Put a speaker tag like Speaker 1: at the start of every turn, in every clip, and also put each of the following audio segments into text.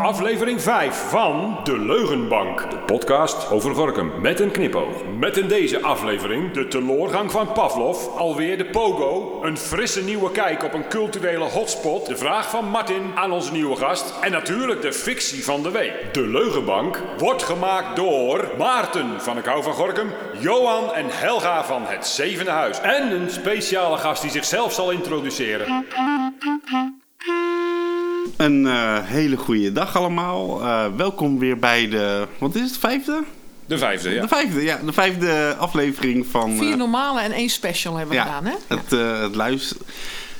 Speaker 1: Aflevering 5 van De Leugenbank. De podcast over Gorkum met een knipoog. Met in deze aflevering de teloorgang van Pavlov, alweer de pogo, een frisse nieuwe kijk op een culturele hotspot, de vraag van Martin aan onze nieuwe gast en natuurlijk de fictie van de week. De Leugenbank wordt gemaakt door Maarten van Ik hou van Gorkum, Johan en Helga van Het Zevende Huis en een speciale gast die zichzelf zal introduceren.
Speaker 2: Een eh, hele goede dag allemaal. Eh, welkom weer bij de. Wat is het, vijfde?
Speaker 1: De vijfde, ja.
Speaker 2: De vijfde, ja, de vijfde aflevering van. eh,
Speaker 3: Vier normale en één special hebben we
Speaker 2: ja,
Speaker 3: gedaan, hè?
Speaker 2: Het, eh, het luis.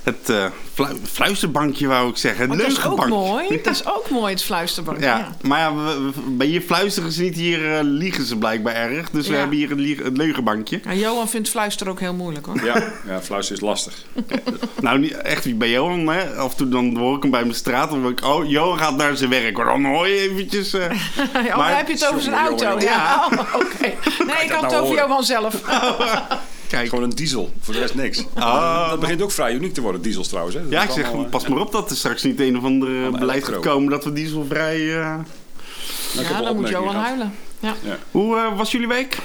Speaker 2: Het eh, flu- fluisterbankje wou ik zeggen. Het
Speaker 3: Maar dat is ook
Speaker 2: leugenbankje.
Speaker 3: mooi. Dat is ook mooi, het fluisterbank.
Speaker 2: Ja,
Speaker 3: Ja.
Speaker 2: maar ja, we- we- bij hier fluisteren ze niet, hier eh, liegen ze blijkbaar erg. Dus we
Speaker 3: Ja.
Speaker 2: hebben hier een, lie- een leugenbankje.
Speaker 3: Nou, Johan vindt fluisteren ook heel moeilijk, hoor.
Speaker 1: Ja, ja fluisteren is lastig.
Speaker 2: Nou, niet echt wie bij Johan, hè. Af en toe dan hoor ik hem bij mijn straat. Dan denk ik, oh, Johan gaat naar zijn werk. hoor. Dan hoor je eventjes... eh,
Speaker 3: Ja,
Speaker 2: maar-
Speaker 3: maar heb je het over zijn
Speaker 1: Jongen,
Speaker 3: auto?
Speaker 1: jongen.
Speaker 2: Ja.
Speaker 3: Ja, oh, oké. Nee, ik had
Speaker 1: nou
Speaker 3: het over
Speaker 1: horen?
Speaker 3: Johan zelf.
Speaker 2: Kijk,
Speaker 1: Gewoon een diesel, voor de rest niks.
Speaker 2: Ah.
Speaker 1: dat begint ook vrij uniek te worden, diesels trouwens. Hè? Dat
Speaker 2: Ja,
Speaker 1: is
Speaker 2: ik zeg,
Speaker 1: allemaal, eh,
Speaker 2: pas maar op dat er straks niet een of ander eh,
Speaker 1: Allemaal
Speaker 2: beleid gaat
Speaker 1: elektro.
Speaker 2: komen dat we dieselvrij... eh,
Speaker 1: leuke
Speaker 3: Ja, dan moet
Speaker 1: opmerkingen
Speaker 3: Johan
Speaker 1: gehad.
Speaker 3: huilen. Ja.
Speaker 2: Hoe eh, was jullie week?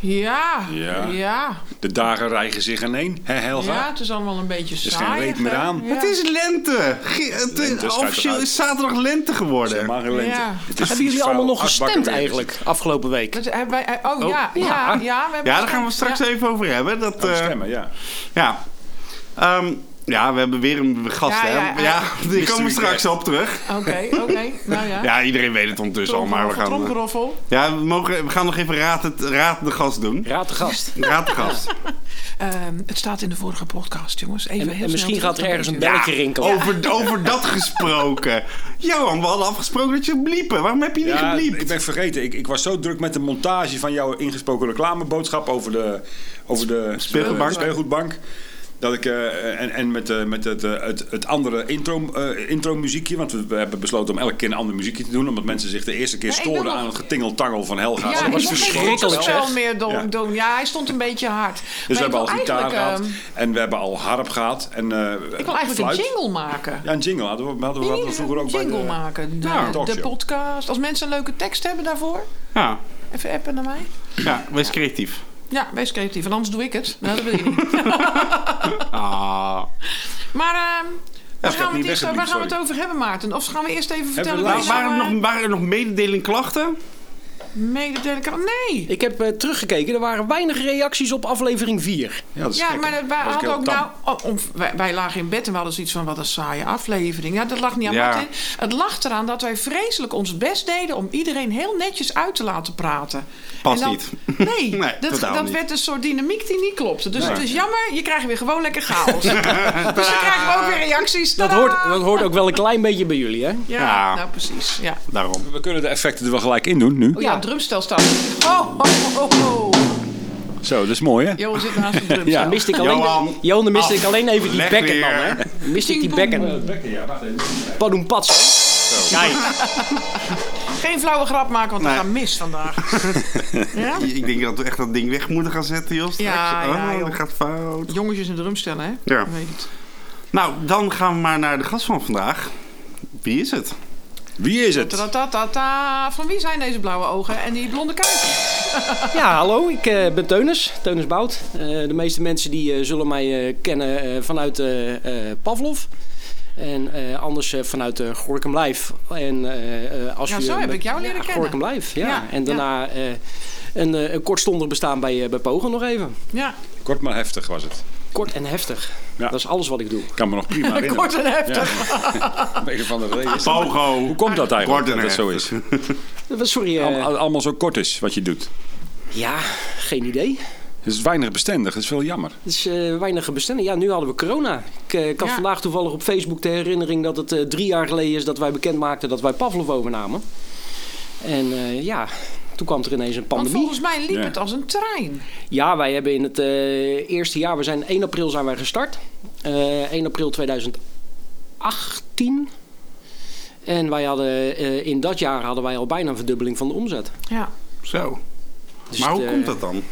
Speaker 3: Ja.
Speaker 1: Ja.
Speaker 3: Ja. ja.
Speaker 1: De dagen rijgen zich aan één, hè Helga?
Speaker 3: het is allemaal een beetje
Speaker 1: is
Speaker 3: saai.
Speaker 1: geen reet meer
Speaker 3: hè?
Speaker 1: aan.
Speaker 3: Ja.
Speaker 2: Het is lente. Ge- het,
Speaker 1: Lente, schijt
Speaker 2: officieel
Speaker 1: eruit.
Speaker 2: is zaterdag lente geworden.
Speaker 1: Helemaal geen lente.
Speaker 3: Ja.
Speaker 1: Het is
Speaker 4: Hebben jullie
Speaker 1: vies,
Speaker 4: allemaal
Speaker 1: vuil,
Speaker 4: nog
Speaker 1: asbakken
Speaker 4: gestemd
Speaker 1: weer.
Speaker 4: eigenlijk afgelopen week?
Speaker 3: Dat hebben wij, eh, oh,
Speaker 2: Oh,
Speaker 3: ja, ja, ja, we hebben
Speaker 2: Ja, daar gaan we straks
Speaker 3: ja.
Speaker 2: even over hebben. Dat,
Speaker 1: Oh,
Speaker 2: eh,
Speaker 1: stemmen, ja.
Speaker 2: ja. Ehm, ja, we hebben weer een gast,
Speaker 3: Ja,
Speaker 2: hè?
Speaker 3: ja,
Speaker 2: Ja,
Speaker 3: ja.
Speaker 2: die komen we
Speaker 1: Mystery
Speaker 2: straks
Speaker 1: guest.
Speaker 2: op terug.
Speaker 3: Oké, oké. Nou ja.
Speaker 2: Ja, iedereen weet het ondertussen al, maar we
Speaker 3: Tromgeroffel,
Speaker 2: gaan... eh,
Speaker 3: tromgeroffel.
Speaker 2: Ja, we, mogen, we gaan nog even raad, het, raad de gast doen.
Speaker 4: Raad de gast.
Speaker 2: Raad de gast.
Speaker 3: Ehm, het staat in de vorige podcast, jongens. Even heel
Speaker 4: En, en
Speaker 3: snel Oh.
Speaker 4: misschien
Speaker 3: terug
Speaker 4: gaat er
Speaker 3: naar
Speaker 4: ergens een
Speaker 3: deze.
Speaker 4: belletje rinkelen.
Speaker 2: Over, over dat gesproken. Johan, we hadden afgesproken dat je zou bliepen. Waarom heb je niet
Speaker 1: Ja,
Speaker 2: gebliept?
Speaker 1: ik ben vergeten. Ik, ik was zo druk met de montage van jouw ingesproken reclameboodschap over de, over de
Speaker 2: Speelgoedbank.
Speaker 1: eh, speelgoedbank. Dat ik, eh, en, en met, eh, met het, eh, het, het andere intro, eh, intro muziekje. Want we, we hebben besloten om elke keer een ander muziekje te doen. Omdat mensen zich de eerste keer
Speaker 3: Ja, ik wil
Speaker 1: storen
Speaker 3: nog-
Speaker 1: aan het getingeltangel van Helga.
Speaker 3: Ja,
Speaker 1: Dat
Speaker 3: ik
Speaker 1: was dus
Speaker 3: mocht geen
Speaker 1: verschrikkelijk.
Speaker 4: verschrikkelijk, zeg.
Speaker 3: gospel meer do-
Speaker 1: Ja.
Speaker 3: doen. Ja, hij stond een beetje hard.
Speaker 1: Dus
Speaker 3: Maar
Speaker 1: we
Speaker 3: ik
Speaker 1: hebben al
Speaker 3: wil
Speaker 1: gitaar
Speaker 3: eigenlijk,
Speaker 1: gehad.
Speaker 3: ehm,
Speaker 1: En we hebben al harp gehad. En, eh,
Speaker 3: Ik wil eigenlijk een jingle maken.
Speaker 1: Ja, een jingle hadden we, hadden we, hadden we vroeger ook
Speaker 3: een jingle
Speaker 1: bij de...
Speaker 3: maken. De,
Speaker 1: Ja.
Speaker 3: de
Speaker 1: talkshow.
Speaker 3: podcast. Als mensen een leuke tekst hebben daarvoor,
Speaker 2: Ja,
Speaker 3: even appen naar mij.
Speaker 2: ja wees creatief.
Speaker 3: Ja, wees creatief, want anders doe ik het. Nou, dat wil je niet.
Speaker 2: Ah.
Speaker 3: Maar ehm, waar,
Speaker 1: heb
Speaker 3: gaan we
Speaker 1: niet
Speaker 3: het
Speaker 1: weggebliept,
Speaker 3: eerst, waar gaan we het
Speaker 1: sorry.
Speaker 3: over hebben, Maarten? Of gaan we eerst even
Speaker 1: we
Speaker 3: vertellen... wie
Speaker 2: Nou,
Speaker 1: Is
Speaker 3: nou,
Speaker 2: waren, er
Speaker 3: eh,
Speaker 2: nog, waren er nog mededeling klachten?
Speaker 3: Mededelen kan... Nee!
Speaker 4: Ik heb eh, teruggekeken, er waren weinig reacties op aflevering 4.
Speaker 1: Ja, dat is
Speaker 3: Ja,
Speaker 1: gek,
Speaker 3: maar
Speaker 1: hè?
Speaker 3: dat- wij,
Speaker 1: Dat was
Speaker 3: hadden
Speaker 1: heel
Speaker 3: ook
Speaker 1: tam.
Speaker 3: nou, oh, om- wij, wij lagen in bed en we hadden zoiets van... wat een saaie aflevering. Ja, dat lag niet aan
Speaker 2: Ja.
Speaker 3: Martin. Het lag eraan dat wij vreselijk ons best deden... om iedereen heel netjes uit te laten praten.
Speaker 2: Past
Speaker 3: En dan-
Speaker 2: niet.
Speaker 3: Nee,
Speaker 2: Nee,
Speaker 3: dat,
Speaker 2: totaal
Speaker 3: dat
Speaker 2: niet.
Speaker 3: werd een soort dynamiek die niet klopte. Dus het is jammer, je krijgt weer gewoon lekker chaos. dus dan krijgen we ook weer reacties.
Speaker 4: Dat
Speaker 3: Tadaa!
Speaker 4: hoort, dat hoort ook wel een klein beetje bij jullie, hè?
Speaker 3: Ja,
Speaker 2: Ja.
Speaker 3: nou precies. Ja.
Speaker 2: Daarom.
Speaker 1: We kunnen de effecten er wel gelijk in doen nu.
Speaker 3: Oh ja, het drumstel staat. Oh, oh, oh, oh.
Speaker 1: Zo, dat is mooi, hè?
Speaker 3: Johan zit naast een drumstel.
Speaker 1: Ja.
Speaker 4: Dan miste ik alleen,
Speaker 2: Johan,
Speaker 4: Johan, dan miste ik alleen even die
Speaker 2: Leg
Speaker 4: bekken
Speaker 2: weer.
Speaker 4: dan, hè? Dan miste ik die bekken.
Speaker 1: Ja, wacht even.
Speaker 4: Padoen pats. Kijk,
Speaker 3: Geen flauwe grap maken, want we
Speaker 2: Nee.
Speaker 3: gaan mis vandaag. ja?
Speaker 2: Ik denk dat we echt dat ding weg moeten gaan zetten, Jos. straks.
Speaker 3: Ja,
Speaker 2: oh,
Speaker 3: ja, joh.
Speaker 2: dat gaat fout.
Speaker 3: Jongetjes in de drumstellen, hè?
Speaker 2: Ja.
Speaker 3: Ik weet het.
Speaker 2: Nou, dan gaan we maar naar de gast van vandaag. Wie is het?
Speaker 1: Wie is het?
Speaker 3: Tatatatata. Van wie zijn deze blauwe ogen en die blonde kuiten?
Speaker 4: ja, hallo, ik eh, ben Teunus, Teunus Bout. Eh, de meeste mensen die eh, zullen mij eh, kennen eh, vanuit eh, eh, Pavlov. En eh, anders eh, vanuit eh, Gorkum Live. En, eh, eh, als
Speaker 3: Ja,
Speaker 4: je
Speaker 3: zo heb
Speaker 4: met-
Speaker 3: ik jou leren
Speaker 4: ja,
Speaker 3: kennen.
Speaker 4: Gorkum Live, ja.
Speaker 3: Ja,
Speaker 4: en daarna eh, een, eh, een kortstondig bestaan bij, eh, bij Pogen nog even.
Speaker 3: Ja,
Speaker 1: Kort maar heftig was het.
Speaker 4: Kort en heftig.
Speaker 1: Ja.
Speaker 4: Dat is alles wat ik doe.
Speaker 1: Ik kan me nog prima herinneren.
Speaker 3: kort en heftig.
Speaker 1: Om een of andere reden is dat-
Speaker 2: Pogo.
Speaker 1: Hoe komt dat eigenlijk
Speaker 2: Kort en
Speaker 1: dat dat zo is?
Speaker 4: Eh, Sorry, eh,
Speaker 1: Al- allemaal zo kort is wat je doet.
Speaker 4: ja, geen idee.
Speaker 1: Het is weinig bestendig, dat is wel jammer.
Speaker 4: Het is eh, weinig bestendig. Ja, nu hadden we corona. Ik, eh, ik had
Speaker 3: Ja.
Speaker 4: vandaag toevallig op Facebook de herinnering dat het eh, drie jaar geleden is dat wij bekend maakten dat wij Pavlov overnamen. En eh, ja, toen kwam er ineens een
Speaker 3: Want
Speaker 4: pandemie.
Speaker 3: volgens mij liep
Speaker 1: Ja.
Speaker 3: het als een trein.
Speaker 4: Ja, wij hebben in het eh, eerste jaar, we zijn 1 april zijn wij gestart. Eh, 1 april 2018. En wij hadden, eh, in dat jaar hadden wij al bijna een verdubbeling van de omzet.
Speaker 3: Ja.
Speaker 2: Zo.
Speaker 4: Dus
Speaker 2: Maar hoe
Speaker 4: het, eh,
Speaker 2: komt dat dan?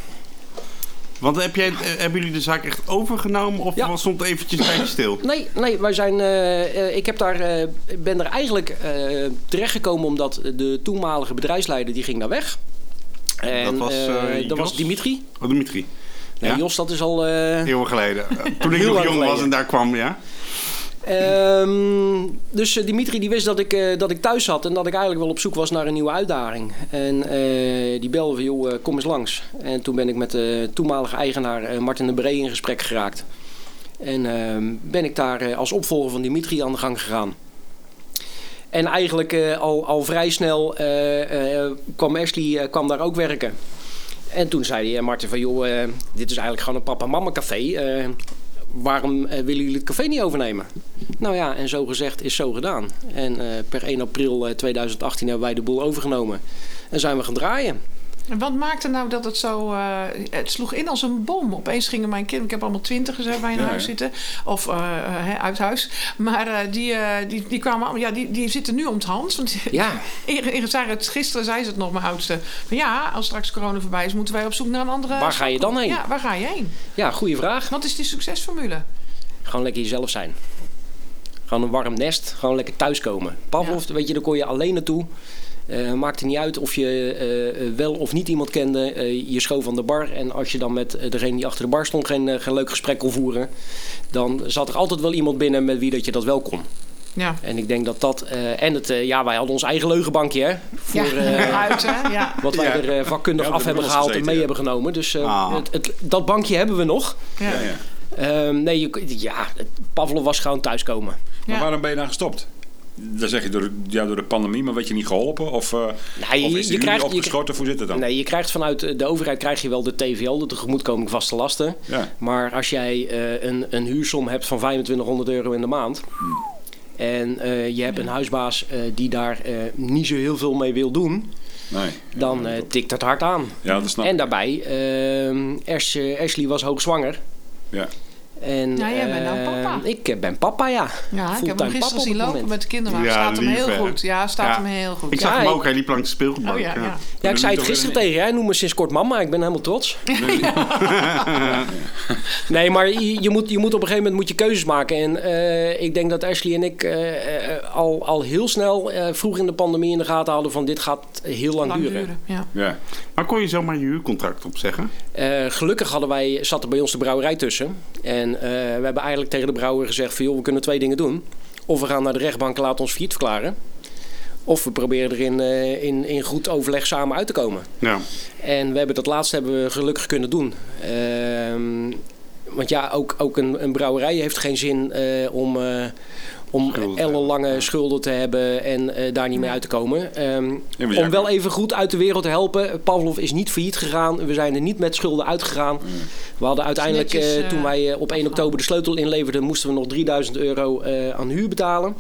Speaker 2: Want heb jij, eh, hebben jullie de zaak echt overgenomen of
Speaker 4: Ja.
Speaker 2: was stond het eventjes bij je stil?
Speaker 4: Nee, nee wij zijn, eh, eh, ik heb daar, eh, ik ben er eigenlijk eh, terechtgekomen omdat de toenmalige bedrijfsleider die ging daar weg. En,
Speaker 2: Dat was,
Speaker 4: eh,
Speaker 2: eh,
Speaker 4: dat was
Speaker 2: Jos?
Speaker 4: Dimitri.
Speaker 2: Oh, Dimitri.
Speaker 4: Nee,
Speaker 2: Ja?
Speaker 4: Jos, dat is al... eh,
Speaker 2: Eeuwen geleden. Eh, Toen ik
Speaker 4: Heel
Speaker 2: nog
Speaker 4: lang
Speaker 2: jong was
Speaker 4: geleden.
Speaker 2: en daar kwam, ja.
Speaker 4: Ehm, dus eh, Dimitri die wist dat ik, eh, dat ik thuis zat en dat ik eigenlijk wel op zoek was naar een nieuwe uitdaging. En eh, die belde van, joh, eh, kom eens langs. En toen ben ik met de toenmalige eigenaar eh, Martin de Bree in gesprek geraakt. En ehm, ben ik daar eh, als opvolger van Dimitri aan de gang gegaan. En eigenlijk eh, al, al vrij snel eh, eh, kwam Ashley eh, kwam daar ook werken. En toen zei hij, eh, Martin van, joh, eh, dit is eigenlijk gewoon een papa-mama café. eh, waarom eh, willen jullie het café niet overnemen? Nou ja, en zo gezegd is zo gedaan. En eh, per 1 april eh, 2018 hebben wij de boel overgenomen. En zijn we gaan draaien.
Speaker 3: En wat maakte nou dat het zo... eh, het sloeg in als een bom. Opeens gingen mijn kinderen... Ik heb allemaal twintigers hè, bij in
Speaker 2: Ja,
Speaker 3: huis
Speaker 2: ja.
Speaker 3: zitten. Of eh, hè, uit huis. Maar eh, die, eh, die, die kwamen allemaal... Ja, die, die zitten nu om het hand. Want
Speaker 4: Ja.
Speaker 3: Eer- eer- zei het, gisteren zei ze het nog, mijn oudste. Van ja, als straks corona voorbij is, moeten wij op zoek naar een andere...
Speaker 4: Waar ga je dan heen?
Speaker 3: Ja, waar ga je heen?
Speaker 4: Ja, goede vraag.
Speaker 3: Wat is die succesformule?
Speaker 4: Gewoon lekker jezelf zijn. Gewoon een warm nest. Gewoon lekker thuiskomen. Pavlov, weet je, daar kon je alleen naartoe. Eh maakte niet uit of je eh, eh, wel of niet iemand kende. Eh, je schoof aan de bar. En als je dan met eh, degene die achter de bar stond geen, eh, geen leuk gesprek kon voeren. Dan zat er altijd wel iemand binnen met wie dat je dat wel kon.
Speaker 3: Ja.
Speaker 4: En ik denk dat dat. eh, en het, eh, ja, wij hadden ons eigen leugenbankje, hè? Voor eh,
Speaker 3: uit, hè? Ja.
Speaker 4: wat wij
Speaker 2: Ja.
Speaker 4: er eh, vakkundig
Speaker 2: Ja,
Speaker 4: af
Speaker 2: we
Speaker 4: hebben
Speaker 2: hebben
Speaker 4: gehaald en
Speaker 2: gezeten,
Speaker 4: mee
Speaker 2: ja.
Speaker 4: hebben genomen. Dus eh,
Speaker 2: Ah.
Speaker 4: het, het- dat bankje hebben we nog.
Speaker 3: Ja.
Speaker 2: Ja, ja.
Speaker 4: Ehm, nee, je, ja, Pavlov was gewoon thuiskomen.
Speaker 5: Maar
Speaker 3: Ja.
Speaker 5: waarom ben je dan gestopt? Dan zeg je door, ja, door de pandemie, maar werd je niet geholpen? Of, eh
Speaker 4: Nee,
Speaker 5: of
Speaker 4: je-
Speaker 5: is
Speaker 4: je
Speaker 5: de
Speaker 4: krijgt-
Speaker 5: krijgt,
Speaker 4: je-
Speaker 5: opgeschoten? Of hoe zit het dan?
Speaker 4: Nee, je krijgt vanuit eh, de overheid krijg je wel de TVL, de tegemoetkoming vaste lasten.
Speaker 5: Ja.
Speaker 4: Maar als jij eh, een, een huursom hebt van 2500 euro in de maand.
Speaker 5: Hmm.
Speaker 4: En eh, je hebt een huisbaas eh, die daar eh, niet zo heel veel mee wil doen,
Speaker 5: Nee.
Speaker 4: dan eh, tikt dat hard aan.
Speaker 5: Ja, dat snap
Speaker 4: En
Speaker 5: ik.
Speaker 4: daarbij, ehm, Ash- eh, Ashley was hoogzwanger.
Speaker 5: Ja.
Speaker 4: En,
Speaker 3: Ja, jij bent nou
Speaker 4: eh,
Speaker 3: papa.
Speaker 4: ik eh, ben papa, ja.
Speaker 3: Ja, ik heb hem
Speaker 4: Fulltime papa
Speaker 3: gisteren
Speaker 4: op
Speaker 3: zien
Speaker 4: het
Speaker 3: lopen
Speaker 4: moment.
Speaker 3: met de kinderwagen.
Speaker 2: Ja,
Speaker 3: staat hem
Speaker 2: lief,
Speaker 3: heel
Speaker 2: hè?
Speaker 3: goed. Ja, staat
Speaker 2: Ja.
Speaker 3: hem heel goed.
Speaker 2: Ik zag
Speaker 4: Ja,
Speaker 2: hem
Speaker 4: ik-
Speaker 2: ook, hij liep langs de speelgoedbank.
Speaker 3: Oh ja, ja.
Speaker 4: Ja, ik
Speaker 5: nu
Speaker 4: zei het
Speaker 5: toch weer
Speaker 4: gisteren
Speaker 5: een-
Speaker 4: tegen je. Hij noemt me sinds kort mama. Ik ben helemaal trots. nee, maar je, je moet, je moet op een gegeven moment moet je keuzes maken. En eh, ik denk dat Ashley en ik eh, eh, al, al heel snel eh, vroeg in de pandemie in de gaten hadden van dit gaat heel lang,
Speaker 3: Lang
Speaker 4: duren.
Speaker 3: duren. Ja.
Speaker 5: Ja.
Speaker 2: Maar kon je zomaar je huurcontract opzeggen?
Speaker 4: Eh, gelukkig hadden wij, zat er bij ons de brouwerij tussen. En eh, we hebben eigenlijk tegen de brouwer gezegd van... joh, we kunnen twee dingen doen. Of we gaan naar de rechtbank en laten ons failliet verklaren. Of we proberen er in, eh, in, in goed overleg samen uit te komen.
Speaker 2: Ja.
Speaker 4: En we hebben dat laatste hebben we gelukkig kunnen doen. Ehm, want ja, ook, ook een, een brouwerij heeft geen zin eh, om, eh om
Speaker 2: Schulden te
Speaker 4: ellenlange schulden te hebben en eh, daar niet mee uit te komen. Ehm,
Speaker 5: Ja, maar ja,
Speaker 4: om wel even goed uit de wereld te helpen. Pavlov is niet failliet gegaan. We zijn er niet met schulden uitgegaan.
Speaker 5: Mm.
Speaker 4: We hadden uiteindelijk,
Speaker 3: netjes,
Speaker 4: eh,
Speaker 3: eh,
Speaker 4: toen wij eh, op 1 oktober de sleutel inleverden, moesten we nog 3000 euro eh, aan huur betalen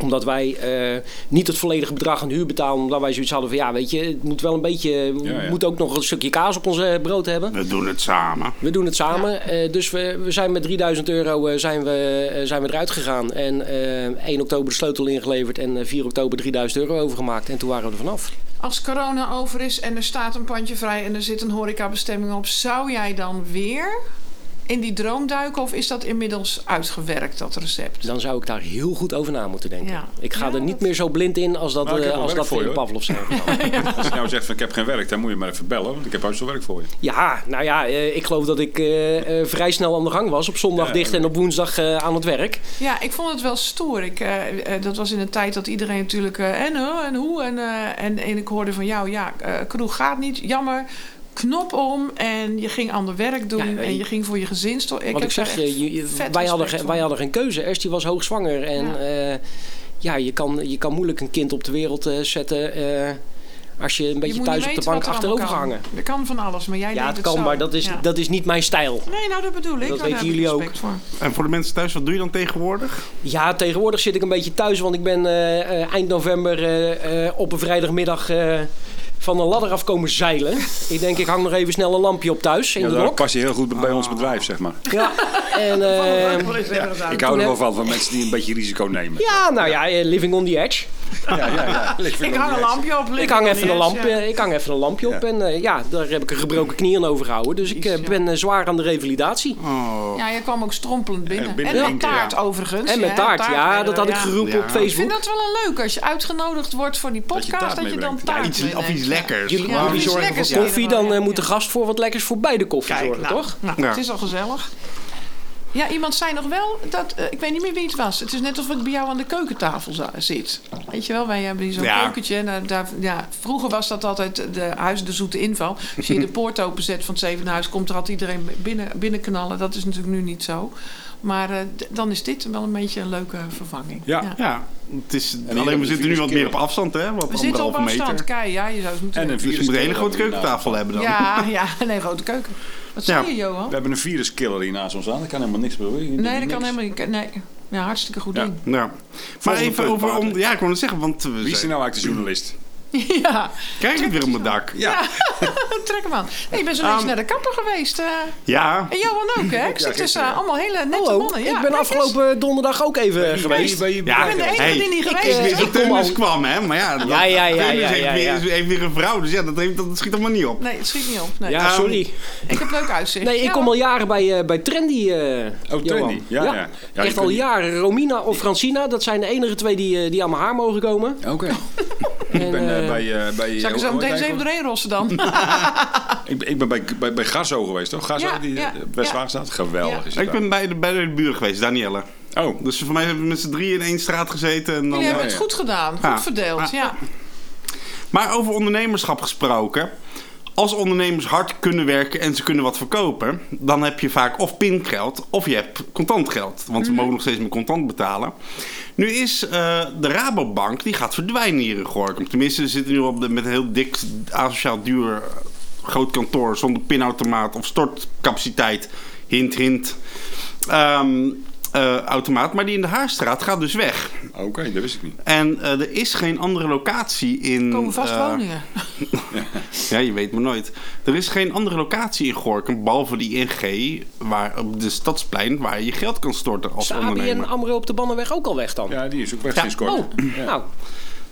Speaker 4: omdat wij eh, niet het volledige bedrag aan huur betalen. Omdat wij zoiets hadden van ja, weet je, het moet wel een beetje. We
Speaker 5: Ja, ja.
Speaker 4: moeten ook nog een stukje kaas op ons eh, brood hebben.
Speaker 2: We doen het samen.
Speaker 4: We doen het samen. Eh, dus we, we zijn met 3000 euro eh, zijn we, eh, zijn we eruit gegaan. En eh, 1 oktober de sleutel ingeleverd. En eh, 4 oktober 3000 euro overgemaakt. En toen waren we er vanaf.
Speaker 3: Als corona over is en er staat een pandje vrij en er zit een horecabestemming op, zou jij dan weer in die droom duiken of is dat inmiddels uitgewerkt, dat recept?
Speaker 4: Dus Dan zou ik daar heel goed over na moeten denken.
Speaker 3: Ja.
Speaker 4: Ik ga
Speaker 3: Ja,
Speaker 4: er niet
Speaker 3: dat-
Speaker 4: meer zo blind in als dat,
Speaker 5: Nou, ik heb
Speaker 4: eh,
Speaker 5: wel
Speaker 4: als
Speaker 5: werk
Speaker 4: dat
Speaker 5: voor
Speaker 4: in
Speaker 5: je, hoor.
Speaker 4: Pavlov zijn gegaan.
Speaker 5: Als je nou zegt van ik heb geen werk, dan moet je maar even bellen. Want ik heb heus wel werk voor je.
Speaker 4: Ja, nou ja, eh, ik geloof dat ik eh, eh, vrij snel aan de gang was. Op zondag
Speaker 5: Ja,
Speaker 4: dicht en op woensdag eh, aan het werk.
Speaker 3: Ja, ik vond het wel stoer. Ik, eh, eh, dat was in een tijd dat iedereen natuurlijk eh, en, eh, en hoe en, eh, en, en ik hoorde van jou, ja, eh, kroeg gaat niet, jammer. Knop om en je ging ander werk doen
Speaker 4: Ja, eh,
Speaker 3: en
Speaker 4: ik-
Speaker 3: je ging voor je gezinsto. Ik
Speaker 4: Want ik zeg je, je- je- wij, hadden, ge- wij hadden geen keuze. Eerst die was hoogzwanger. En
Speaker 3: Ja.
Speaker 4: ja, ja je, kan, je kan moeilijk een kind op de wereld eh, zetten eh, als je een beetje thuis op de bank achterover gehangen.
Speaker 3: Er kan van alles, maar jij
Speaker 4: Ja,
Speaker 3: deed
Speaker 4: het
Speaker 3: het
Speaker 4: kan,
Speaker 3: zo.
Speaker 4: maar dat is,
Speaker 3: Ja.
Speaker 4: dat is niet mijn stijl.
Speaker 3: Nee, nou dat bedoel ik.
Speaker 4: Dat
Speaker 3: Daar
Speaker 4: weten
Speaker 3: heb ik
Speaker 4: jullie ook.
Speaker 3: respect Voor.
Speaker 2: En voor de mensen thuis, wat doe je dan tegenwoordig?
Speaker 4: Ja, tegenwoordig zit ik een beetje thuis, want ik ben eh, eh, eind november eh, eh, op een vrijdagmiddag eh, van een ladder af komen zeilen. ik denk, ik hang nog even snel een lampje op thuis in
Speaker 5: Ja,
Speaker 4: de
Speaker 5: daar
Speaker 4: rok.
Speaker 5: pas je heel goed bij ons bedrijf, zeg maar.
Speaker 4: Ja, en, eh,
Speaker 5: Ik hou er wel van, van mensen die een beetje risico nemen.
Speaker 4: ja, nou ja, eh, living on the edge.
Speaker 1: Ja, ja, ja.
Speaker 3: Ik hang een lampje op.
Speaker 4: Ik hang even een lampje,
Speaker 3: lampje.
Speaker 4: ik hang even een lampje op
Speaker 1: Ja.
Speaker 4: en eh, ja, daar heb ik een gebroken knie aan overgehouden. Dus ik eh,
Speaker 3: Jezus, ja.
Speaker 4: ben eh, zwaar aan de revalidatie.
Speaker 2: Oh.
Speaker 3: Ja, je kwam ook strompelend binnen.
Speaker 1: En
Speaker 3: En,
Speaker 1: binnen
Speaker 3: met
Speaker 1: denken, ja.
Speaker 3: taart overigens.
Speaker 4: En
Speaker 3: hè,
Speaker 4: met taart, ja,
Speaker 3: werden
Speaker 4: dat
Speaker 3: we,
Speaker 4: had ik
Speaker 3: ja.
Speaker 4: geroepen
Speaker 2: Ja.
Speaker 4: op
Speaker 3: Ik vind
Speaker 4: Facebook.
Speaker 3: dat wel een leuk als je uitgenodigd wordt voor die
Speaker 1: Dat je
Speaker 3: podcast,
Speaker 1: taart
Speaker 3: dat je, dan
Speaker 1: meebrengt. Ja,
Speaker 3: taart
Speaker 2: Ja, iets, of iets
Speaker 3: meeneemt.
Speaker 2: lekkers.
Speaker 4: Jullie,
Speaker 2: gewoon.
Speaker 4: jullie
Speaker 3: iets
Speaker 4: zorgen
Speaker 3: lekkers
Speaker 4: voor koffie,
Speaker 3: deden we,
Speaker 4: dan eh,
Speaker 3: ja.
Speaker 4: moet de gast voor wat lekkers voor beide koffie
Speaker 3: Kijk,
Speaker 4: zorgen,
Speaker 3: nou,
Speaker 4: toch?
Speaker 3: nou,
Speaker 2: Ja.
Speaker 3: het is al gezellig. Ja, iemand zei nog wel dat... eh, ik weet niet meer wie het was. Het is net alsof ik bij jou aan de keukentafel za- zit. Weet je wel, wij hebben hier zo'n
Speaker 2: Ja.
Speaker 3: keukentje. En, eh, daar- daar, ja, vroeger was dat altijd de, huis, de zoete inval. Als je de poort openzet van het Zevenhuis... komt er altijd iedereen binnen, binnenknallen. Dat is natuurlijk nu niet zo. Maar eh, d- dan is dit wel een beetje een leuke vervanging.
Speaker 5: Ja.
Speaker 2: Ja, het is,
Speaker 1: hebben
Speaker 2: alleen we
Speaker 1: de
Speaker 2: zitten nu wat
Speaker 1: virus
Speaker 2: meer op afstand, hè? Wat
Speaker 3: We zitten op
Speaker 2: anderhalve
Speaker 3: afstand.
Speaker 2: meter.
Speaker 3: Kijk, ja, je zou het moeten...
Speaker 5: En een
Speaker 2: Dus je moet een hele
Speaker 5: viruskiller
Speaker 2: grote
Speaker 1: hiernaast.
Speaker 2: keukentafel hebben dan.
Speaker 3: ja, ja, nee, grote keuken. Wat
Speaker 2: Ja.
Speaker 3: zei je, Johan?
Speaker 1: We hebben een viruskiller hier naast ons aan. Dat kan helemaal niks bewegen.
Speaker 3: Nee, dat kan helemaal niet. Nee, ja, hartstikke goed
Speaker 1: Ja.
Speaker 3: ding.
Speaker 2: Ja. Maar
Speaker 1: Volgende
Speaker 2: even
Speaker 1: punt,
Speaker 2: over...
Speaker 1: Maarten.
Speaker 2: Om, ja, ik wou het zeggen, want we
Speaker 1: Wie is er
Speaker 2: zijn,
Speaker 1: nou eigenlijk de journalist?
Speaker 3: Ja,
Speaker 2: krijg ik weer op mijn dak.
Speaker 1: Ja,
Speaker 3: trek hem aan. Nee, ik ben zo eens naar de kapper geweest. eh.
Speaker 2: Ja,
Speaker 3: en Johan ook, hè? Ik zit tussen eh, allemaal hele nette
Speaker 4: Hallo,
Speaker 3: mannen. Ja,
Speaker 4: ik ben
Speaker 3: kijk eens.
Speaker 4: afgelopen donderdag ook even eh, geweest.
Speaker 1: Ben je- ben je-
Speaker 2: Ja.
Speaker 3: Ik ben de enige
Speaker 2: Hey,
Speaker 3: die niet
Speaker 4: ik,
Speaker 3: geweest is.
Speaker 4: eh,
Speaker 2: wist dat
Speaker 4: kom
Speaker 2: Teunis
Speaker 4: al-
Speaker 2: kwam, hè? Maar ja, dat-
Speaker 4: Ja, ja, ja,
Speaker 2: Teunis
Speaker 4: ja,
Speaker 2: heeft,
Speaker 4: ja, ja.
Speaker 2: Weer, heeft weer een vrouw, dus ja, dat, heeft, dat schiet allemaal niet op.
Speaker 3: Nee, het schiet niet op. Nee. Um,
Speaker 4: Ja,
Speaker 2: Ehm,
Speaker 4: sorry.
Speaker 3: Ik heb leuk uitzicht.
Speaker 4: Nee, ik kom al jaren bij, eh, bij Trendy. eh, Johan.
Speaker 1: Oh, Trendy. Ja, ja. Ja, je
Speaker 4: Echt al
Speaker 1: kunt-
Speaker 4: jaren. Romina of Francina, dat zijn de enige twee die, eh, die aan mijn haar mogen komen.
Speaker 1: Oké. ik ben eh, bij... eh, bij
Speaker 3: Zal ik
Speaker 1: hoe-
Speaker 3: er zo
Speaker 1: hoe
Speaker 3: meteen
Speaker 1: heet hij
Speaker 3: eens even
Speaker 1: ook?
Speaker 3: doorheen rossen dan?
Speaker 1: ik, ben- ik ben bij, bij, bij Garzo geweest, toch? Garzo,
Speaker 3: Ja,
Speaker 1: die
Speaker 3: ja,
Speaker 1: eh, best
Speaker 3: ja.
Speaker 1: waar staat. Geweldig
Speaker 3: Ja.
Speaker 1: is het
Speaker 2: Ik ben bij de, bij de buur geweest, Danielle.
Speaker 1: daar. Oh,
Speaker 2: Dus voor mij hebben we met z'n drieën in één straat gezeten. En dan,
Speaker 3: Jullie hebben het
Speaker 1: ja.
Speaker 3: goed gedaan. Goed
Speaker 2: Ja.
Speaker 3: verdeeld, ja.
Speaker 2: Maar over ondernemerschap gesproken. Als ondernemers hard kunnen werken en ze kunnen wat verkopen, dan heb je vaak of pingeld of je hebt contant geld. Want
Speaker 3: Mhm.
Speaker 2: ze mogen nog steeds met contant betalen. Nu is eh, de Rabobank, die gaat verdwijnen hier in Gorkum. Tenminste, ze zitten nu op de, met een heel dik, asociaal duur eh, groot kantoor zonder pinautomaat of stortcapaciteit. Hint, hint. Ehm, eh, automaat, maar die in de Haarstraat gaat dus weg.
Speaker 1: oké, dat wist ik niet.
Speaker 2: En eh, er is geen andere locatie in.
Speaker 3: Er komen vast
Speaker 2: eh,
Speaker 3: woningen.
Speaker 2: ja, je weet maar nooit. Er is geen andere locatie in Gorkum, behalve die ING, waar, op de Stadsplein, waar je geld kan storten als
Speaker 4: Is de ABN
Speaker 2: ondernemer.
Speaker 4: AMRO op de Bannenweg ook al weg dan?
Speaker 1: Ja, die is ook weg
Speaker 2: Ja.
Speaker 1: sinds kort.
Speaker 4: Oh, nou.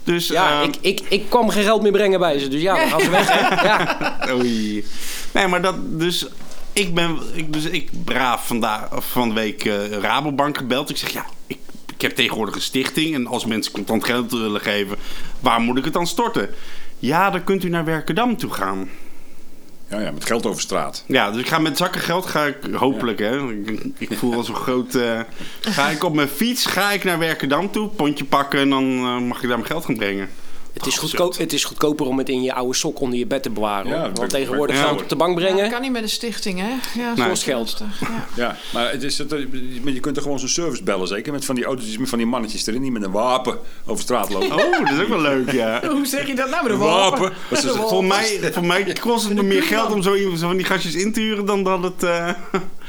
Speaker 2: Dus,
Speaker 4: Ja,
Speaker 2: eh,
Speaker 4: ik, ik, ik kwam geen geld meer brengen bij ze. Dus ja, dan gaan ze weg. Hè? Ja.
Speaker 2: Oei. Nee, maar dat, dus... Ik ben, ik, dus ik braaf vandaag, of van de week eh, Rabobank gebeld. Ik zeg, ja, ik, ik heb tegenwoordig een stichting. En als mensen contant geld willen geven, waar moet ik het dan storten? Ja, dan kunt u naar Werkendam toe gaan.
Speaker 1: Ja, ja, met geld over straat.
Speaker 2: Ja, dus ik ga met zakken geld, ga ik hopelijk, hè. Ik, ik voel als een groot... eh, ga ik op mijn fiets, ga ik naar Werkendam toe, pontje pakken... en dan eh, mag ik daar mijn geld gaan brengen.
Speaker 4: Het, is goedkoop, het is goedkoper om het in je oude sok onder je bed te bewaren.
Speaker 1: Ja,
Speaker 4: hoor.
Speaker 1: dat ben
Speaker 4: Want
Speaker 1: ik-
Speaker 4: tegenwoordig
Speaker 2: ben ik-
Speaker 4: geld op de bank
Speaker 3: Ja,
Speaker 4: brengen.
Speaker 3: kan niet met een stichting, hè? Ja,
Speaker 4: Kost Nou, geld.
Speaker 3: lastig, ja.
Speaker 1: Ja, maar het is, het, maar je kunt er gewoon zo'n service bellen, zeker? Met van die autootjes, met van die mannetjes erin, die met een wapen over straat lopen.
Speaker 2: Oh, dat is ook wel leuk, ja.
Speaker 3: Hoe zeg je dat nou? Met een
Speaker 1: wapen!
Speaker 3: wapen?
Speaker 1: Wat is het?
Speaker 2: Voor mij, voor mij kost het me meer geld om zo iemand- zo van die gastjes in te huren dan dat het. eh,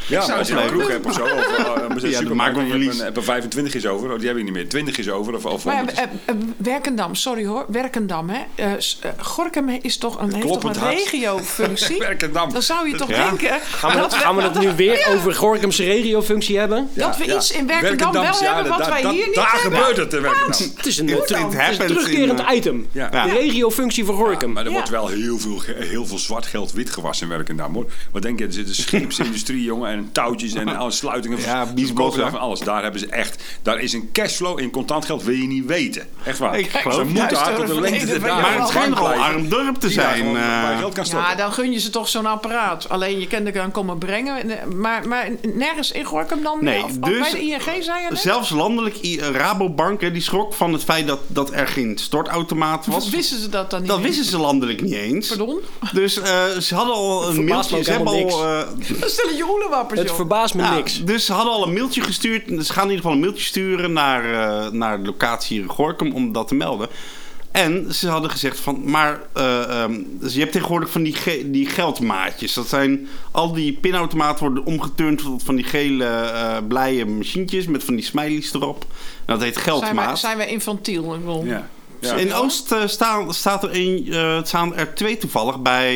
Speaker 1: Ja, maar als je een
Speaker 2: opnemen.
Speaker 1: kroeg hebt of zo, of eh, een
Speaker 2: Ja, dan
Speaker 1: supermarkt,
Speaker 2: maken we
Speaker 1: en je
Speaker 2: verlies.
Speaker 1: hebt een- heb er 25 is over, oh, die hebben je niet meer, 20 is over, of, of
Speaker 3: Maar ja,
Speaker 1: 100 is-
Speaker 3: eh, eh, Werkendam, sorry hoor, Werkendam. Hè. Eh, s- eh, Gorkum is toch een, heeft toch
Speaker 1: kloppend
Speaker 3: een
Speaker 1: hart.
Speaker 3: regiofunctie?
Speaker 1: Werkendam.
Speaker 3: Dan zou je toch
Speaker 2: Ja.
Speaker 3: denken eh,
Speaker 4: Gaan we,
Speaker 3: dat,
Speaker 4: gaan we het nu weer over Gorkumse regiofunctie hebben?
Speaker 3: dat we
Speaker 1: Ja,
Speaker 3: iets in Werkendam wel
Speaker 1: ja,
Speaker 3: hebben wat
Speaker 1: daar-
Speaker 3: wij
Speaker 1: daar-
Speaker 3: hier niet
Speaker 1: Daar
Speaker 3: hebben.
Speaker 1: gebeurt het in Werkendam.
Speaker 4: Het is een,
Speaker 2: It-
Speaker 4: eh,
Speaker 2: it
Speaker 4: tru- het is een
Speaker 2: happens in,
Speaker 4: terugkerend
Speaker 2: eh,
Speaker 4: item.
Speaker 1: Ja.
Speaker 4: De regiofunctie voor Gorkum.
Speaker 1: Maar er
Speaker 3: Ja.
Speaker 1: wordt wel heel veel, ge- heel veel zwart geld wit gewassen in Werkendam. Hoor. Wat denk je, er zitten scheepsindustrie, jongen, en touwtjes en alle sluitingen.
Speaker 2: Ja,
Speaker 1: Ze
Speaker 2: biesbos,
Speaker 1: kopen daar
Speaker 2: hè?
Speaker 1: van alles. Daar hebben ze echt, daar is een cashflow in contant geld, wil je niet weten. Echt waar.
Speaker 2: Ik geloof eh,
Speaker 1: ze
Speaker 2: het.
Speaker 1: moeten
Speaker 3: Juist
Speaker 1: haar
Speaker 3: door
Speaker 1: tot de
Speaker 3: de
Speaker 1: lengte
Speaker 3: verleden
Speaker 1: daar
Speaker 3: weet
Speaker 2: maar
Speaker 3: je
Speaker 2: het schijnt wel
Speaker 1: blijven,
Speaker 2: arm dorp te
Speaker 1: die daar
Speaker 2: zijn.
Speaker 1: gewoon
Speaker 2: eh.
Speaker 1: waar je geld kan stoppen.
Speaker 3: Ja, dan gun je ze toch zo'n apparaat. Alleen je kent er dan komen brengen. Nee, Maar, maar nergens in Gorkum dan?
Speaker 2: Nee,
Speaker 3: wel? Of
Speaker 2: dus-
Speaker 3: bij de ING zei je net?
Speaker 2: Zelfs landelijk I- eh, Rabobank, hè, die schrok van het feit dat, dat er geen stortautomaat
Speaker 3: Of
Speaker 2: was.
Speaker 3: wisten ze dat dan niet?
Speaker 2: Dat
Speaker 3: meer?
Speaker 2: wisten ze landelijk niet eens.
Speaker 3: Pardon?
Speaker 2: Dus eh, ze hadden al een
Speaker 4: verbaast me
Speaker 2: mailtje.
Speaker 4: ook
Speaker 2: Ze hebben
Speaker 4: helemaal
Speaker 2: al, eh,
Speaker 3: Dat stellen je hoelenwappers,
Speaker 4: het
Speaker 3: joh.
Speaker 4: verbaast me
Speaker 2: Ja,
Speaker 4: niks.
Speaker 2: Dus ze hadden al een mailtje gestuurd. Ze gaan in ieder geval een mailtje sturen naar, eh, naar de locatie hier in Gorkum om dat te melden. En ze hadden gezegd van, maar eh, ehm, dus je hebt tegenwoordig van die, ge- die geldmaatjes. Dat zijn, al die pinautomaten worden omgeturnd tot van die gele eh blije machientjes met van die smileys erop. En dat heet
Speaker 3: zijn, wij,
Speaker 2: geldmaat.
Speaker 3: zijn wij infantiel? Ik bedoel.
Speaker 1: Ja. Ja.
Speaker 2: In Oost eh, staan, staat er een, eh, staan er twee toevallig bij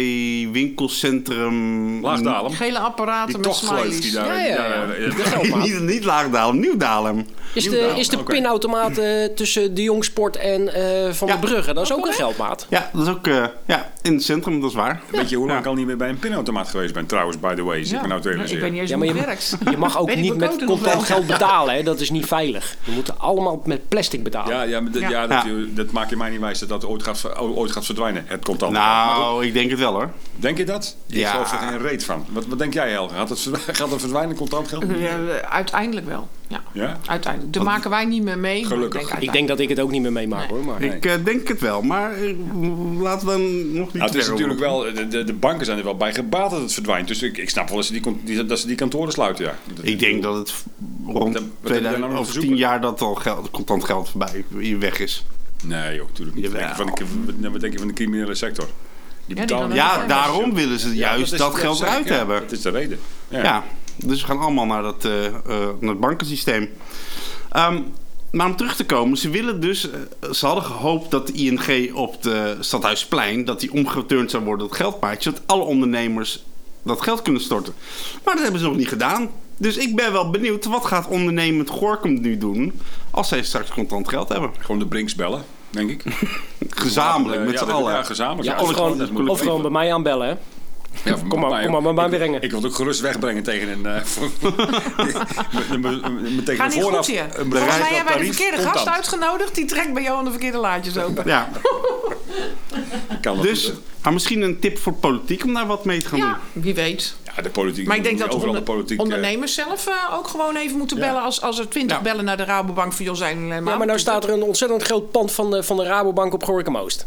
Speaker 2: winkelcentrum...
Speaker 1: Laagdalem.
Speaker 3: Gele
Speaker 1: Die
Speaker 3: apparaten met
Speaker 1: tochtgleuf
Speaker 3: smileys.
Speaker 1: die daar...
Speaker 3: Ja, ja, ja.
Speaker 1: daar-
Speaker 4: Geld maar.
Speaker 2: Niet, niet Laagdalem, Nieuw-Dalem.
Speaker 4: Is de,
Speaker 1: Nieuwdalen,
Speaker 4: is de
Speaker 1: oké.
Speaker 4: pinautomaat eh, tussen de Jongsport en eh, Van
Speaker 2: Ja.
Speaker 4: der Brugge? Dat is ook een geldmaat.
Speaker 2: Ja, dat is ook eh, ja, in het centrum, dat is waar.
Speaker 1: Weet je hoe lang
Speaker 2: Ja.
Speaker 1: ik al niet meer bij een pinautomaat geweest ben? Trouwens, by the way, zit
Speaker 3: Ja.
Speaker 1: me nou te
Speaker 3: ik
Speaker 1: realiseren.
Speaker 3: weet niet eens
Speaker 4: Ja,
Speaker 3: hoe
Speaker 4: maar
Speaker 3: het
Speaker 4: je,
Speaker 3: werkt.
Speaker 4: je mag ook
Speaker 3: Weet ik
Speaker 4: niet
Speaker 3: ook
Speaker 4: met
Speaker 3: nog wel.
Speaker 4: contant geld betalen. Hè? Dat is niet veilig. We moeten allemaal met plastic betalen.
Speaker 1: Ja, ja, maar dat-
Speaker 3: Ja.
Speaker 1: ja, dat,
Speaker 2: Ja.
Speaker 1: dat maak je mij niet wijs dat dat ooit gaat, ver- ooit gaat verdwijnen, het contant. Maar
Speaker 2: Nou, ik denk het wel hoor.
Speaker 1: goed, Denk je dat? Ik
Speaker 2: Ja.
Speaker 1: geloof er geen reet van. Wat, wat denk jij, Helga? Gaat het, ver- gaat het verdwijnen, contant geld?
Speaker 3: Ja, uiteindelijk wel. Ja.
Speaker 1: Ja?
Speaker 3: Uiteindelijk. Daar maken wij niet meer mee. maar
Speaker 1: Gelukkig.
Speaker 3: Ik denk,
Speaker 4: Ik
Speaker 3: uiteindelijk.
Speaker 4: denk dat ik het ook niet meer meemaak hoor.
Speaker 1: Oh,
Speaker 4: Maar.
Speaker 2: Ik eh, denk het wel, maar eh, laten we dan nog niet
Speaker 1: Nou, het
Speaker 2: te
Speaker 1: is
Speaker 2: ver
Speaker 1: natuurlijk
Speaker 2: over.
Speaker 1: wel, de, de, de banken zijn er wel bij gebaat dat het verdwijnt. Dus ik, ik snap wel dat ze die, kant- die- dat ze die kantoren sluiten, ja. Dat-
Speaker 2: Ik denk dat het rond
Speaker 1: Wat heb je daar nou
Speaker 2: 2000,
Speaker 1: nog te
Speaker 2: over
Speaker 1: zoeken?
Speaker 2: 10 jaar dat al geld, contant geld voorbij weg is.
Speaker 1: Nee joh, natuurlijk niet. Wat denk, je van de, wat- wat denk je van de criminele sector? Die
Speaker 3: die
Speaker 1: betalen
Speaker 3: dan-
Speaker 2: Ja,
Speaker 3: Ja,
Speaker 2: daarom willen ze
Speaker 1: Ja,
Speaker 2: juist
Speaker 1: is-
Speaker 2: dat, geld
Speaker 1: zeg ik,
Speaker 2: eruit
Speaker 1: ja.
Speaker 2: hebben.
Speaker 1: Dat is de reden. Ja.
Speaker 2: Ja, dus we gaan allemaal naar, dat, eh, eh, naar het bankensysteem. Ehm, maar om terug te komen, ze willen dus... eh, ze hadden gehoopt dat de ING op de Stadhuisplein... dat die omgeturnd zou worden tot geldpaardje... zodat alle ondernemers dat geld kunnen storten. Maar dat hebben ze nog niet gedaan. Dus ik ben wel benieuwd, wat gaat ondernemend Gorkum nu doen... als zij straks contant geld hebben?
Speaker 1: Gewoon de Brinks bellen, denk ik.
Speaker 2: Gezamenlijk,
Speaker 1: Eh,
Speaker 2: met
Speaker 1: ja,
Speaker 2: z'n
Speaker 1: dat-
Speaker 2: allen.
Speaker 1: Ja, gezamenlijk.
Speaker 4: Ja,
Speaker 1: Ja,
Speaker 4: of
Speaker 1: dat- dat moet
Speaker 4: gewoon,
Speaker 1: ik
Speaker 4: of gewoon bij
Speaker 1: even-
Speaker 4: mij aanbellen. hè.
Speaker 1: Ja, van-
Speaker 4: kom maar-
Speaker 1: van mij-
Speaker 4: kom maar bij mij
Speaker 1: ik-
Speaker 4: brengen.
Speaker 1: Ik wil het ook gerust wegbrengen tegen een... eh, voor- me- me- me- me- tegen
Speaker 3: Ga
Speaker 1: een
Speaker 3: niet goed
Speaker 1: vooraf...
Speaker 3: hier.
Speaker 1: een
Speaker 3: Volgens mij
Speaker 1: bereid-
Speaker 3: hebben wij de
Speaker 1: tarief
Speaker 3: verkeerde gast
Speaker 1: contant.
Speaker 3: uitgenodigd. Die trekt bij jou aan de verkeerde laadjes open.
Speaker 2: Ja,
Speaker 1: Kan dat
Speaker 2: dus...
Speaker 1: goed,
Speaker 2: Maar misschien een tip voor politiek om daar wat mee te gaan doen.
Speaker 3: Ja, wie weet.
Speaker 1: hè? Ja, de politiek.
Speaker 3: Maar ik denk dat
Speaker 1: overal
Speaker 3: onder-
Speaker 1: de politiek... eh,
Speaker 3: ondernemers zelf eh, ook gewoon even moeten bellen. Als, als er twintig
Speaker 2: Ja.
Speaker 3: bellen naar de Rabobank van Jos zijn. eh, alleen
Speaker 4: Ja, maar nou staat er een ontzettend groot pand van de, van de Rabobank op Gorkum Oost.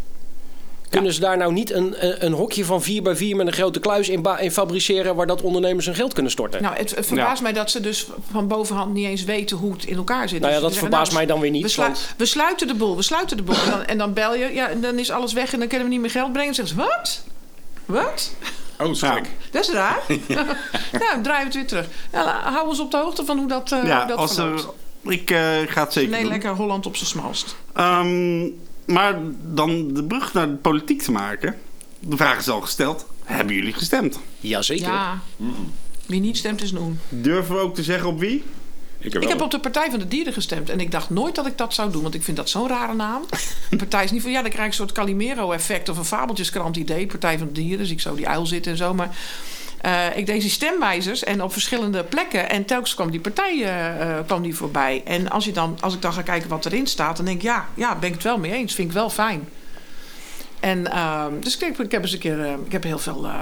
Speaker 4: Kunnen ze daar nou niet een, een, een hokje van 4 bij 4 met een grote kluis in, ba- in fabriceren waar dat ondernemers hun geld kunnen storten? Nou,
Speaker 3: Nou, het, het verbaast mij dat ze dus van bovenhand niet eens weten hoe het in elkaar zit.
Speaker 4: ja,
Speaker 3: Dus
Speaker 4: dat
Speaker 3: ze zeggen,
Speaker 4: verbaast
Speaker 3: nou,
Speaker 4: mij dan weer
Speaker 3: We,
Speaker 4: niet.
Speaker 3: slu-
Speaker 4: want-
Speaker 3: we sluiten de boel, we sluiten de boel. En dan, en dan bel je, ja, en dan is alles weg en dan kunnen we niet meer geld brengen. Dan zeggen ze, wat? Wat?
Speaker 1: Oh, schrik.
Speaker 3: Dat is raar. nou, dan draaien we het weer terug. Nou, la- hou ons op de hoogte van hoe dat, eh
Speaker 2: Ja,
Speaker 3: hoe dat
Speaker 2: als er,
Speaker 3: verloopt.
Speaker 2: ik eh, ga het zeker
Speaker 3: Nee,
Speaker 2: doen.
Speaker 3: lekker Holland op zijn smalst.
Speaker 2: Ehm, maar dan de brug naar de politiek te maken. De vraag is al gesteld. Hebben jullie gestemd?
Speaker 4: Jazeker.
Speaker 3: Ja. Wie niet stemt is een oen.
Speaker 2: Durven we ook te zeggen op wie?
Speaker 1: Ik heb
Speaker 3: Ik heb
Speaker 2: Oh.
Speaker 1: wel...
Speaker 3: op de Partij van de Dieren gestemd. En ik dacht nooit dat ik dat zou doen, want ik vind dat zo'n rare naam. De partij is niet van, ja, dan krijg ik een soort Calimero-effect of een fabeltjeskrant idee. Partij van de Dieren, dus ik zo die uil zitten en zo. Maar eh, ik deed die stemwijzers en op verschillende plekken. En telkens kwam die partij eh, eh, kwam die voorbij. En als, je dan, als ik dan ga kijken wat erin staat, dan denk ik, ja, ja, ben ik het wel mee eens. Vind ik wel fijn. En ehm, dus ik, heb- ik heb eens een keer, eh, ik heb heel veel eh,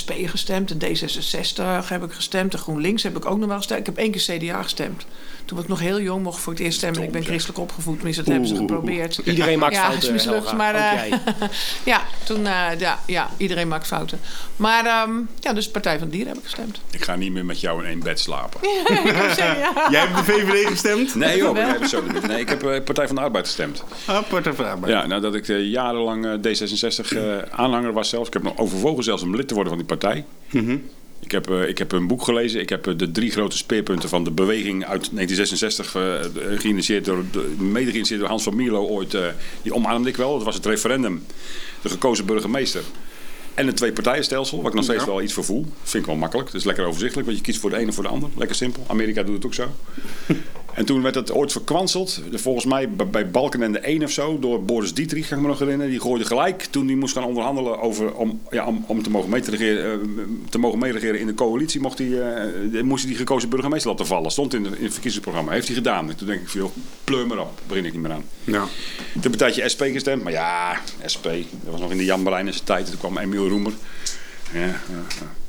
Speaker 3: SP gestemd. En D66 heb ik gestemd. En GroenLinks heb ik ook nog wel gestemd. Ik heb één keer CDA gestemd. Toen was ik nog heel jong, mocht ik voor het eerst stemmen. Ik ben christelijk opgevoed, tenminste dat hebben ze
Speaker 2: Oeh.
Speaker 3: geprobeerd.
Speaker 4: Iedereen maakt
Speaker 3: Ja,
Speaker 4: fouten.
Speaker 3: is mislukt,
Speaker 4: Helga.
Speaker 3: maar,
Speaker 4: Ook
Speaker 3: eh,
Speaker 4: jij.
Speaker 3: Ja, toen, eh, ja, ja, iedereen maakt fouten. Maar ehm, ja, dus Partij van de Dieren heb ik gestemd.
Speaker 1: Ik ga niet meer met jou in één bed slapen.
Speaker 3: Ik wou zeggen, ja.
Speaker 2: Jij hebt de VVD gestemd?
Speaker 1: Nee joh, ik heb het zo niet. Nee, ik heb eh, Partij van de Arbeid gestemd.
Speaker 2: Apart en vraagbaar.
Speaker 1: Ja, nadat ik eh, jarenlang eh, D66 eh, aanhanger was zelfs. Ik heb nog overwogen zelfs om lid te worden van die partij. Ik, heb, eh, ik heb een boek gelezen. Ik heb eh, de drie grote speerpunten van de beweging uit 1966... eh, eh, geïnitieerd door, de- mede geïnitieerd door Hans van Mierlo ooit. eh, die omarmde ik wel. Dat was het referendum. De gekozen burgemeester. En een twee-partijenstelsel, waar ik nog steeds wel iets voor voel. Vind ik wel makkelijk. Het is lekker overzichtelijk, want je kiest voor de ene of voor de ander. Lekker simpel. Amerika doet het ook zo. En toen werd dat ooit verkwanseld. Volgens mij b- bij Balkenende 1 of zo. Door Boris Dietrich, kan ik me nog herinneren. Die gooide gelijk toen hij moest gaan onderhandelen over, om, ja, om, om te, mogen mee te, regeren, eh, te mogen meeregeren in de coalitie. Mocht hij, eh, moest hij die gekozen burgemeester laten vallen. Stond in, de, in het verkiezingsprogramma. Heeft hij gedaan. En toen denk ik van, joh, pleur maar op. Daar begin ik niet meer aan.
Speaker 2: Ja.
Speaker 1: Toen heb een tijdje SP gestemd. Maar ja, SP. Dat was nog in de Jan Barijnense tijd. Toen kwam Emiel Roemer. Ja, ja,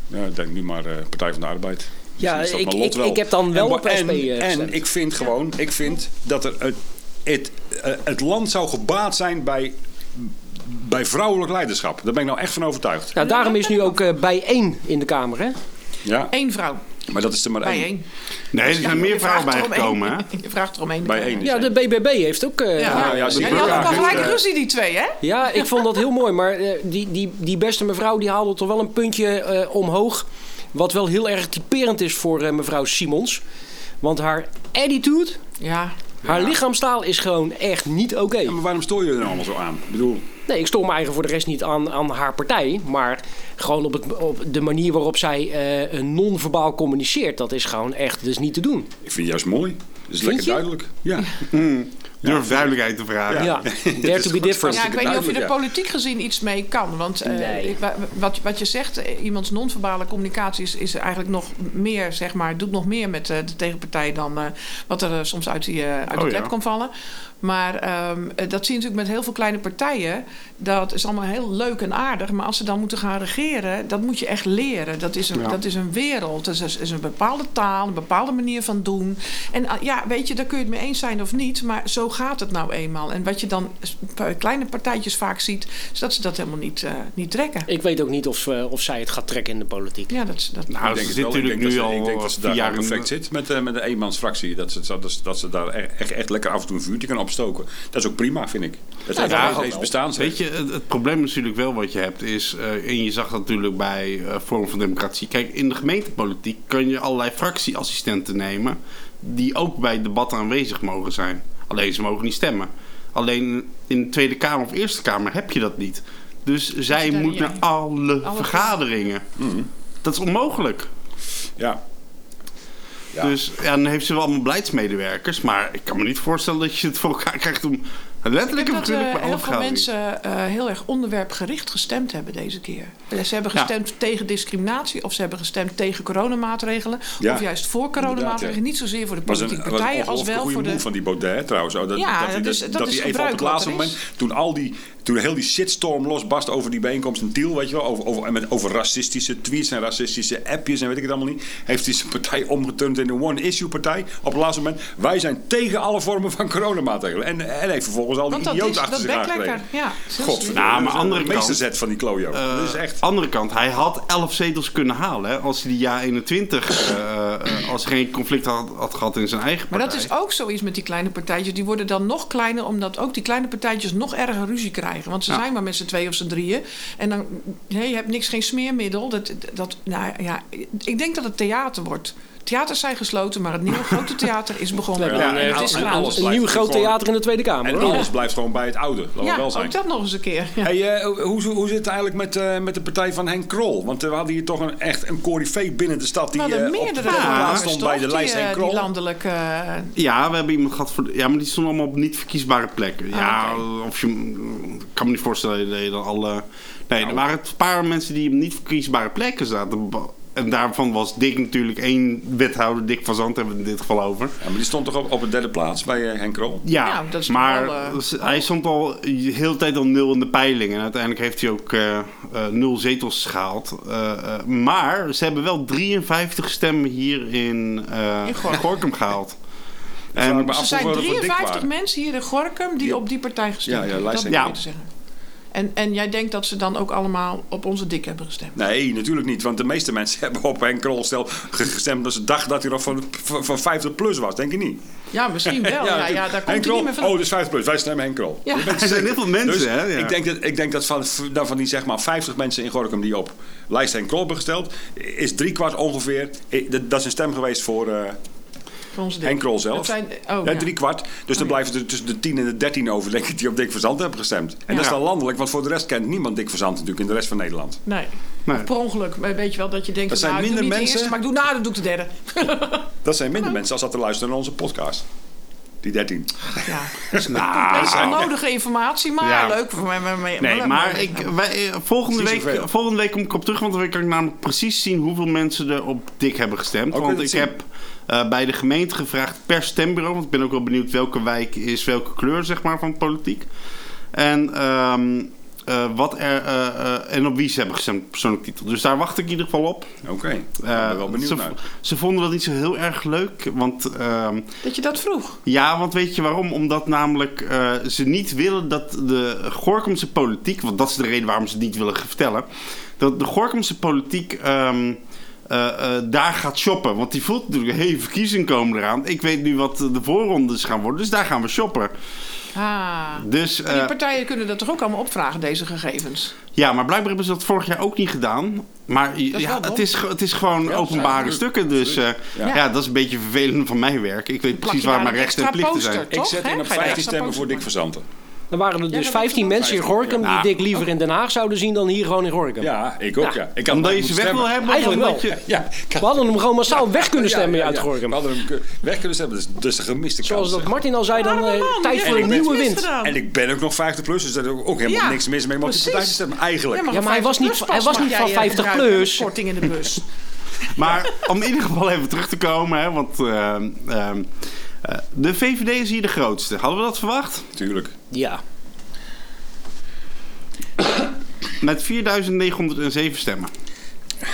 Speaker 1: ja. Ja, ik denk nu maar eh, Partij van de Arbeid.
Speaker 4: Ja,
Speaker 1: Misschien is dat
Speaker 4: ik-
Speaker 1: mijn lot
Speaker 4: ik- ik heb dan wel
Speaker 1: en,
Speaker 4: op SP
Speaker 1: en,
Speaker 4: gestemd.
Speaker 1: en ik vind gewoon, ik vind dat er het, het, eh, het land zou gebaat zijn bij, bij vrouwelijk leiderschap. Daar ben ik nou echt van overtuigd.
Speaker 4: nou, daarom is nu ook eh bijeen in de Kamer. Hè?
Speaker 1: Ja,
Speaker 3: Eén vrouw,
Speaker 1: maar dat is er maar
Speaker 3: bij
Speaker 1: één.
Speaker 3: één.
Speaker 2: Nee, er zijn meer
Speaker 3: Je vraagt
Speaker 2: vrouwen
Speaker 3: erom
Speaker 2: bijgekomen. hè?
Speaker 3: één. Je vraagt erom één.
Speaker 1: Bij één.
Speaker 4: Ja, de BBB heeft ook... eh,
Speaker 3: Ja,
Speaker 4: haar-
Speaker 1: ja,
Speaker 3: ja,
Speaker 1: zie
Speaker 3: die
Speaker 1: je
Speaker 3: hadden ook
Speaker 1: elkaar.
Speaker 3: al gelijk
Speaker 1: Dus, eh,
Speaker 3: ruzie, die twee, hè?
Speaker 4: Ja, ik vond dat heel mooi. Maar eh, die, die, die beste mevrouw die haalde toch wel een puntje eh, omhoog. Wat wel heel erg typerend is voor eh, mevrouw Simons. Want haar attitude,
Speaker 3: Ja,
Speaker 4: haar lichaamstaal is gewoon echt niet oké.
Speaker 1: Ja, maar waarom stoor je er dan allemaal zo aan? Ik bedoel,
Speaker 4: Nee, ik stoor me eigenlijk voor de rest niet aan, aan haar partij. Maar gewoon op, het, op de manier waarop zij eh, non-verbaal communiceert. Dat is gewoon echt dus niet te doen.
Speaker 1: ik vind het juist mooi. is lekker
Speaker 4: je?
Speaker 1: duidelijk. Ja.
Speaker 2: Durf duidelijkheid te vragen.
Speaker 4: Ja, dare to be different.
Speaker 3: Ja, ik weet niet of je er
Speaker 1: duidelijk, ja.
Speaker 3: politiek gezien iets mee kan. Want eh,
Speaker 4: Nee.
Speaker 3: ik- wa- wat, wat je zegt, eh, iemands non-verbale communicatie is, is eigenlijk nog meer, zeg maar, doet nog meer met eh, de tegenpartij dan eh, wat er eh, soms uit, die, eh, uit
Speaker 2: Oh,
Speaker 3: de klep
Speaker 2: ja.
Speaker 3: kan vallen. Maar ehm, eh, dat zie je natuurlijk met heel veel kleine partijen. Dat is allemaal heel leuk en aardig. Maar als ze dan moeten gaan regeren, dat moet je echt leren. Dat is een, dat is een wereld. Dat is, is een bepaalde taal, een bepaalde manier van doen. En ah, ja, weet je, daar kun je het mee eens zijn of niet. Maar zo gaat het nou eenmaal. En wat je dan s- bij kleine partijtjes vaak ziet, is dat ze dat helemaal niet, eh, niet trekken.
Speaker 4: Ik weet ook niet of, eh, of zij het gaat trekken in de politiek.
Speaker 3: Ja, dat is dat.
Speaker 2: Nou,
Speaker 1: Ik
Speaker 2: ze
Speaker 1: denk
Speaker 2: zit
Speaker 1: het wel. Ik denk
Speaker 2: natuurlijk nu
Speaker 1: dat ze-
Speaker 2: al eh,
Speaker 1: Ik denk dat ze
Speaker 2: vier
Speaker 1: daar
Speaker 2: jaar
Speaker 1: aan
Speaker 2: in-
Speaker 1: perfect zit met, eh, met de eenmansfractie. Dat ze, dat, ze, dat ze daar echt, echt lekker af en toe een vuurtje kan opstoken. Dat is ook prima, vind ik. Dat is
Speaker 2: mag
Speaker 1: ja,
Speaker 2: ook
Speaker 1: eens
Speaker 4: wel.
Speaker 1: bestaansrecht.
Speaker 2: Weet je, het, het probleem is natuurlijk wel wat je hebt is, eh, en je zag dat natuurlijk bij eh Vorm van Democratie. Kijk, in de gemeentepolitiek kun je allerlei fractieassistenten nemen die ook bij debatten aanwezig mogen zijn. Alleen ze mogen niet stemmen. Alleen in de Tweede Kamer of Eerste Kamer heb je dat niet. Dus zij
Speaker 3: daar
Speaker 2: moet
Speaker 3: niet
Speaker 2: naar
Speaker 3: in?
Speaker 2: alle
Speaker 3: Alle-
Speaker 2: vergaderingen. Dat is onmogelijk.
Speaker 1: Ja. Ja.
Speaker 2: Dus ja, dan heeft ze wel allemaal beleidsmedewerkers, maar ik kan me niet voorstellen dat je het voor elkaar krijgt om letterlijk
Speaker 3: Ik
Speaker 2: en
Speaker 3: denk dat
Speaker 2: figuurlijk
Speaker 3: eh,
Speaker 2: bij alle
Speaker 3: heel veel
Speaker 2: vergaderingen.
Speaker 3: mensen eh, heel erg onderwerpgericht gestemd hebben deze keer. Ze hebben
Speaker 2: Ja.
Speaker 3: gestemd tegen discriminatie, of ze hebben gestemd tegen coronamaatregelen,
Speaker 1: Ja.
Speaker 3: of juist voor coronamaatregelen.
Speaker 1: Inderdaad, ja.
Speaker 3: Niet zozeer voor de
Speaker 1: was een,
Speaker 3: politieke
Speaker 1: was een
Speaker 3: partijen, als
Speaker 1: ongelooflijke goede
Speaker 3: wel voor de.
Speaker 1: move van die Baudet trouwens. Oh, dat,
Speaker 3: Ja,
Speaker 1: dat, hij-
Speaker 3: dat is-
Speaker 1: hij even op
Speaker 3: dat is
Speaker 1: het
Speaker 3: gebruikelijk
Speaker 1: laatste
Speaker 3: wat er
Speaker 1: moment, toen, al die, toen heel die shitstorm losbarst over die bijeenkomst in Tiel, weet je wel, over, over, en met, over racistische tweets en racistische appjes en weet ik het allemaal niet, heeft hij zijn partij omgeturnd in een one-issue partij. Op het laatste moment, wij zijn tegen alle vormen van coronamaatregelen. En, en heeft vervolgens al die
Speaker 3: Want dat
Speaker 1: idioten
Speaker 3: is
Speaker 1: achter
Speaker 3: dat
Speaker 1: zich
Speaker 3: bek lekker.
Speaker 1: aangekregen.
Speaker 3: Ja, dat is heel slim.
Speaker 1: Godverdomme,
Speaker 2: Nou, maar
Speaker 1: dat is
Speaker 2: andere
Speaker 1: de
Speaker 2: kant- Eh,
Speaker 1: meesterzet van die klojo. dat is echt...
Speaker 2: Andere kant, hij had 11 zetels kunnen halen hè, als hij die jaar 21, eh, eh, als hij geen conflict had, had gehad in zijn eigen
Speaker 3: Maar dat
Speaker 2: partij.
Speaker 3: is ook zoiets met die kleine partijtjes. Die worden dan nog kleiner, omdat ook die kleine partijtjes nog erger ruzie krijgen. Want ze
Speaker 2: Ja.
Speaker 3: zijn maar met z'n tweeën of z'n drieën. En dan, nee, je hebt niks, geen smeermiddel. Dat, dat, nou ja, ik denk dat het theater wordt. Theaters zijn gesloten, maar het nieuwe grote theater is begonnen.
Speaker 4: Ja, en
Speaker 3: het
Speaker 4: al-
Speaker 3: is
Speaker 1: en
Speaker 3: gratis.
Speaker 1: alles
Speaker 4: Een nieuw
Speaker 1: blijft
Speaker 4: groot
Speaker 1: gewoon-
Speaker 4: theater in de Tweede Kamer.
Speaker 1: En
Speaker 4: hoor.
Speaker 1: alles blijft gewoon bij het oude, laten we
Speaker 3: Ja,
Speaker 1: wel zijn.
Speaker 3: ook dat nog eens een keer. Ja.
Speaker 1: Hey, eh, hoe, hoe zit het eigenlijk met, eh, met de partij van Henk Krol? Want eh, we hadden hier toch een, echt een coryfee binnen de stad die
Speaker 3: Nou,
Speaker 1: eh,
Speaker 3: de
Speaker 1: op de
Speaker 3: meerdere
Speaker 1: tweede plaats
Speaker 3: programma's,
Speaker 1: stond
Speaker 3: toch?
Speaker 1: bij de lijst
Speaker 3: die, eh,
Speaker 1: Henk
Speaker 3: die
Speaker 1: Krol.
Speaker 3: landelijke... eh,
Speaker 2: Ja, we hebben iemand gehad voor. de- Ja, maar die stonden allemaal op niet verkiesbare plekken.
Speaker 3: Ah,
Speaker 2: ja, of je. Ik kan me niet voorstellen dat je dan alle. Nee,
Speaker 3: Nou,
Speaker 2: er waren een paar mensen die op niet verkiesbare plekken zaten. En daarvan was Dick natuurlijk één wethouder, Dick van Zand hebben we het in dit geval over.
Speaker 1: Ja, maar die stond toch op, op de derde plaats bij eh, Henk Krol?
Speaker 2: Ja,
Speaker 3: Nou, dat is toch
Speaker 2: maar
Speaker 3: wel, eh,
Speaker 2: ze- hij stond al de hele tijd al nul in de peiling. En uiteindelijk heeft hij ook eh, eh, nul zetels gehaald. Eh, eh, maar ze hebben wel 53 stemmen hier in, eh
Speaker 3: In Gor-
Speaker 2: Gorkum gehaald.
Speaker 1: vraag
Speaker 2: En,
Speaker 1: me af
Speaker 3: er zijn
Speaker 1: hoeveel er voor Dick
Speaker 3: 53
Speaker 1: waren.
Speaker 3: mensen hier in Gorkum die
Speaker 1: Ja.
Speaker 3: op die partij gestemd
Speaker 1: Ja, ja,
Speaker 3: hebben.
Speaker 1: lijst-
Speaker 3: dat moet
Speaker 2: Ja.
Speaker 3: je zeggen. En, en jij denkt dat ze dan ook allemaal op onze dik hebben gestemd?
Speaker 1: Nee, natuurlijk niet. Want de meeste mensen hebben op Henk Krol stel ge- gestemd dat ze dachten dat hij nog van, van, van 50 plus was. Denk je niet?
Speaker 3: Ja, misschien wel. ja, ja,
Speaker 1: Henk
Speaker 3: daar komt hij
Speaker 1: Krol,
Speaker 3: niet meer van.
Speaker 1: Oh, dus 50 plus. Wij stemmen Henk Krol.
Speaker 3: ja.
Speaker 2: er zijn heel veel mensen,
Speaker 1: Dus
Speaker 2: hè? Ja.
Speaker 1: ik, denk dat, ik denk dat van, dan van die zeg maar 50 mensen in Gorkum die op lijst Henk Krol hebben gesteld, is driekwart ongeveer, eh, dat dat is een stem geweest voor, eh,
Speaker 3: Voor ons dik.
Speaker 1: Henk Krol zelf.
Speaker 3: Dat zijn, oh,
Speaker 1: ja,
Speaker 3: ja.
Speaker 1: drie kwart. Dus dan blijven er tussen de 10 en de 13 over, denk ik, die op Dick Verzand hebben gestemd. En dat is dan landelijk, want voor de rest kent niemand Dick Verzand natuurlijk in de rest van Nederland.
Speaker 3: Nee.
Speaker 2: Nee.
Speaker 3: Of Per ongeluk. Maar Weet je wel dat je denkt...
Speaker 1: Dat
Speaker 3: van,
Speaker 1: zijn
Speaker 3: nou, ik doe
Speaker 1: minder
Speaker 3: niet
Speaker 1: mensen.
Speaker 3: de eerste, maar ik doe, nou, dan doe ik de derde.
Speaker 1: Dat zijn
Speaker 3: Oh.
Speaker 1: minder mensen als dat te luisteren naar onze podcast. Die 13.
Speaker 3: Ja. Dat is
Speaker 2: nou,
Speaker 3: compleet onnodige informatie, maar
Speaker 2: Ja.
Speaker 3: leuk. voor mij- mij- mij-
Speaker 2: nee,
Speaker 3: wel-
Speaker 2: maar
Speaker 3: wel-
Speaker 2: ik, wij, eh, volgende,
Speaker 1: Precies
Speaker 2: week,
Speaker 1: zoveel.
Speaker 2: volgende week kom ik op terug. Want dan kan ik namelijk precies zien hoeveel mensen er op dik hebben gestemd.
Speaker 1: kun je
Speaker 2: want
Speaker 1: dat
Speaker 2: ik
Speaker 1: zien?
Speaker 2: heb eh, bij de gemeente gevraagd per stembureau. Want ik ben ook wel benieuwd welke wijk is welke kleur zeg maar, van politiek. En, ehm, eh, wat er, eh, eh, en op wie ze hebben gestemd, persoonlijk titel. Dus daar wacht ik in ieder geval op.
Speaker 1: Oké, ik
Speaker 2: Eh,
Speaker 1: ben wel benieuwd
Speaker 2: ze,
Speaker 1: naar.
Speaker 2: ze vonden dat niet zo heel erg leuk. Want ehm,
Speaker 3: Dat je dat vroeg.
Speaker 2: ja, want weet je waarom? Omdat namelijk eh, ze niet willen dat de Gorkumse politiek... want dat is de reden waarom ze het niet willen vertellen... dat de Gorkumse politiek ehm, eh, eh, daar gaat shoppen. Want die voelt natuurlijk, hé, hey, verkiezingen komen eraan. Ik weet nu wat de voorrondes gaan worden, dus daar gaan we shoppen.
Speaker 3: Ah.
Speaker 2: Dus,
Speaker 3: Maar die
Speaker 2: eh,
Speaker 3: partijen kunnen dat toch ook allemaal opvragen, deze gegevens?
Speaker 2: ja, maar blijkbaar hebben ze dat vorig jaar ook niet gedaan... Maar
Speaker 3: wel
Speaker 2: ja,
Speaker 3: dom.
Speaker 2: het, is, ge- het is gewoon openbare
Speaker 1: absoluut.
Speaker 2: stukken. Dus eh, ja.
Speaker 1: Ja.
Speaker 2: dat is een beetje vervelend van mijn werk. Ik weet
Speaker 3: Plak je
Speaker 2: precies waar
Speaker 3: daar
Speaker 2: mijn
Speaker 3: een
Speaker 2: rechten en
Speaker 3: extra
Speaker 2: plichten
Speaker 3: poster,
Speaker 2: zijn.
Speaker 1: Ik
Speaker 3: toch,
Speaker 1: zet
Speaker 3: hè?
Speaker 1: in op
Speaker 3: Ga je
Speaker 1: 15
Speaker 3: extra
Speaker 1: stemmen voor
Speaker 3: poster
Speaker 1: Dick Verzanten.
Speaker 4: Dan waren er dus
Speaker 3: dat was
Speaker 4: 15
Speaker 3: wel-
Speaker 4: mensen in Gorkum
Speaker 2: Ja.
Speaker 4: die Dick liever in Den Haag zouden zien dan hier gewoon in Gorkum.
Speaker 1: Ja, ik ook,
Speaker 4: Ja.
Speaker 1: ja. Ik had
Speaker 2: Omdat je
Speaker 1: moeten
Speaker 2: ze weg wil
Speaker 1: stemmen.
Speaker 2: hebben?
Speaker 4: Eigenlijk
Speaker 2: omdat
Speaker 4: wel.
Speaker 2: je-
Speaker 1: Ja, ik
Speaker 4: We
Speaker 1: had-
Speaker 4: hadden hem gewoon massaal weg kunnen
Speaker 1: Ja,
Speaker 4: stemmen
Speaker 1: ja,
Speaker 4: uit
Speaker 1: ja.
Speaker 4: Gorkum.
Speaker 1: We hadden hem ke- weg kunnen stemmen. Dus, dus de gemiste
Speaker 4: Zoals
Speaker 1: kans.
Speaker 4: dat
Speaker 1: zeg.
Speaker 4: Martin al zei, dan
Speaker 3: Arme
Speaker 4: eh,
Speaker 3: man,
Speaker 4: tijd
Speaker 3: je
Speaker 4: voor een
Speaker 3: hebt
Speaker 4: nieuwe
Speaker 3: niks
Speaker 4: wind.
Speaker 3: misgedaan.
Speaker 1: En ik ben ook nog 50 plus, dus daar is ook helemaal
Speaker 3: Ja,
Speaker 1: niks mis mee. Maar op die
Speaker 3: precies.
Speaker 1: partij te stemmen, eigenlijk.
Speaker 4: Ja, maar hij was niet- hij was niet van 50 plus.
Speaker 3: eh, Korting in de bus.
Speaker 2: Maar om in ieder geval even terug te komen, hè, want ehm, ehm, eh, de VVD is hier de grootste. Hadden we dat verwacht?
Speaker 1: Tuurlijk.
Speaker 4: Ja,
Speaker 2: Met 4.907 stemmen.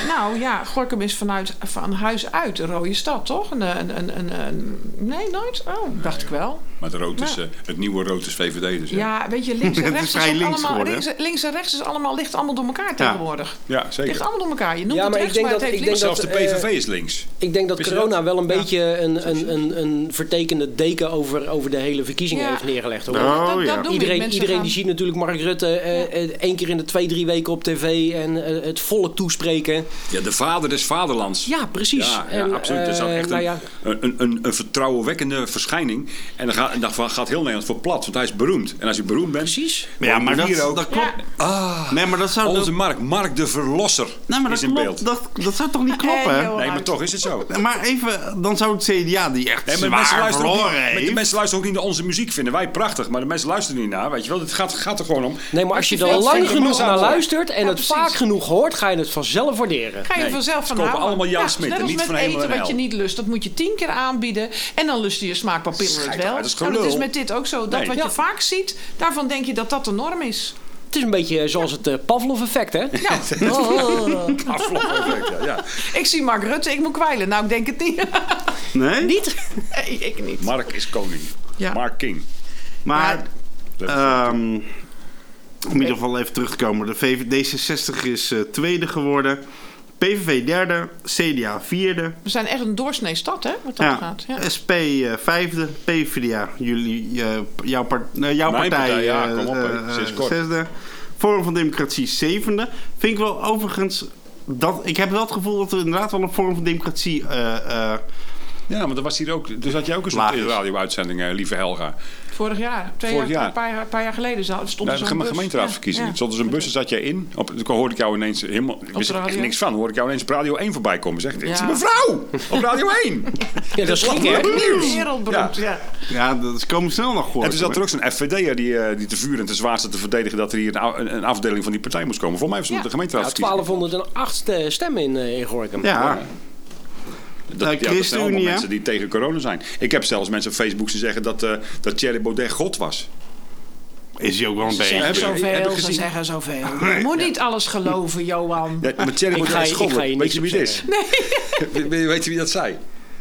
Speaker 3: Nou ja, Gorkum is vanuit, van huis uit een rode stad, toch? Een, een, een, een, een- nee, nooit? Oh, dacht ik wel.
Speaker 1: Maar het, rood is,
Speaker 3: Ja.
Speaker 1: eh, het nieuwe rood is VVD. Dus, ja.
Speaker 3: Ja, weet je, links en
Speaker 2: Het is
Speaker 3: rechts is,
Speaker 2: vrij links
Speaker 3: allemaal...
Speaker 2: geworden, hè?
Speaker 3: links, links en rechts is allemaal, ligt allemaal door elkaar tegenwoordig.
Speaker 1: ja, zeker.
Speaker 3: Ligt allemaal door elkaar. Je noemt
Speaker 4: Ja,
Speaker 3: het
Speaker 4: maar ik
Speaker 3: rechts,
Speaker 4: denk
Speaker 3: maar het
Speaker 4: dat-
Speaker 3: heeft
Speaker 4: ik
Speaker 3: links...
Speaker 4: denk
Speaker 1: Zelfs de
Speaker 4: dat,
Speaker 1: PVV
Speaker 4: eh,
Speaker 1: is links.
Speaker 4: ik denk dat
Speaker 1: Wist je
Speaker 4: corona
Speaker 1: dat?
Speaker 4: wel een beetje een, een, een, een vertekende deken over, over de hele verkiezingen
Speaker 3: Ja.
Speaker 4: heeft neergelegd. Hoor.
Speaker 2: Nou,
Speaker 3: dat,
Speaker 2: Oh, ja.
Speaker 3: dat doen
Speaker 4: Iedereen,
Speaker 3: mensen
Speaker 4: iedereen
Speaker 3: gaan-
Speaker 4: die ziet natuurlijk Mark Rutte eh, eh, één keer in de twee, drie weken op tv en eh, het volk toespreken.
Speaker 1: Ja, de vader des vaderlands.
Speaker 4: Ja, precies.
Speaker 1: Ja, ja,
Speaker 4: En,
Speaker 1: absoluut. Dat is
Speaker 4: eh,
Speaker 1: echt
Speaker 4: nou
Speaker 1: een,
Speaker 4: ja.
Speaker 1: een, een, een vertrouwenwekkende verschijning. En dan gaat, dan gaat heel Nederland voor plat, want hij is beroemd. En als je beroemd bent...
Speaker 4: Precies.
Speaker 2: Ja, maar
Speaker 1: hier
Speaker 2: dat,
Speaker 1: ook.
Speaker 2: dat klopt.
Speaker 1: Ah,
Speaker 2: Nee, maar dat zou,
Speaker 1: onze
Speaker 2: dat,
Speaker 1: Mark, Mark de Verlosser,
Speaker 4: Nou,
Speaker 2: nee, maar
Speaker 1: is
Speaker 2: dat,
Speaker 1: in
Speaker 2: klopt,
Speaker 1: beeld.
Speaker 2: dat, dat zou toch niet
Speaker 3: Eh,
Speaker 2: kloppen? hè?
Speaker 3: joh.
Speaker 1: Nee, maar toch is het zo.
Speaker 2: Maar even, dan zou het CDA die echt
Speaker 1: Nee, maar de mensen,
Speaker 2: zwaar
Speaker 1: luisteren ook
Speaker 2: verloren
Speaker 1: niet, maar de
Speaker 2: heeft.
Speaker 1: mensen luisteren ook niet naar onze muziek, vinden wij prachtig. Maar de mensen luisteren niet naar, weet je wel. Het gaat, gaat er gewoon om.
Speaker 4: Nee, maar als je
Speaker 3: je
Speaker 4: er
Speaker 3: veel
Speaker 4: lang
Speaker 1: stemmen
Speaker 4: genoeg
Speaker 1: massaal
Speaker 4: naar
Speaker 1: hoort.
Speaker 4: luistert en
Speaker 3: Ja,
Speaker 4: het
Speaker 3: precies.
Speaker 4: vaak genoeg hoort, ga je het vanzelf waarderen.
Speaker 3: Ga je
Speaker 1: Nee,
Speaker 3: vanzelf
Speaker 1: ze
Speaker 3: van
Speaker 1: kopen
Speaker 3: houden.
Speaker 1: allemaal Jan
Speaker 3: Ja,
Speaker 1: Smit
Speaker 3: net
Speaker 1: en
Speaker 3: als
Speaker 1: niet
Speaker 3: met
Speaker 1: van Hemel
Speaker 3: eten
Speaker 1: en
Speaker 3: wat je
Speaker 1: Hel.
Speaker 3: niet lust. Dat moet je tien keer aanbieden. En dan lusten je smaakpapieren het
Speaker 1: Schijt
Speaker 3: wel.
Speaker 1: uit, dat is
Speaker 3: nou, dat
Speaker 1: gelul.
Speaker 3: is met dit ook zo. Dat
Speaker 1: Nee.
Speaker 3: wat
Speaker 4: Ja.
Speaker 3: je vaak ziet, daarvan denk je dat dat de norm is.
Speaker 4: Het is een beetje zoals het eh, Pavlov-effect, hè?
Speaker 3: Nou,
Speaker 1: Afgelopen week, ja, ja.
Speaker 3: ik zie Mark Rutte, ik moet kwijlen. Nou, ik denk het niet.
Speaker 2: Nee?
Speaker 4: Niet?
Speaker 3: nee, ik niet.
Speaker 1: Mark is koning.
Speaker 3: Ja.
Speaker 1: Mark King.
Speaker 2: Maar,
Speaker 1: Dat-
Speaker 2: ehm, om in ieder geval even terug te komen. De VVD 60 is eh, tweede geworden. PVV derde. CDA vierde.
Speaker 3: We zijn echt een doorsnee stad, hè? Wat dat gaat. Ja.
Speaker 2: SP eh, vijfde, PvdA, jullie, eh, jouw, part, eh, jouw
Speaker 1: Mijn
Speaker 2: partij,
Speaker 1: partij, ja,
Speaker 2: eh,
Speaker 1: kom op, hè.
Speaker 2: eh,
Speaker 1: Sinds kort.
Speaker 2: zesde. Forum van Democratie zevende. Vind ik wel overigens, dat, ik heb wel het gevoel dat er inderdaad wel een Forum van Democratie... eh, eh,
Speaker 1: Ja, maar dat was hier ook. Dus had jij ook een
Speaker 2: Laag
Speaker 1: soort
Speaker 2: is.
Speaker 1: radio-uitzending, eh, lieve Helga.
Speaker 3: Vorig jaar, twee
Speaker 1: Vorig
Speaker 3: jaar,
Speaker 1: jaar.
Speaker 3: Een, paar, een paar jaar geleden zou- stond
Speaker 1: Bij
Speaker 3: er
Speaker 1: de
Speaker 3: zo'n
Speaker 1: geme-
Speaker 3: bus.
Speaker 1: gemeenteraadsverkiezingen.
Speaker 3: Ja, ja.
Speaker 1: Stond er zo'n bus, daar zat jij in. Op, toen hoorde ik jou ineens helemaal. Ik wist
Speaker 3: de
Speaker 1: er echt
Speaker 3: radio?
Speaker 1: niks van. Hoorde ik jou ineens op Radio 1 voorbij komen. Zeg, dit is
Speaker 3: Ja.
Speaker 1: mevrouw! Op Radio 1!
Speaker 4: Ja, dat is gek, hè?
Speaker 1: Nieuws!
Speaker 3: Wereldberoemd, ja.
Speaker 2: ja, dat is komen snel nog gehoord.
Speaker 1: En toen zat er
Speaker 2: hoor.
Speaker 1: ook zo'n FVD'er die, eh, die te vuur en te zwaar zat te verdedigen dat er hier een, au- een, een afdeling van die partij moest komen. Volgens mij was het
Speaker 3: Ja.
Speaker 1: de
Speaker 4: Ja,
Speaker 1: gemeenteraadsverkiezingen.
Speaker 4: 1208 ste- stemmen in, eh, in Gorkum.
Speaker 2: Ja,
Speaker 1: Dat, ja, dat
Speaker 2: Eh,
Speaker 1: zijn allemaal
Speaker 2: ChristenUnie, hè?
Speaker 1: mensen die tegen corona zijn. Ik heb zelfs mensen op Facebook zien zeggen dat, eh dat Thierry Baudet God was.
Speaker 2: is hij ook wel een
Speaker 3: Ze
Speaker 2: beetje.
Speaker 1: heb
Speaker 3: zeggen
Speaker 1: je- heb
Speaker 3: zoveel,
Speaker 1: je
Speaker 3: ze
Speaker 1: gezien?
Speaker 3: zeggen zoveel. Je moet niet alles geloven, Johan.
Speaker 1: Ja, maar Thierry
Speaker 4: Ik ga
Speaker 1: Baudet
Speaker 4: je-
Speaker 1: is
Speaker 4: ik
Speaker 1: God.
Speaker 4: ga je
Speaker 1: Weet je
Speaker 4: niks
Speaker 1: wie
Speaker 4: op
Speaker 1: het is? Nee. Weet je wie dat zei?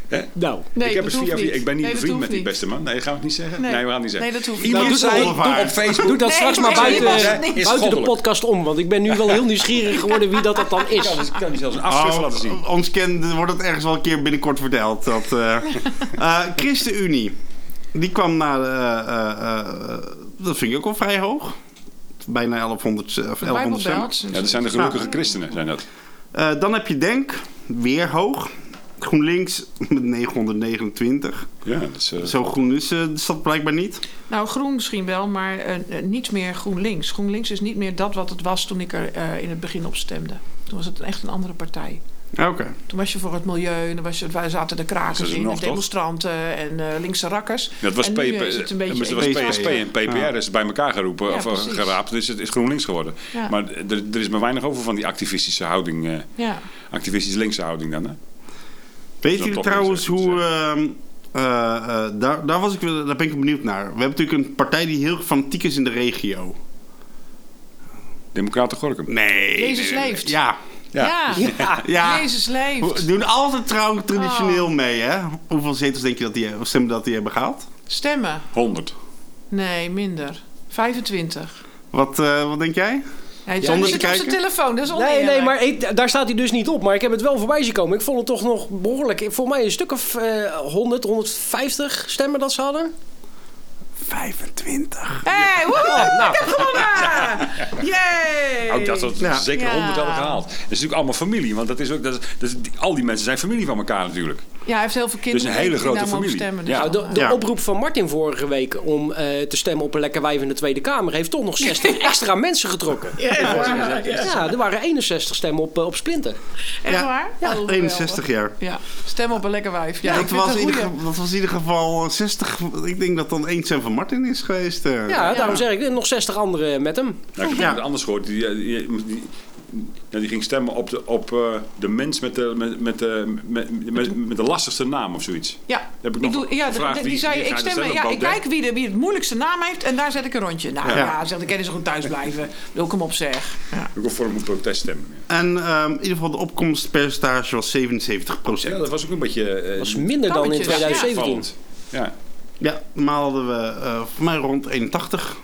Speaker 1: Hè?
Speaker 4: Nou,
Speaker 3: Nee,
Speaker 1: ik, heb
Speaker 3: dat
Speaker 1: eens
Speaker 3: hoeft
Speaker 1: via-
Speaker 3: niet.
Speaker 1: ik ben niet
Speaker 3: Nee,
Speaker 1: een
Speaker 3: dat
Speaker 1: vriend
Speaker 3: hoeft
Speaker 1: met die
Speaker 3: niet.
Speaker 1: beste man. Nee, gaan we het niet zeggen?
Speaker 3: Nee.
Speaker 1: Nee, we gaan het niet zeggen.
Speaker 3: Nee, dat hoeft niet.
Speaker 1: Iemand
Speaker 4: Nou, doe
Speaker 1: zei
Speaker 2: het ongevaar.
Speaker 1: op Facebook...
Speaker 4: doe dat
Speaker 3: Nee,
Speaker 4: straks maar
Speaker 3: nee,
Speaker 4: buiten,
Speaker 3: nee,
Speaker 4: eh,
Speaker 3: nee,
Speaker 1: is
Speaker 4: buiten de
Speaker 1: goddelijk.
Speaker 4: podcast om. Want ik ben nu wel heel nieuwsgierig geworden wie dat, dat dan
Speaker 1: Ik
Speaker 4: is.
Speaker 1: kan, dus- ik kan niet zelfs een
Speaker 2: Oh,
Speaker 1: afschrift laten zien.
Speaker 2: ons kent, wordt het ergens wel een keer binnenkort verteld. Dat, eh eh, ChristenUnie, die kwam naar, eh, eh, eh, dat vind ik ook al vrij hoog. Bijna 1100, eh, of
Speaker 3: De Bijbel Dus-
Speaker 2: 1100 stemmen.
Speaker 3: belt.
Speaker 1: Ja, dat zijn de gelukkige christenen, zijn dat.
Speaker 2: Eh, dan heb je Denk, weer hoog. GroenLinks met 929.
Speaker 1: Ja, dat is... eh,
Speaker 2: Zo groen is eh, de stad blijkbaar niet.
Speaker 3: Nou, groen misschien wel, maar eh, eh, niet meer GroenLinks. GroenLinks is niet meer dat wat het was toen ik er eh, in het begin op stemde. Toen was het een- echt een andere partij.
Speaker 2: Oké.
Speaker 3: Toen was je voor het milieu, en dan was je, wij zaten de
Speaker 1: Dat
Speaker 3: krakers
Speaker 1: is er
Speaker 3: in,
Speaker 1: nog,
Speaker 3: en
Speaker 1: toch?
Speaker 3: demonstranten en eh, linkse rakkers.
Speaker 1: dat was,
Speaker 3: en
Speaker 1: PP,
Speaker 3: nu eh, is het een beetje
Speaker 1: dat was
Speaker 2: eenzaam.
Speaker 1: PSP en PPR is bij elkaar geroepen
Speaker 3: Ja,
Speaker 1: of eh,
Speaker 3: precies.
Speaker 1: geraapt. Dus het is GroenLinks geworden.
Speaker 3: Ja.
Speaker 1: Maar d- er, er is maar weinig over van die activistische houding. eh,
Speaker 3: Ja.
Speaker 1: activistisch linkse houding dan. Hè?
Speaker 2: Weet
Speaker 1: Dat
Speaker 2: jullie
Speaker 1: toch
Speaker 2: trouwens
Speaker 1: niet,
Speaker 2: hoe... ehm, eh, eh, daar, daar, was ik, wel- daar ben ik benieuwd naar. We hebben natuurlijk een partij die heel fanatiek is in de regio.
Speaker 1: Democraten Gorkum.
Speaker 2: Nee.
Speaker 3: Jezus
Speaker 2: nee, nee, nee.
Speaker 3: leeft.
Speaker 2: Ja.
Speaker 3: Ja.
Speaker 2: Ja.
Speaker 3: Jezus
Speaker 2: Hoe-
Speaker 3: leeft.
Speaker 2: Ze doen altijd trouw traditioneel
Speaker 3: Oh.
Speaker 2: mee, hè? Hoeveel zetels denk je dat die, of stemmen dat die hebben gehaald?
Speaker 3: Stemmen?
Speaker 1: 100.
Speaker 3: Nee, minder. 25.
Speaker 2: Wat, eh, wat denk jij?
Speaker 3: Ja, hij
Speaker 2: Zonder
Speaker 3: zit
Speaker 2: te
Speaker 3: op
Speaker 2: kijken?
Speaker 3: zijn telefoon, dat is
Speaker 4: Nee,
Speaker 3: oneerlijk.
Speaker 4: nee, maar ik- daar staat hij dus niet op. Maar ik heb het wel voorbij zien komen. Ik vond het toch nog behoorlijk. Voor mij een stuk of eh 100, 150 stemmen dat ze hadden.
Speaker 2: 25.
Speaker 3: hey, woehoe,
Speaker 4: nou.
Speaker 3: ik heb gewonnen! Yay!
Speaker 1: Ook dat dat
Speaker 2: Ja.
Speaker 1: zeker
Speaker 3: Ja.
Speaker 1: honderd hadden gehaald. Dat is natuurlijk allemaal familie, want dat is ook, dat is, dat is- die- al die mensen zijn familie van elkaar natuurlijk.
Speaker 3: Ja, hij heeft heel veel kinderen.
Speaker 1: een hele
Speaker 3: die daar
Speaker 1: grote
Speaker 3: mogen
Speaker 1: familie.
Speaker 3: Stemmen, dus
Speaker 1: Ja.
Speaker 4: Nou, de de
Speaker 2: Ja.
Speaker 4: oproep van Martin vorige week om eh, te stemmen op een lekker wijf in de Tweede Kamer heeft toch nog 60 extra mensen getrokken.
Speaker 3: eh, Echt waar?
Speaker 4: Ja, er waren 61 stemmen op, eh, op Splinter.
Speaker 3: Echt waar? Oh, geweldig.
Speaker 2: 61 jaar.
Speaker 3: Ja, stem op een lekker wijf. Ja, ik
Speaker 2: dat,
Speaker 3: vind
Speaker 2: was
Speaker 3: het
Speaker 2: in
Speaker 3: een
Speaker 2: ieder,
Speaker 3: goeie.
Speaker 2: ge- dat was in ieder geval 60. Ik denk dat dan 1 Sam van Martin is geweest. eh.
Speaker 4: Ja, daarom zeg ik eh, nog 60 anderen met hem.
Speaker 1: Nou, ik heb
Speaker 2: Ja.
Speaker 1: het anders gehoord. Die, eh, die, die, nou, die ging stemmen op de, op, eh, de mens met de, met, met, de- met, met, met de lastigste naam of zoiets.
Speaker 3: Ja,
Speaker 1: Heb ik nog
Speaker 3: ja
Speaker 1: gevraagd
Speaker 3: die
Speaker 1: wie-
Speaker 3: zei,
Speaker 1: wie
Speaker 3: ik
Speaker 1: gaat er
Speaker 3: stem,
Speaker 1: stemmen?
Speaker 3: ja, ik
Speaker 1: Baudet?
Speaker 3: kijk wie, de, wie het moeilijkste naam heeft en daar zet ik een rondje. Nou ja, zegt de kennis goed thuis blijven. Doe ik hem op zeg. Ja.
Speaker 1: Ook al voor een protest stemmen. ja.
Speaker 2: En ehm, in ieder geval de opkomstpercentage was 77
Speaker 1: Ja, dat was ook een beetje... eh,
Speaker 4: Dat is minder dan in
Speaker 3: Kammetjes, ja.
Speaker 4: 2017.
Speaker 1: vallend. Ja.
Speaker 2: Ja, normaal hadden we eh, voor mij rond 81.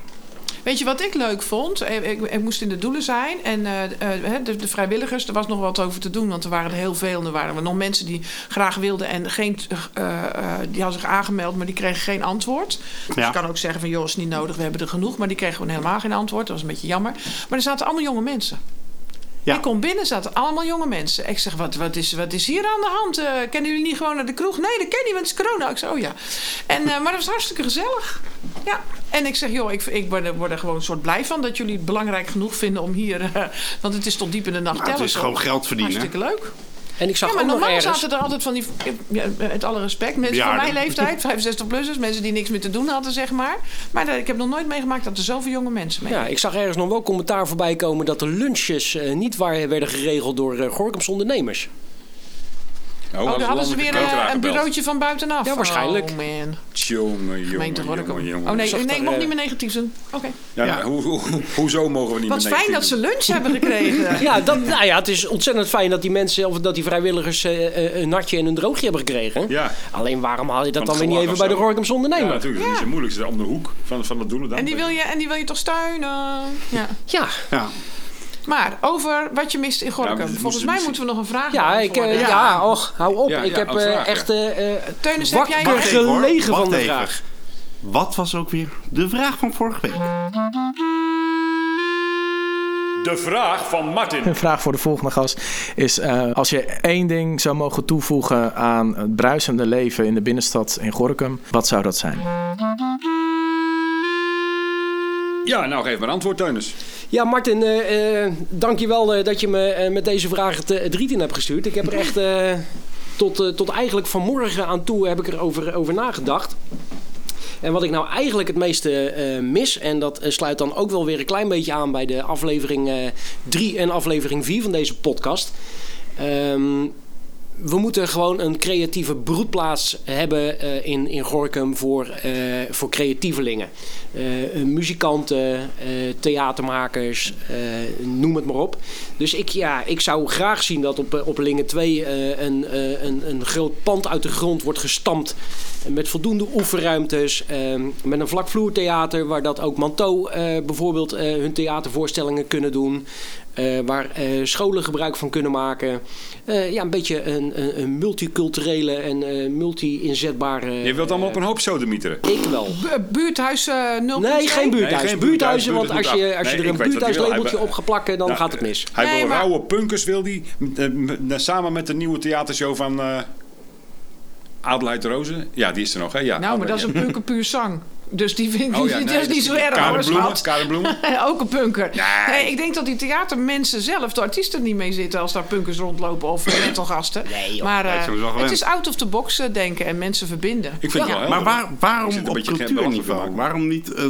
Speaker 3: Weet je wat ik leuk vond? Ik, ik, ik moest in de doelen zijn en eh, eh, hè, de, de vrijwilligers, er was nog wat over te doen, want er waren er heel veel en er waren er nog mensen die graag wilden en geen, eh, eh, die hadden zich aangemeld, maar die kregen geen antwoord. Dus
Speaker 2: Ja.
Speaker 3: ik kan ook zeggen van joh, is niet nodig, we hebben er genoeg, maar die kregen gewoon helemaal geen antwoord. Dat was een beetje jammer. Maar er zaten allemaal jonge mensen.
Speaker 2: Ja.
Speaker 3: Ik kom binnen, zaten allemaal jonge mensen. Ik zeg, wat, wat, is, wat is hier aan de hand? Eh, kennen jullie niet gewoon naar de kroeg? Nee, dat ken je, want het is corona. Ik zeg, oh ja. En, eh, maar dat was hartstikke gezellig. Ja. En ik zeg, joh, ik, ik word, er- word er gewoon een soort blij van... dat jullie het belangrijk genoeg vinden om hier... eh, want het is tot diep in de nacht
Speaker 2: Nou, het
Speaker 3: tellen.
Speaker 2: is
Speaker 3: zo.
Speaker 2: gewoon geld verdienen.
Speaker 3: Hartstikke leuk.
Speaker 4: En ik zag
Speaker 3: Ja, maar
Speaker 4: ook nog
Speaker 3: normaal
Speaker 4: ergens...
Speaker 3: zaten er altijd van die... Ja, met alle respect, mensen
Speaker 2: Ja,
Speaker 3: van
Speaker 2: dat-
Speaker 3: mijn leeftijd, 65-plussers... mensen die niks meer te doen hadden, zeg maar. Maar eh, ik heb nog nooit meegemaakt dat er zoveel jonge mensen mee...
Speaker 4: Ja, ik zag ergens nog wel commentaar voorbij komen dat de lunches eh, niet waar werden geregeld door eh Gorkums ondernemers.
Speaker 1: Nou,
Speaker 3: Oh, daar hadden ze weer
Speaker 1: landelijke
Speaker 3: eh,
Speaker 1: cateraar
Speaker 3: een
Speaker 1: gebeld.
Speaker 3: bureautje van buitenaf.
Speaker 4: Ja, waarschijnlijk.
Speaker 3: Oh man.
Speaker 1: Jongen, jongen,
Speaker 3: Gemeente
Speaker 1: jongen,
Speaker 3: Gorkum.
Speaker 1: jongen.
Speaker 3: Oh nee,
Speaker 4: Zag
Speaker 3: nee ik
Speaker 4: daar,
Speaker 3: mag
Speaker 4: eh,
Speaker 3: niet meer negatief zijn. Oké.
Speaker 1: Ja,
Speaker 2: Ja.
Speaker 1: nou, hoe- hoe- hoezo mogen we niet
Speaker 3: Wat
Speaker 1: meer
Speaker 3: fijn dat
Speaker 1: negatief
Speaker 3: ze lunch hebben gekregen.
Speaker 4: Ja, dat, nou ja, het is ontzettend fijn dat die mensen of dat die vrijwilligers eh, eh, een natje en een droogje hebben gekregen.
Speaker 1: doen? Ja,
Speaker 4: Alleen waarom haal je dat
Speaker 1: Van
Speaker 4: dan weer niet
Speaker 1: gelach
Speaker 4: even
Speaker 1: of
Speaker 4: bij de
Speaker 1: zo.
Speaker 4: Gorkums
Speaker 1: ja,
Speaker 4: ondernemer? Ja,
Speaker 1: natuurlijk. Dat is niet zo moeilijk. Ze zijn om de hoek van, van dat doelen dan.
Speaker 3: En die, wil je, en die wil je toch steunen? Ja.
Speaker 4: ja.
Speaker 2: Ja.
Speaker 3: Maar over wat je mist in
Speaker 1: Ja, maar
Speaker 3: Gorkum.
Speaker 1: dit
Speaker 3: Volgens
Speaker 1: moest-
Speaker 3: mij moeten we nog een vraag
Speaker 4: ik, eh,
Speaker 3: beantwoorden.
Speaker 4: ja. och, hou op.
Speaker 1: Ja,
Speaker 4: ik
Speaker 1: ja,
Speaker 4: heb
Speaker 1: een
Speaker 4: eh,
Speaker 1: vraag, ja.
Speaker 4: echt eh, eh,
Speaker 3: Teunis, heb jij nog...
Speaker 4: wakker
Speaker 2: Wacht even, hoor.
Speaker 4: gelegen
Speaker 2: Wacht
Speaker 4: van de
Speaker 2: even.
Speaker 4: vraag.
Speaker 2: Wat was ook weer de vraag van vorige week?
Speaker 5: De vraag van Martin.
Speaker 6: Een vraag voor de volgende gast is: eh, als je één ding zou mogen toevoegen aan het bruisende leven in de binnenstad in Gorkum, wat zou dat zijn?
Speaker 1: Ja, nou geef maar antwoord, Teunis.
Speaker 4: Ja, Martin, eh, eh, dank je wel eh, dat je me eh, met deze vraag het, eh, het riet in hebt gestuurd. Ik heb er echt eh, tot, eh, tot eigenlijk vanmorgen aan toe heb ik erover eh, over nagedacht. En wat ik nou eigenlijk het meeste eh, mis, en dat eh, sluit dan ook wel weer een klein beetje aan bij de aflevering eh 3 en aflevering 4 van deze podcast. Ehm, we moeten gewoon een creatieve broedplaats hebben eh, in, in Gorkum voor, eh, voor creatievelingen. Eh, muzikanten, eh, theatermakers, eh, noem het maar op. Dus ik, ja, ik zou graag zien dat op, eh, op Lingen 2 eh, een, eh, een, een groot pand uit de grond wordt gestampt. Met voldoende oefenruimtes, eh, met een vlakvloertheater waar dat ook Manteau eh, bijvoorbeeld eh, hun theatervoorstellingen kunnen doen. Eh, waar eh, scholen gebruik van kunnen maken. Eh, ja, een beetje een, een, een multiculturele en eh, multi-inzetbare... eh,
Speaker 1: Je wilt allemaal op een hoop sodemieteren.
Speaker 4: Ik wel.
Speaker 3: Bu- Buurthuis eh 0.
Speaker 4: Nee, geen buurthuis.
Speaker 1: geen buurthuis,
Speaker 4: buurthuizen, want
Speaker 1: buurt-
Speaker 4: als je, als je
Speaker 1: Nee,
Speaker 4: er een
Speaker 1: ik weet wat hij wil.
Speaker 4: buurthuislabeltje
Speaker 1: Hij wil-
Speaker 4: op gaat plakken, dan
Speaker 1: Nou,
Speaker 4: gaat het mis.
Speaker 1: Hij
Speaker 3: Nee,
Speaker 1: wil
Speaker 3: maar-
Speaker 1: rauwe punkers, wil die. eh, m- eh, samen met de nieuwe theatershow van eh Adelheid Rozen. Ja, die is er nog, hè? Oh, Ja,
Speaker 3: Nou, maar dat is
Speaker 1: Adelheid,
Speaker 3: een punker puur zang. Dus die vind
Speaker 1: ja.
Speaker 3: ik
Speaker 1: Oh ja,
Speaker 3: dat
Speaker 1: nee,
Speaker 3: is niet zo erg
Speaker 1: Karen
Speaker 3: hoor,
Speaker 1: Bloemen,
Speaker 3: schat.
Speaker 1: Karen Bloemen.
Speaker 3: Ook een punker. Nee, ik denk dat die theatermensen zelf, de artiesten, niet mee zitten als daar punkers rondlopen of metalgasten.
Speaker 4: Nee, joh.
Speaker 3: maar eh,
Speaker 2: Nee, ze hebben ze wel
Speaker 3: het
Speaker 2: gewend.
Speaker 3: is out of the box eh, denken en mensen verbinden.
Speaker 1: Ik vind het wel helder.
Speaker 2: Maar waar,
Speaker 1: Ik
Speaker 2: waarom
Speaker 1: zit een
Speaker 2: op
Speaker 1: beetje geen belachelijk te
Speaker 2: cultuurniveau?
Speaker 1: maken.
Speaker 2: Waarom niet... eh,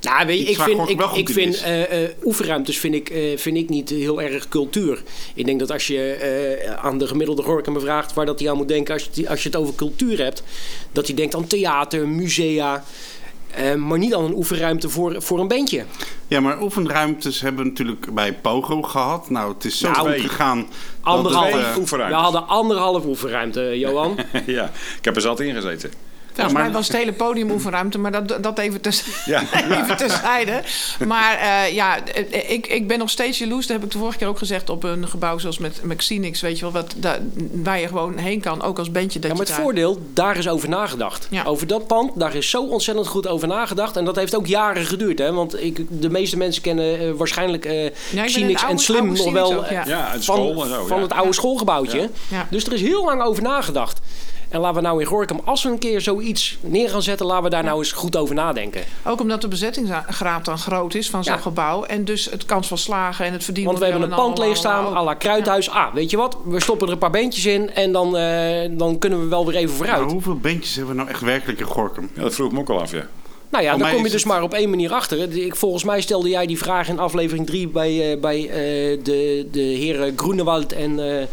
Speaker 4: Nou, weet je,
Speaker 2: Iets
Speaker 4: ik
Speaker 2: waar
Speaker 4: vind,
Speaker 2: Gorkum
Speaker 4: ik,
Speaker 2: wel goed
Speaker 4: ik
Speaker 2: in
Speaker 4: vind
Speaker 2: is.
Speaker 4: eh, eh, oefenruimtes vind ik, eh, vind ik niet heel erg cultuur. Ik denk dat als je eh, aan de gemiddelde Gorkum vraagt waar dat hij aan moet denken als je, het- als je het over cultuur hebt, dat hij denkt aan theater, musea, eh, maar niet aan een oefenruimte voor, voor een bandje.
Speaker 2: Ja, maar oefenruimtes hebben we natuurlijk bij Pogo gehad. Nou, het is zo
Speaker 4: Nou,
Speaker 2: goed
Speaker 1: twee.
Speaker 2: gegaan. dat
Speaker 4: Anderhalf.
Speaker 2: het,
Speaker 1: Twee
Speaker 2: eh,
Speaker 4: We
Speaker 1: oefenruimtes. eh,
Speaker 4: hadden anderhalf oefenruimte, Johan.
Speaker 1: Ja, ik heb er zat in gezeten.
Speaker 3: Volgens
Speaker 2: maar-
Speaker 3: mij was het hele podium oefenruimte, maar dat, dat even, te,
Speaker 1: Ja.
Speaker 3: even terzijde. Maar eh, ja, eh, ik, ik ben nog steeds jaloers. Dat heb ik de vorige keer ook gezegd op een gebouw zoals met Maxinix. Weet je wel, wat, daar- waar je gewoon heen kan, ook als bandje. Dat
Speaker 4: Ja, maar
Speaker 3: je
Speaker 4: het
Speaker 3: daar-
Speaker 4: voordeel, daar is over nagedacht.
Speaker 3: Ja.
Speaker 4: Over dat pand, daar is zo ontzettend goed over nagedacht. En dat heeft ook jaren geduurd. Hè? Want ik, de meeste mensen kennen eh, waarschijnlijk eh
Speaker 3: ben een
Speaker 4: Xenix en
Speaker 3: oude-
Speaker 4: Slim
Speaker 3: oude
Speaker 4: nog
Speaker 3: Xenix
Speaker 4: wel
Speaker 3: ook, ja.
Speaker 4: eh,
Speaker 1: Ja, uit
Speaker 4: van,
Speaker 1: school en zo,
Speaker 4: van
Speaker 1: ja.
Speaker 4: het oude schoolgebouwtje.
Speaker 3: Ja.
Speaker 4: Dus er is heel lang over nagedacht. En laten we nou in Gorkum, als we een keer zoiets neer gaan zetten... laten we daar nou eens goed over nadenken.
Speaker 3: Ook omdat de bezettingsgraad dan groot is van zo'n
Speaker 4: Ja.
Speaker 3: gebouw. En dus het kans van slagen en het verdienen.
Speaker 4: Want we hebben een pand leeg staan à la Kruidhuis. Ah, weet je wat? We stoppen er een paar bandjes in en dan, eh, dan kunnen we wel weer even
Speaker 2: Maar
Speaker 4: vooruit.
Speaker 2: hoeveel bandjes hebben we nou echt werkelijk in Gorkum?
Speaker 1: Ja, dat vroeg ik me ook al af, ja.
Speaker 4: Nou ja,
Speaker 2: Voor
Speaker 4: dan
Speaker 2: mij
Speaker 4: kom je
Speaker 2: is
Speaker 4: dus
Speaker 2: het-
Speaker 4: maar op één manier achter. Ik, volgens mij stelde jij die vraag in aflevering 3 bij, eh, bij eh, de, de heren Groenewald en eh, eh,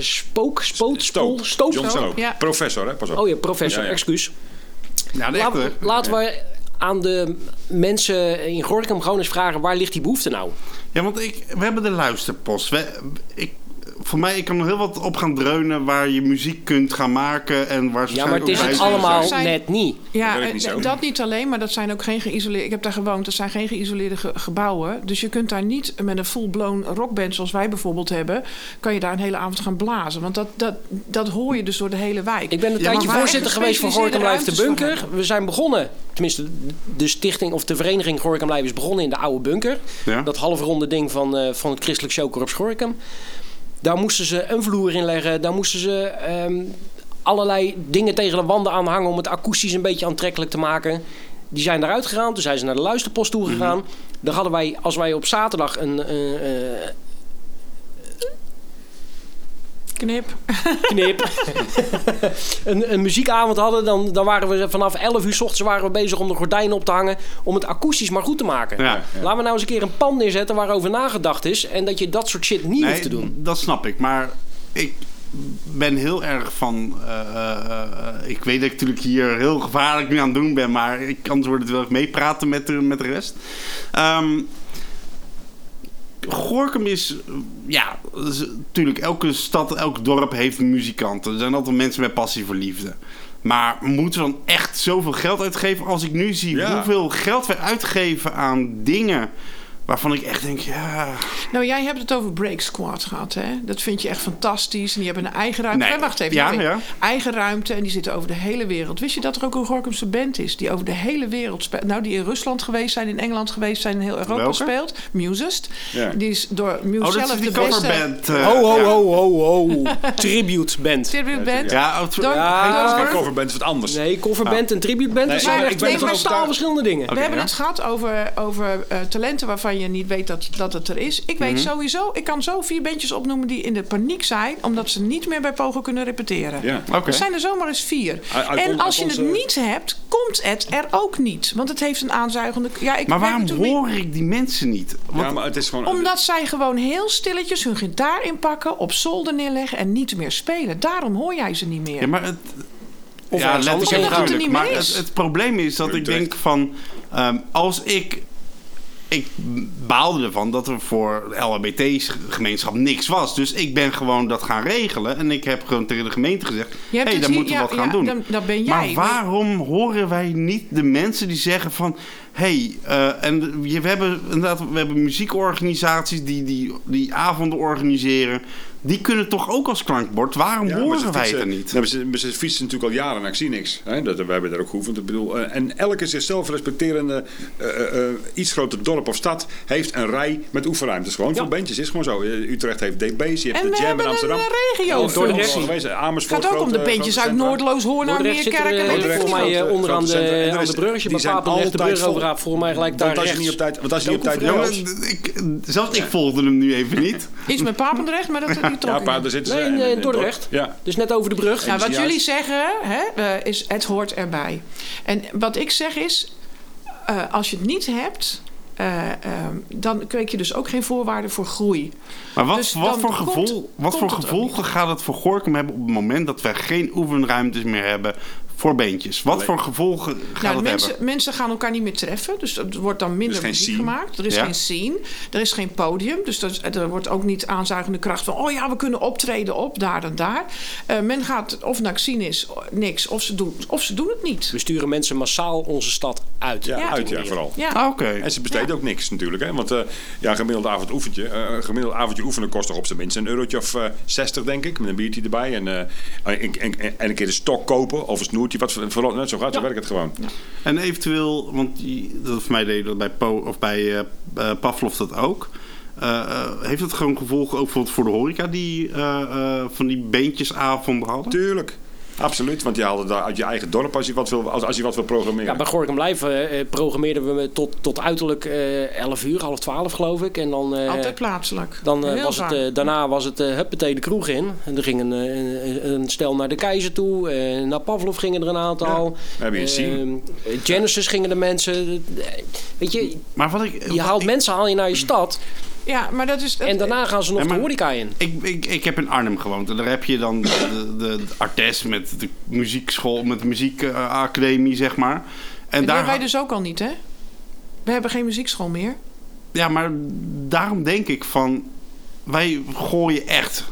Speaker 4: Spook, Spoot, Spoel,
Speaker 1: Stoop.
Speaker 4: Stoop.
Speaker 1: John Stoop.
Speaker 3: Ja.
Speaker 1: Professor, hè? Pas op.
Speaker 4: Oh ja, professor,
Speaker 1: Ja, ja.
Speaker 4: excuus.
Speaker 2: Ja, de
Speaker 4: Laten,
Speaker 2: echte.
Speaker 4: we- laten we aan de mensen in Gorkum gewoon eens vragen... waar ligt die behoefte nou?
Speaker 2: Ja, want ik, we hebben de luisterpost. We, ik, voor mij, ik kan er heel wat op gaan dreunen waar je muziek kunt gaan maken en waar ze
Speaker 4: Ja, maar het is
Speaker 3: ook
Speaker 4: het
Speaker 3: bij-
Speaker 4: allemaal
Speaker 3: Zijn-
Speaker 4: net niet.
Speaker 3: Ja,
Speaker 1: Dat werkt niet
Speaker 3: eh,
Speaker 1: zo.
Speaker 3: dat niet alleen, maar dat zijn ook geen geïsoleerde... Ik heb daar gewoond, dat zijn geen geïsoleerde ge- gebouwen. Dus je kunt daar niet met een full-blown rockband zoals wij bijvoorbeeld hebben... kan je daar een hele avond gaan blazen. Want dat, dat, dat hoor je dus door de hele wijk.
Speaker 4: Ik ben een
Speaker 2: maar
Speaker 4: tijdje
Speaker 2: waar
Speaker 4: voorzitter
Speaker 3: echt
Speaker 4: geweest van Gorkum Lijf de
Speaker 3: gespecialiseerde ruimtes
Speaker 4: Bunker. We zijn begonnen, tenminste de stichting of de vereniging Gorkum Lijf is begonnen in de oude bunker.
Speaker 2: Ja.
Speaker 4: Dat halfronde ding van, eh, van het christelijk showcorps Gorkum. Daar moesten ze een vloer in leggen. Daar moesten ze ehm, allerlei dingen tegen de wanden aan hangen om het akoestisch een beetje aantrekkelijk te maken. Die zijn daaruit gegaan. Toen zijn ze naar de luisterpost toe gegaan. Daar hadden wij, als wij op zaterdag een eh, eh,
Speaker 3: Knip.
Speaker 4: knip. een, een muziekavond hadden, dan, dan waren we vanaf 11 uur s ochtends waren we bezig om de gordijnen op te hangen. Om het akoestisch maar goed te maken.
Speaker 2: Ja, ja.
Speaker 4: Laten we nou eens een keer een pan neerzetten waarover nagedacht is. En dat je dat soort shit niet hoeft te doen.
Speaker 2: Dat snap ik, maar ik ben heel erg van. eh, eh, eh, ik weet dat ik natuurlijk hier heel gevaarlijk nu aan het doen ben, maar ik anders wordt het wel even meepraten met, de- met de rest. Ehm Gorkum is, eh, ja, natuurlijk, elke stad, elk dorp heeft muzikanten. Er zijn altijd mensen met passie voor liefde. Maar moeten we dan echt zoveel geld uitgeven? Als ik nu zie
Speaker 1: Ja.
Speaker 2: hoeveel geld we uitgeven aan dingen waarvan ik echt denk, ja...
Speaker 3: Nou, jij hebt het over Break Squad gehad, hè? Dat vind je echt fantastisch. En die hebben een eigen ruimte.
Speaker 2: Nee.
Speaker 3: Eh, wacht even.
Speaker 2: Ja,
Speaker 3: nee.
Speaker 2: ja.
Speaker 3: Eigen ruimte en die zitten over de hele wereld. Wist je dat er ook een Gorkumse band is? Die over de hele wereld speelt. Nou, die in Rusland geweest zijn, in Engeland geweest zijn, in heel Europa
Speaker 2: Welke?
Speaker 3: speelt. Musest.
Speaker 1: Ja.
Speaker 3: Die is door Muse
Speaker 2: Oh, dat
Speaker 3: zelf
Speaker 2: is die
Speaker 3: de beste
Speaker 2: coverband. eh,
Speaker 4: ho, ho,
Speaker 2: ja.
Speaker 4: ho, ho, ho. Tribute band.
Speaker 3: tribute band.
Speaker 2: Ja, het-
Speaker 3: Door-
Speaker 4: Ja.
Speaker 1: Kijk, coverband is wat anders.
Speaker 4: Nee, coverband en tributeband.
Speaker 1: Ah. Nee,
Speaker 4: dat zijn
Speaker 1: maar
Speaker 4: echt
Speaker 1: ik ben
Speaker 4: twee
Speaker 1: ervan
Speaker 4: totaal
Speaker 1: overtuigd.
Speaker 4: verschillende dingen.
Speaker 2: Oké,
Speaker 3: we hebben
Speaker 2: ja.
Speaker 3: het gehad over, over eh, talenten waarvan je niet weet dat, dat het er is. Ik
Speaker 2: Mhm.
Speaker 3: weet sowieso, ik kan zo vier bandjes opnoemen die in de paniek zijn, omdat ze niet meer bij Pogo kunnen repeteren.
Speaker 1: Ja.
Speaker 2: Oké.
Speaker 3: Er zijn er zomaar eens vier.
Speaker 1: Uit- uit on-
Speaker 3: en als
Speaker 1: uit
Speaker 3: je het
Speaker 1: onze-
Speaker 3: niet hebt, komt het er ook niet. Want het heeft een aanzuigende. Ja, ik
Speaker 2: Maar
Speaker 3: weet
Speaker 2: waarom
Speaker 3: natuurlijk niet-
Speaker 2: hoor ik die mensen niet?
Speaker 1: Ja, maar het is gewoon...
Speaker 3: Omdat zij gewoon heel stilletjes hun gitaar inpakken, op zolder neerleggen en niet meer spelen. Daarom hoor jij ze niet meer.
Speaker 2: Ja, maar het...
Speaker 4: Of
Speaker 2: ja,
Speaker 4: ergens
Speaker 2: letterlijk
Speaker 4: anders
Speaker 3: heen gaan.
Speaker 2: natuurlijk,
Speaker 3: Omdat het er niet
Speaker 2: Maar
Speaker 3: meer is.
Speaker 2: het, het probleem is dat ik
Speaker 1: Utrecht.
Speaker 2: denk van... ehm, als ik... Ik baalde ervan dat er voor de LHBT-gemeenschap niks was. Dus ik ben gewoon dat gaan regelen. En ik heb gewoon tegen de gemeente gezegd...
Speaker 3: Je
Speaker 2: Hé,
Speaker 3: hebt
Speaker 2: hey,
Speaker 3: het
Speaker 2: daar
Speaker 3: hier-
Speaker 2: moeten we
Speaker 3: ja,
Speaker 2: wat gaan
Speaker 3: ja,
Speaker 2: doen.
Speaker 3: dan- dan ben
Speaker 2: Maar
Speaker 3: jij.
Speaker 2: waarom horen wij niet de mensen die zeggen van... hey, eh, en je- we hebben inderdaad we hebben muziekorganisaties die, die, die avonden organiseren. Die kunnen toch ook als klankbord? Waarom
Speaker 1: Ja, maar ze
Speaker 2: horen wij
Speaker 1: fietsen-
Speaker 2: het er niet?
Speaker 1: Ja, maar ze, maar ze fietsen natuurlijk al jaren en ik zie niks. Hè? Dat, we hebben daar ook geoefend. Ik bedoel, eh, en elke zichzelf respecterende eh, eh, eh, iets groter dorp of stad heeft een rij met oefenruimtes. Gewoon voor bandjes is gewoon zo. Eh, Utrecht heeft DB's, je hebt de
Speaker 3: En we
Speaker 1: Jam
Speaker 3: hebben
Speaker 1: in
Speaker 3: een,
Speaker 1: Amsterdam.
Speaker 3: eh, regio-
Speaker 1: Al- al- al- al-
Speaker 4: Dordrecht.
Speaker 1: geweest. Amersfoort.
Speaker 3: het gaat ook om de
Speaker 1: grote-
Speaker 3: bandjes
Speaker 1: grote
Speaker 3: uit
Speaker 1: centra.
Speaker 3: Noordloos, Hoorn,
Speaker 4: Dordrecht zit er
Speaker 3: Meerkerk en
Speaker 4: eh,
Speaker 3: weet ik
Speaker 1: Dordrecht
Speaker 3: veel
Speaker 4: volgens
Speaker 1: zit
Speaker 3: wat.
Speaker 4: mij
Speaker 1: grote-
Speaker 4: eh, onderaan
Speaker 1: grote centra. En
Speaker 4: de,
Speaker 1: de
Speaker 4: aan de
Speaker 1: rest-
Speaker 4: brug. Als je
Speaker 1: die
Speaker 4: bij
Speaker 1: zijn
Speaker 4: Papendrecht de
Speaker 1: altijd
Speaker 4: brug over
Speaker 1: vol.
Speaker 4: gaat, volgens mij gelijk daar
Speaker 1: Want als je
Speaker 4: rechts.
Speaker 1: niet op tijd, want als je niet op tijd
Speaker 2: Ja, maar
Speaker 1: Ja,
Speaker 2: ik, zelfs ik volgde hem nu even niet.
Speaker 3: Iets met Papendrecht, maar dat die trok
Speaker 1: Ja,
Speaker 3: ik
Speaker 1: pa,
Speaker 3: niet.
Speaker 1: daar zitten ze.
Speaker 4: Nee,
Speaker 1: En-
Speaker 4: in, eh,
Speaker 1: en- en-
Speaker 4: Dordrecht.
Speaker 1: Ja.
Speaker 4: Dus net over de brug.
Speaker 3: Nou, wat
Speaker 1: juist.
Speaker 3: jullie zeggen, hè, eh, is het hoort erbij. En wat ik zeg is, eh, als je het niet hebt, eh, eh, dan kweek je dus ook geen voorwaarden voor groei.
Speaker 2: Maar wat,
Speaker 3: Dus
Speaker 2: wat
Speaker 3: dan
Speaker 2: voor,
Speaker 3: komt-
Speaker 2: gevoel, wat
Speaker 3: komt
Speaker 2: voor
Speaker 3: het ook
Speaker 2: gevolgen gaat het voor Gorkum hebben op het moment dat wij geen oefenruimtes meer hebben voor beentjes. Wat voor gevolgen gaat
Speaker 3: Nou,
Speaker 2: het
Speaker 3: mensen,
Speaker 2: hebben?
Speaker 3: mensen gaan elkaar niet meer treffen, dus er wordt dan minder
Speaker 1: geen
Speaker 3: muziek
Speaker 1: scene.
Speaker 3: gemaakt. Er is
Speaker 2: Ja.
Speaker 3: geen scene, er is geen podium, dus dat, er wordt ook niet aanzuigende kracht van... oh ja, we kunnen optreden op daar en daar. Eh, men gaat of naar Xenis, niks, of ze, doen, of ze doen het niet.
Speaker 4: We sturen mensen massaal onze stad uit.
Speaker 1: Ja,
Speaker 3: Ja.
Speaker 1: uit ja, vooral.
Speaker 3: Ja.
Speaker 2: Ah, Oké.
Speaker 1: En ze besteden ook niks natuurlijk. Hè? Want eh, ja, gemiddeld avond oefentje, eh, gemiddeld avondje oefenen kost toch op zijn minst een eurotje of eh 60, denk ik. Met een biertje erbij. En, eh, en, en, en een keer de stok kopen of een snoertje. Wat, voor- vooral, net zo gaat, zo werkt het gewoon.
Speaker 2: En eventueel, want je- dat voor mij deed dat bij, po, of bij eh, eh, Pavlov dat ook. Eh, eh, heeft dat gewoon gevolgen ook bijvoorbeeld voor de horeca die eh, eh, van die beentjesavonden hadden?
Speaker 1: Tuurlijk. Absoluut, want je haalde daar uit je eigen dorp als je wat wil, als, als je wat wil programmeren.
Speaker 4: Ja, bij Gorkum Live eh, eh, programmeerden we me tot, tot uiterlijk eh 11 uur, half 12 geloof ik. En dan, eh,
Speaker 3: Altijd plaatselijk.
Speaker 4: dan eh,
Speaker 3: Heel
Speaker 4: was het,
Speaker 3: vaak.
Speaker 4: eh, daarna was het eh huppatee de kroeg in. En er ging een, eh, een, een stel naar de keizer toe. eh, naar Pavlov gingen er een aantal.
Speaker 1: Heb je een scene.
Speaker 4: Eh, Genesis gingen de mensen. eh, Weet je,
Speaker 2: Maar wat ik,
Speaker 4: je haalt mensen haal je naar je stad.
Speaker 3: Ja, maar dat is... dat-
Speaker 4: En daarna gaan ze nog
Speaker 2: Ja, maar-
Speaker 4: de horeca in.
Speaker 2: Ik, ik, ik heb in Arnhem gewoond. En daar heb je dan de, de, de artes met de muziekschool, met de muziekacademie, zeg maar. En,
Speaker 3: En die
Speaker 2: daar,
Speaker 3: hebben wij dus ook al niet, hè? We hebben geen muziekschool meer.
Speaker 2: Ja, maar daarom denk ik van... Wij gooien echt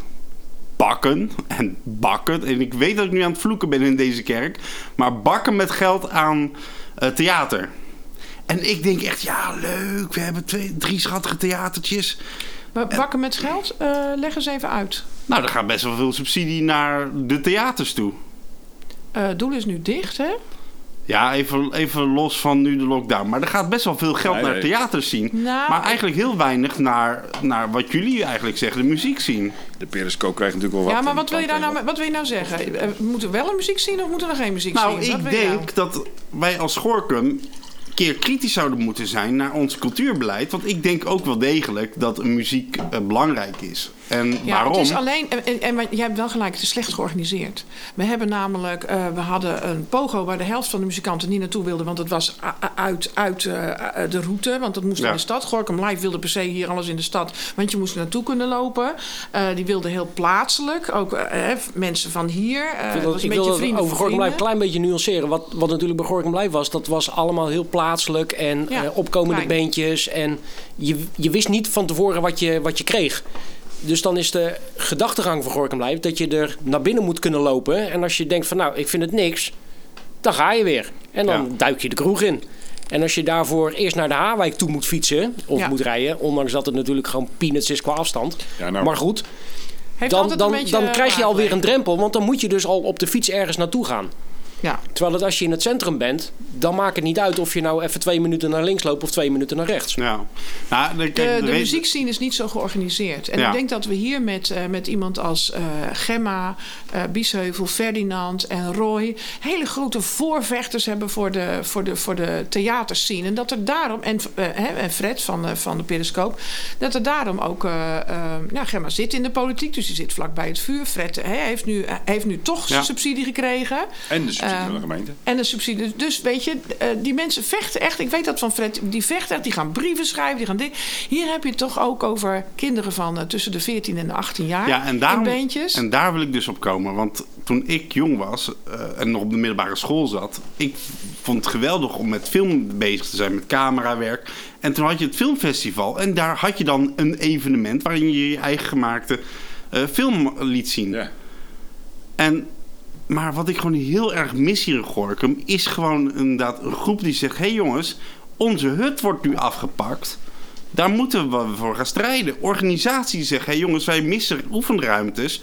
Speaker 2: bakken en bakken. En ik weet dat ik nu aan het vloeken ben in deze kerk. Maar bakken met geld aan eh, theater. En ik denk echt, ja leuk, we hebben twee, drie schattige theatertjes.
Speaker 3: Maar bakken met geld, eh, leg eens even uit.
Speaker 2: Nou, er gaat best wel veel subsidie naar de theaters toe.
Speaker 3: Eh doel is nu dicht, hè?
Speaker 2: Ja, even, even los van nu de lockdown. Maar er gaat best wel veel geld
Speaker 1: Nee,
Speaker 2: naar
Speaker 1: nee.
Speaker 2: theaters zien.
Speaker 3: Nou,
Speaker 2: maar eigenlijk heel weinig naar, naar wat jullie eigenlijk zeggen, de muziek zien.
Speaker 1: De Periscope krijgt natuurlijk wel wat.
Speaker 3: ja, maar
Speaker 1: En
Speaker 3: wat wil, je daar
Speaker 1: dan-
Speaker 3: nou, wat wil je nou zeggen? Eh, Moet er wel een muziek zien of moet er geen muziek
Speaker 2: Nou,
Speaker 3: zien? Wat
Speaker 2: ik
Speaker 3: wil je nou?
Speaker 2: denk dat wij als Gorkum een keer kritisch zouden moeten zijn naar ons cultuurbeleid. Want ik denk ook wel degelijk dat muziek eh, belangrijk is. En
Speaker 3: Ja,
Speaker 2: waarom?
Speaker 3: Het is alleen, en, en, en maar jij hebt wel gelijk, het is slecht georganiseerd. We hebben namelijk, eh, we hadden een pogo waar de helft van de muzikanten niet naartoe wilden, want het was a- a- uit, uit eh, eh, de route, want dat moest
Speaker 2: Ja.
Speaker 3: in de stad. Gorkum Live wilde per se hier alles in de stad, want je moest er naartoe kunnen lopen. Eh, die wilden heel plaatselijk, ook eh, hè, mensen van hier. eh,
Speaker 4: Ik
Speaker 3: het was
Speaker 4: wil dat,
Speaker 3: een
Speaker 4: ik
Speaker 3: beetje
Speaker 4: wil dat
Speaker 3: vrienden
Speaker 4: over
Speaker 3: voor
Speaker 4: Gorkum Live een
Speaker 3: vrienden.
Speaker 4: klein beetje nuanceren. Wat, wat natuurlijk bij Gorkum Live was, dat was allemaal heel plaatselijk en
Speaker 3: Ja,
Speaker 4: eh, opkomende
Speaker 3: klein.
Speaker 4: bandjes. En je, je wist niet van tevoren wat je, wat je kreeg. Dus dan is de gedachtegang van Gorkum Live dat je er naar binnen moet kunnen lopen. En als je denkt van nou, ik vind het niks, dan ga je weer. En dan
Speaker 2: Ja.
Speaker 4: duik je de kroeg in. En als je daarvoor eerst naar de Haarwijk toe moet fietsen of
Speaker 3: Ja.
Speaker 4: moet rijden, ondanks dat het natuurlijk gewoon peanuts is qua afstand.
Speaker 1: Ja, nou.
Speaker 4: Maar goed,
Speaker 3: Heeft
Speaker 4: dan,
Speaker 3: altijd een
Speaker 4: dan,
Speaker 3: beetje
Speaker 4: dan krijg je alweer
Speaker 3: raakvlak.
Speaker 4: een drempel, want dan moet je dus al op de fiets ergens naartoe gaan.
Speaker 3: Ja.
Speaker 4: Terwijl het als je in het centrum bent, dan maakt het niet uit of je nou even twee minuten naar links loopt of twee minuten naar rechts.
Speaker 2: Ja. Nou, dan-
Speaker 3: De,
Speaker 2: kijk,
Speaker 3: de
Speaker 2: re-
Speaker 3: muziekscene is niet zo georganiseerd. En
Speaker 2: Ja.
Speaker 3: ik denk dat we hier met, eh, met iemand als eh, Gemma, eh Biesheuvel, Ferdinand en Roy... hele grote voorvechters hebben voor de, voor de, voor de theaterscene. En dat er daarom, en, eh, hè, en Fred van, eh, van de Periscoop... dat er daarom ook... eh, eh, nou, Gemma zit in de politiek, dus die zit vlakbij het vuur. Fred hè, heeft, nu, eh, heeft nu toch
Speaker 2: Ja.
Speaker 3: subsidie gekregen.
Speaker 1: En de subsidie
Speaker 3: Ehm,
Speaker 1: van de gemeente.
Speaker 3: En een subsidie. Dus weet je, eh, die mensen vechten echt. Ik weet dat van Fred. Die vechten echt. Die gaan brieven schrijven. Die gaan dit. Hier heb je het toch ook over kinderen van eh, tussen de 14 en de 18 jaar.
Speaker 2: Ja, en, daarom,
Speaker 3: in bandjes.
Speaker 2: en daar wil ik dus op komen. Want toen ik jong was eh, en nog op de middelbare school zat... ik vond het geweldig om met film bezig te zijn, met camerawerk. En toen had je het filmfestival. En daar had je dan een evenement waarin je je eigen gemaakte eh, film liet zien.
Speaker 1: Ja.
Speaker 2: En, maar wat ik gewoon heel erg mis hier in Gorkum... is gewoon inderdaad een groep die zegt... hé hey jongens, onze hut wordt nu afgepakt. Daar moeten we voor gaan strijden. Organisaties die zeggen... hé hey jongens, wij missen oefenruimtes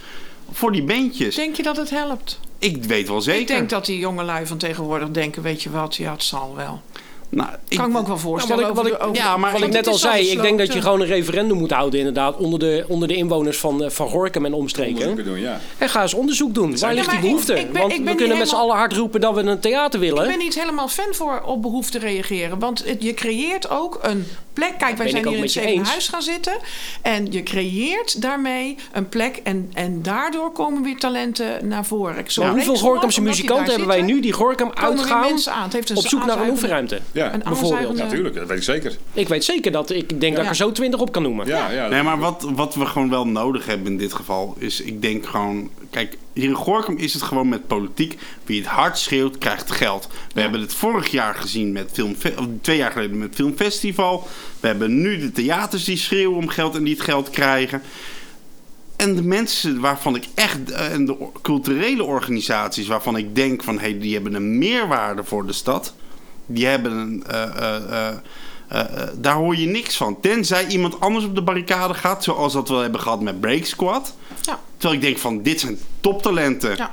Speaker 2: voor die bandjes.
Speaker 3: Denk je dat het helpt?
Speaker 2: Ik weet wel zeker.
Speaker 3: Ik denk dat die jongelui van tegenwoordig denken: weet je wat, ja, het zal wel.
Speaker 2: Nou, ik-
Speaker 3: kan ik me ook wel voorstellen.
Speaker 4: Nou, wat ik-
Speaker 3: over de-
Speaker 4: wat ik-
Speaker 3: over-
Speaker 2: ja, maar
Speaker 4: Wat ik
Speaker 3: want
Speaker 4: net
Speaker 3: het
Speaker 4: al
Speaker 3: is zo
Speaker 4: zei, ik denk dat je
Speaker 3: besloten.
Speaker 4: gewoon een referendum moet houden inderdaad onder de, onder de inwoners van, eh, van Gorkum en omstreken.
Speaker 1: Onderzoeken doen, ja.
Speaker 4: En ga eens onderzoek doen. Waar
Speaker 3: Ja,
Speaker 4: ligt die
Speaker 3: maar ik-
Speaker 4: behoefte?
Speaker 3: ik ben-
Speaker 4: Want
Speaker 3: ik
Speaker 4: we
Speaker 3: ben
Speaker 4: kunnen
Speaker 3: niet
Speaker 4: met z'n allen hard roepen dat we een theater willen.
Speaker 3: Ik ben niet helemaal fan voor op behoefte reageren. Want het, je creëert ook een plek. Kijk, wij
Speaker 4: ik
Speaker 3: zijn
Speaker 4: ook
Speaker 3: hier in
Speaker 4: met je
Speaker 3: het
Speaker 4: eens.
Speaker 3: huis gaan zitten. En je creëert daarmee een plek. En, en daardoor komen weer talenten naar voren. Ik- zo
Speaker 4: Maar
Speaker 3: reeks
Speaker 4: hoeveel
Speaker 3: gewoon,
Speaker 4: Gorkumse
Speaker 3: omdat die daar
Speaker 4: muzikanten hebben wij
Speaker 3: zitten,
Speaker 4: nu die Gorkum
Speaker 3: komen weer
Speaker 4: uitgaan
Speaker 3: mensen aan. Het heeft een
Speaker 4: op zoek naar
Speaker 3: aanzuigende-
Speaker 4: een oefenruimte?
Speaker 1: Ja, Ja,
Speaker 3: een
Speaker 4: bijvoorbeeld.
Speaker 1: Ja,
Speaker 3: afzuigende...
Speaker 1: natuurlijk. Dat weet ik zeker.
Speaker 4: Ik weet zeker dat ik denk dat ik er zo 20 op kan noemen.
Speaker 1: Ja, ja.
Speaker 2: Nee, maar wat, wat we gewoon wel nodig hebben in dit geval is, ik denk gewoon, kijk, hier in Gorkum is het gewoon met politiek. Wie het hard schreeuwt, krijgt geld. We hebben het vorig jaar gezien met film, of twee jaar geleden met Filmfestival. We hebben nu de theaters die schreeuwen om geld en die het geld krijgen. En de mensen waarvan ik echt, eh, en de o- culturele organisaties waarvan ik denk van, hé, hey, die hebben een meerwaarde voor de stad. Die hebben een. eh, eh, eh, eh, eh, daar hoor je niks van. Tenzij iemand anders op de barricade gaat, zoals dat we hebben gehad met Break Squad.
Speaker 3: Ja,
Speaker 2: Terwijl ik denk van, dit zijn toptalenten.
Speaker 3: ja.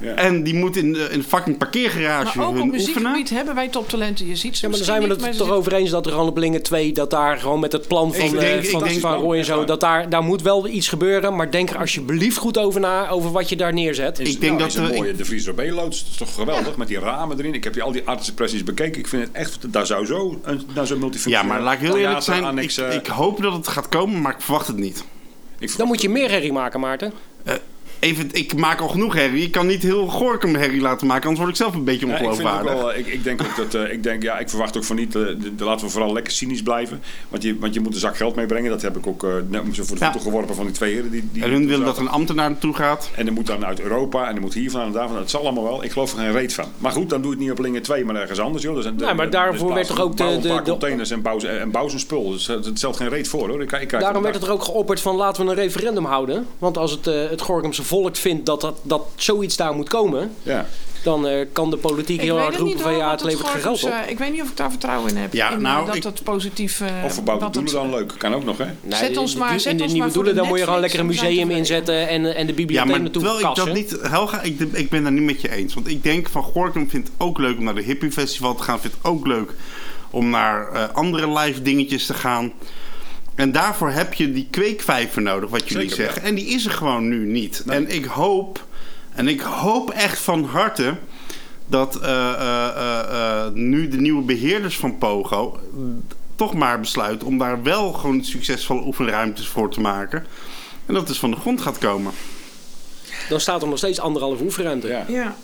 Speaker 1: Ja.
Speaker 2: En die moeten in de, in de fucking parkeergarage
Speaker 3: Maar ook op
Speaker 2: hun oefenen.
Speaker 3: muziekgebied hebben wij toptalenten. Je ziet ze
Speaker 4: Ja, maar dan
Speaker 3: misschien
Speaker 4: zijn we
Speaker 3: niet,
Speaker 4: het er
Speaker 3: ze
Speaker 4: toch
Speaker 3: zitten-
Speaker 4: over eens dat Ramblingen 2, dat daar gewoon met het plan van,
Speaker 2: Ik
Speaker 4: eh,
Speaker 2: denk- ik
Speaker 4: van,
Speaker 2: denk-
Speaker 4: van Roy en zo, dat daar, daar moet wel iets gebeuren. Maar denk er alsjeblieft goed over na, over wat je daar neerzet.
Speaker 1: Is-
Speaker 2: Ik
Speaker 1: nou,
Speaker 2: denk dat
Speaker 1: is een
Speaker 2: we-
Speaker 1: mooie De Vries loods Dat is toch geweldig? Met die ramen erin. Ik heb die, al die artsenpressies bekeken. Ik vind het echt... Daar zou zo een, daar zou
Speaker 2: Ja,
Speaker 1: multifunctioneel
Speaker 2: maar laat ik heel eerlijk
Speaker 1: theater
Speaker 2: zijn. Ik,
Speaker 1: annex, eh,
Speaker 2: ik hoop dat het gaat komen, maar ik verwacht het niet.
Speaker 1: ik
Speaker 4: Dan moet je meer herrie maken, Maarten.
Speaker 2: Eh, even, ik maak al genoeg herrie. Ik kan niet heel Gorkum herrie laten maken, anders word ik zelf een beetje
Speaker 1: Ja, ik, vind ook
Speaker 2: ongeloofwaardig.
Speaker 1: wel, eh, ik, ik denk ook dat eh, ik denk, ja, ik verwacht ook van niet. eh, de- de- laten we vooral lekker cynisch blijven. Want je, want je moet een zak geld meebrengen. Dat heb ik ook eh net om ze voor de
Speaker 2: Ja.
Speaker 1: voeten geworpen van die twee heren. Die, die
Speaker 2: en hun willen dat een ambtenaar naartoe gaat.
Speaker 1: En dan moet dan uit Europa en dan moet hiervan en daarvan. Het zal allemaal wel. Ik geloof er geen reet van. Maar goed, dan doe je het niet op Lingen 2, maar ergens anders. Joh. Dus,
Speaker 4: Nee, maar daarvoor werd toch ook de-
Speaker 1: Bouw een
Speaker 4: de-
Speaker 1: paar
Speaker 4: de-
Speaker 1: containers en bouw, ze- en bouw ze een spul. Dus het, het stelt geen reet voor hoor. Ik, ik kijk
Speaker 4: Daarom werd
Speaker 1: vandaag-
Speaker 4: het er ook geopperd van laten we een referendum houden. Want als het, eh, het Gorkumse volk vindt dat, dat, dat zoiets daar moet komen,
Speaker 1: Ja.
Speaker 4: dan eh, kan de politiek heel hard roepen van
Speaker 3: hoor,
Speaker 4: ja,
Speaker 3: want
Speaker 4: het levert geen geld
Speaker 3: Gorkums,
Speaker 4: op.
Speaker 3: eh, ik weet niet of ik daar vertrouwen in heb.
Speaker 2: Ja,
Speaker 3: in, eh,
Speaker 2: nou,
Speaker 3: dat
Speaker 2: ik-
Speaker 3: dat positief... eh,
Speaker 1: Of verbouw de
Speaker 3: wat het-
Speaker 1: doelen dan leuk. Kan ook nog hè.
Speaker 4: Nee,
Speaker 3: zet
Speaker 4: in
Speaker 3: ons
Speaker 4: de-
Speaker 3: maar-
Speaker 4: in
Speaker 3: zet
Speaker 4: de
Speaker 3: ons
Speaker 4: nieuwe
Speaker 3: maar voor
Speaker 4: doelen,
Speaker 3: de
Speaker 4: dan moet je gewoon lekker een
Speaker 3: Netflix, dan
Speaker 4: museum
Speaker 3: zijn we
Speaker 4: inzetten en, en de
Speaker 2: Ja,
Speaker 4: bibliotheek
Speaker 2: maar
Speaker 4: naartoe
Speaker 2: terwijl ik dat
Speaker 4: kassen.
Speaker 2: niet... Helga, ik, ik ben daar niet met je eens. Want ik denk van Gorkum vindt het ook leuk om naar de Hippie Festival te gaan. Vindt het ook leuk om naar eh, andere live dingetjes te gaan. En daarvoor heb je die kweekvijver nodig, wat jullie
Speaker 1: Zeker,
Speaker 2: zeggen. En die is er gewoon nu niet. En ik hoop, en ik hoop echt van harte dat eh, eh, eh, eh, nu de nieuwe beheerders van Pogo mm, toch maar besluiten om daar wel gewoon succesvolle oefenruimtes voor te maken. En dat het dus van de grond gaat komen.
Speaker 4: Dan staat er nog steeds anderhalve oefenruimte.
Speaker 1: Ja.
Speaker 3: Ja,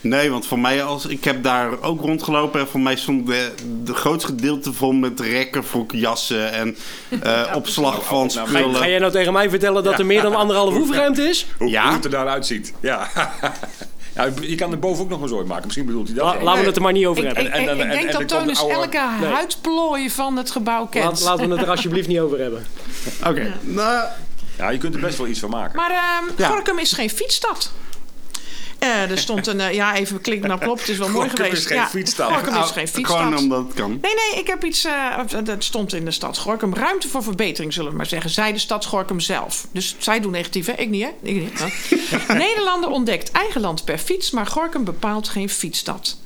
Speaker 2: Nee, want voor mij als ik heb daar ook rondgelopen en voor mij stond de, de grootste gedeelte vol met rekken voor jassen en eh, opslag van
Speaker 1: nou,
Speaker 4: Ga, ga
Speaker 2: spullen.
Speaker 4: jij nou tegen mij vertellen dat er meer dan anderhalve oefenruimte is?
Speaker 1: Hoe,
Speaker 2: Ja.
Speaker 1: hoe het er daaruit ziet. Ja. ja. Je kan er boven ook nog een zooi maken. Misschien bedoelt hij dat.
Speaker 4: La-
Speaker 1: wel.
Speaker 4: laten we het er maar niet over
Speaker 3: ik,
Speaker 4: hebben.
Speaker 3: ik,
Speaker 1: en-
Speaker 3: ik-
Speaker 1: en-
Speaker 3: ik
Speaker 1: en-
Speaker 3: denk
Speaker 1: en
Speaker 3: dat
Speaker 1: er komt
Speaker 3: Tonus
Speaker 1: een oude-
Speaker 3: elke
Speaker 4: Nee.
Speaker 3: huidplooi van het gebouw
Speaker 4: Laat,
Speaker 3: kent.
Speaker 4: laten we het er alsjeblieft niet over hebben.
Speaker 2: Oké, nou,
Speaker 1: Ja, je kunt er best wel iets van maken.
Speaker 3: Maar ehm
Speaker 2: Ja.
Speaker 3: Gorkum is geen fietsstad. Eh, er stond een, eh, ja, even klik naar plop, het is wel mooi
Speaker 1: Gorkum
Speaker 3: geweest.
Speaker 1: is geen
Speaker 3: ja,
Speaker 1: fietsstad. Ah,
Speaker 3: Gorkum is
Speaker 2: nou,
Speaker 3: geen
Speaker 2: gewoon
Speaker 3: fietsstad.
Speaker 2: omdat het kan.
Speaker 3: Nee, nee, ik heb iets. eh, dat stond in de stad Gorkum. Ruimte voor verbetering, zullen we maar zeggen. Zij de stad Gorkum zelf. Dus zij doen negatief, hè? Ik niet, hè? Ik niet, hè? Nederlander ontdekt eigen land per fiets, maar Gorkum bepaalt geen fietsstad.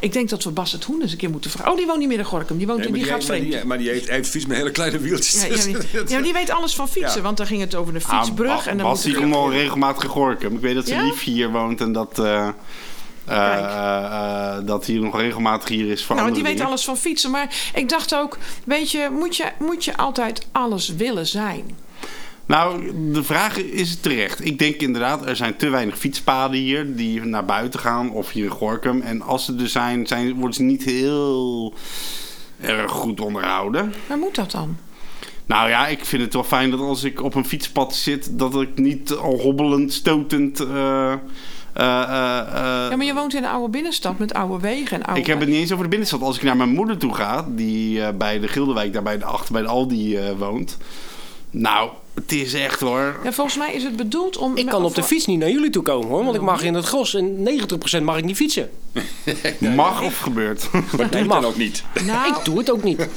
Speaker 3: Ik denk dat we Bas het Hoen eens een keer moeten vragen. Oh, die woont niet meer in Gorkum. Die, woont,
Speaker 1: Nee,
Speaker 3: die,
Speaker 1: maar
Speaker 3: gaat
Speaker 1: heeft-
Speaker 3: vreemd.
Speaker 1: maar die, maar die heeft, heeft fiets met hele kleine wieltjes.
Speaker 3: Ja, ja, die, ja, maar die weet alles van fietsen,
Speaker 1: Dus Ja.
Speaker 3: want daar ging het over de
Speaker 2: Ah,
Speaker 3: fietsbrug.
Speaker 2: Ba-
Speaker 3: en dan
Speaker 2: Bas die
Speaker 3: moet Nou,
Speaker 2: komt al regelmatig gegorken. Ik weet dat zijn
Speaker 3: Ja?
Speaker 2: liefje hier woont en dat, eh, eh, eh, eh, dat hier nog regelmatig hier is voor
Speaker 3: Nou,
Speaker 2: andere
Speaker 3: want die weet
Speaker 2: dingen.
Speaker 3: alles van fietsen. Maar ik dacht ook, weet je, moet je, moet je altijd alles willen zijn?
Speaker 2: Nou, de vraag is terecht. Ik denk inderdaad, er zijn te weinig fietspaden hier die naar buiten gaan of hier in Gorkum. En als ze er zijn, zijn worden ze niet heel erg goed onderhouden.
Speaker 3: Waar moet dat dan?
Speaker 2: Nou ja, ik vind het wel fijn dat als ik op een fietspad zit, dat ik niet al hobbelend, stotend. eh, eh, eh, eh,
Speaker 3: Ja, maar je woont in een oude binnenstad met oude wegen en oude...
Speaker 2: ik heb het niet eens over de binnenstad. Als ik naar mijn moeder toe ga, die eh, bij de Gilderwijk, daar bij de achter bij de Aldi eh, woont. Nou, het is echt hoor.
Speaker 3: Ja, volgens mij is het bedoeld om...
Speaker 4: Ik kan op de fiets niet naar jullie toe komen hoor, want ik mag in het gros en 90% mag ik niet fietsen.
Speaker 2: Mag of gebeurt.
Speaker 1: Maar doe het
Speaker 4: mag.
Speaker 1: dan ook niet.
Speaker 3: Nou,
Speaker 4: Ik doe het ook niet.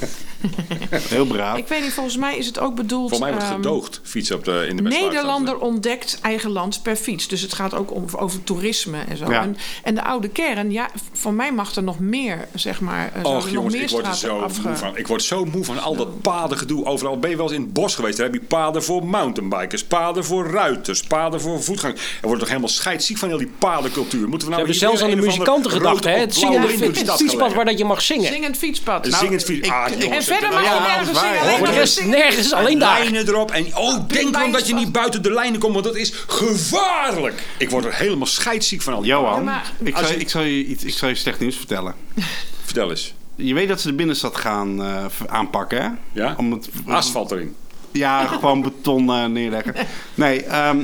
Speaker 2: Heel braaf.
Speaker 3: ik weet niet, volgens mij is het ook bedoeld...
Speaker 1: Voor mij wordt
Speaker 3: ehm,
Speaker 1: gedoogd fietsen op de, in de Westvaart.
Speaker 3: Nederlander ontdekt eigen land per fiets. Dus het gaat ook om, over toerisme en zo.
Speaker 2: Ja.
Speaker 3: En, en de oude kern, ja, voor mij mag er nog meer, zeg maar. eh, zouden
Speaker 1: Och
Speaker 3: er
Speaker 1: jongens,
Speaker 3: nog meer
Speaker 1: ik word er
Speaker 3: straten
Speaker 1: zo
Speaker 3: afge-
Speaker 1: moe van. Ik word zo moe van al dat padengedoe. Overal ben je wel eens in het bos geweest. Daar heb je paden voor mountainbikers, paden voor ruiters, paden voor voetgangers. Er wordt toch helemaal scheidziek van heel die padencultuur. Moeten we
Speaker 4: We
Speaker 1: nou
Speaker 4: hebben
Speaker 1: hier
Speaker 4: zelfs aan de
Speaker 1: een of
Speaker 4: muzikanten
Speaker 1: ander
Speaker 4: gedacht,
Speaker 1: rood
Speaker 4: hè?
Speaker 1: op
Speaker 4: Het
Speaker 1: blauwe
Speaker 4: zingende
Speaker 1: lint door de
Speaker 4: het
Speaker 1: stad
Speaker 4: fietspad
Speaker 1: gaan
Speaker 4: waar dat je mag zingen.
Speaker 3: Zingend fietspad.
Speaker 1: leggen. Zingend fiets.
Speaker 2: Nou,
Speaker 1: Ah,
Speaker 2: ik-
Speaker 1: jongens, het
Speaker 3: en Verder mag
Speaker 2: ja,
Speaker 3: je
Speaker 2: dat is
Speaker 3: nergens
Speaker 2: waar,
Speaker 3: zingen.
Speaker 2: ja. Voor
Speaker 3: alleen
Speaker 4: Voor de
Speaker 3: maar
Speaker 4: rest
Speaker 3: zingen.
Speaker 4: nergens, alleen daar.
Speaker 1: Lijnen erop. En oh, denk dan dat je niet buiten de lijnen komt, want dat is gevaarlijk. Ik word er helemaal scheidsziek van al die
Speaker 2: Johan,
Speaker 3: Ja, maar-
Speaker 2: ik,
Speaker 1: Als
Speaker 2: zal,
Speaker 1: je-
Speaker 2: ik, zal je iets, ik zal je slecht nieuws vertellen.
Speaker 1: Vertel eens.
Speaker 2: Je weet dat ze de binnenstad gaan eh, v- aanpakken, hè?
Speaker 1: Ja?
Speaker 2: Om het,
Speaker 1: Asfalt erin.
Speaker 2: Ja, gewoon beton eh, neerleggen. Nee, ehm,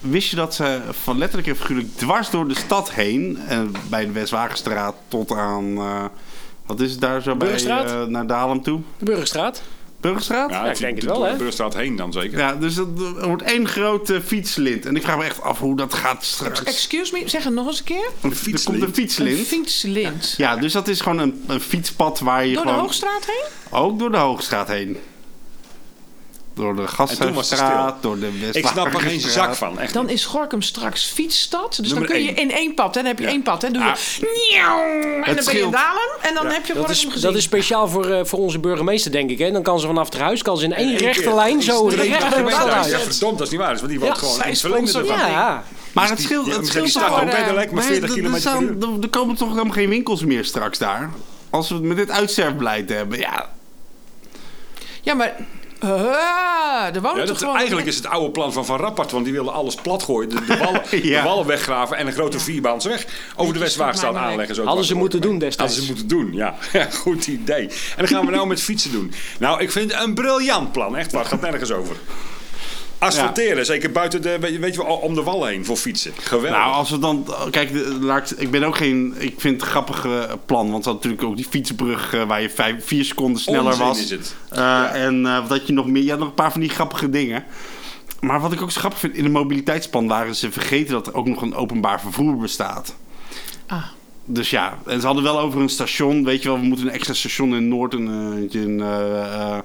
Speaker 2: wist je dat ze van letterlijk en figuurlijk dwars door de stad heen... eh, bij de Westwagenstraat tot aan... eh, wat is het daar zo bij?
Speaker 4: Burgerstraat?
Speaker 2: eh, naar Dalem toe?
Speaker 4: De Burgerstraat.
Speaker 2: Burgerstraat?
Speaker 1: Ja,
Speaker 4: ik denk het
Speaker 1: doet
Speaker 4: wel,
Speaker 1: door
Speaker 4: hè?
Speaker 1: De beurstraat heen dan zeker.
Speaker 2: Ja, dus dat er wordt één groot eh, fietslint. En ik vraag me echt af hoe dat gaat straks.
Speaker 3: Excuse me, zeg het nog eens een keer.
Speaker 2: Een Er komt een
Speaker 3: Een
Speaker 2: fietslint.
Speaker 3: fietslint.
Speaker 2: Ja, dus dat is gewoon een, een fietspad waar je
Speaker 3: Door de
Speaker 2: gewoon...
Speaker 3: Hoogstraat heen?
Speaker 2: Ook door de Hoogstraat heen. Door de Gasthuisstraat, door de West.
Speaker 1: Ik snap er geen zak van. Echt.
Speaker 3: Dan is Gorkum straks fietsstad. Dus
Speaker 1: Nummer
Speaker 3: dan kun je
Speaker 1: één.
Speaker 3: in één pad. Hè? Dan heb je
Speaker 1: Ja.
Speaker 3: één pad. Hè? Doe je Nieuw! en dan ben je in
Speaker 2: Ah. scheelt.
Speaker 3: Dalem. En dan heb je
Speaker 4: Dat
Speaker 3: Gorkum
Speaker 4: is,
Speaker 3: gezien.
Speaker 4: dat is speciaal voor, eh, voor onze burgemeester, denk ik. Hè? Dan kan ze vanaf het huis kan ze in één
Speaker 1: Eén keer.
Speaker 4: rechte lijn zo
Speaker 1: Eén
Speaker 4: recht
Speaker 1: keer
Speaker 4: naar het
Speaker 1: weg.
Speaker 4: stad
Speaker 1: Ja,
Speaker 4: uit.
Speaker 1: verdomd, dat is niet waar. Dus, want die
Speaker 4: Ja,
Speaker 1: wordt gewoon
Speaker 4: zij
Speaker 1: in het verlengde
Speaker 4: Ja,
Speaker 1: ervan.
Speaker 4: ja.
Speaker 2: Maar het
Speaker 1: Dus
Speaker 2: scheelt,
Speaker 1: Die-
Speaker 2: het
Speaker 1: die
Speaker 2: scheelt
Speaker 1: staat
Speaker 2: toch
Speaker 1: ook
Speaker 2: wel-
Speaker 1: letterlijk maar
Speaker 2: Nee,
Speaker 1: 40
Speaker 2: er-
Speaker 1: kilometer
Speaker 2: er,
Speaker 1: per
Speaker 2: staan- er- er komen toch helemaal geen winkels meer straks daar? Als we het met dit uitsterfbeleid hebben, ja.
Speaker 3: Ja, maar... eh, er wonen
Speaker 1: Ja, dat,
Speaker 3: toch gewoon...
Speaker 1: dus eigenlijk is het oude plan van Van Rappert, want die wilde alles platgooien. De, de, wallen,
Speaker 2: Ja.
Speaker 1: de wallen weggraven en een grote vierbaans weg over de Westwaagstraat
Speaker 3: kleine
Speaker 1: aanleggen. Zo
Speaker 4: Hadden ze
Speaker 1: dwars door
Speaker 4: moeten
Speaker 1: de
Speaker 4: doen
Speaker 1: weg. Hadden
Speaker 4: destijds.
Speaker 1: ze moeten doen, ja. Ja, Goed idee. En dan gaan we nou met fietsen doen. Nou, ik vind het een briljant plan. Echt waar, het gaat nergens over. Asfalteren, zeker buiten de, weet je- weet je wel, om de wallen heen voor fietsen. Geweldig.
Speaker 2: Nou, als we dan. Kijk, de- laat ik, ik ben ook geen. Ik vind het een grappig eh, plan. Want ze hadden natuurlijk ook die fietsbrug eh, waar je vijf, vier seconden sneller
Speaker 1: Onzin
Speaker 2: was.
Speaker 1: is het.
Speaker 2: Eh, En eh, dat je nog meer. Je had nog een paar van die grappige dingen. Maar wat ik ook zo grappig vind. In een mobiliteitsplan waren ze vergeten dat er ook nog een openbaar vervoer bestaat.
Speaker 3: Ah.
Speaker 2: Dus ja, en ze hadden wel over een station. Weet je wel, we moeten een extra station in Noord. Een, eh, eentje in, eh,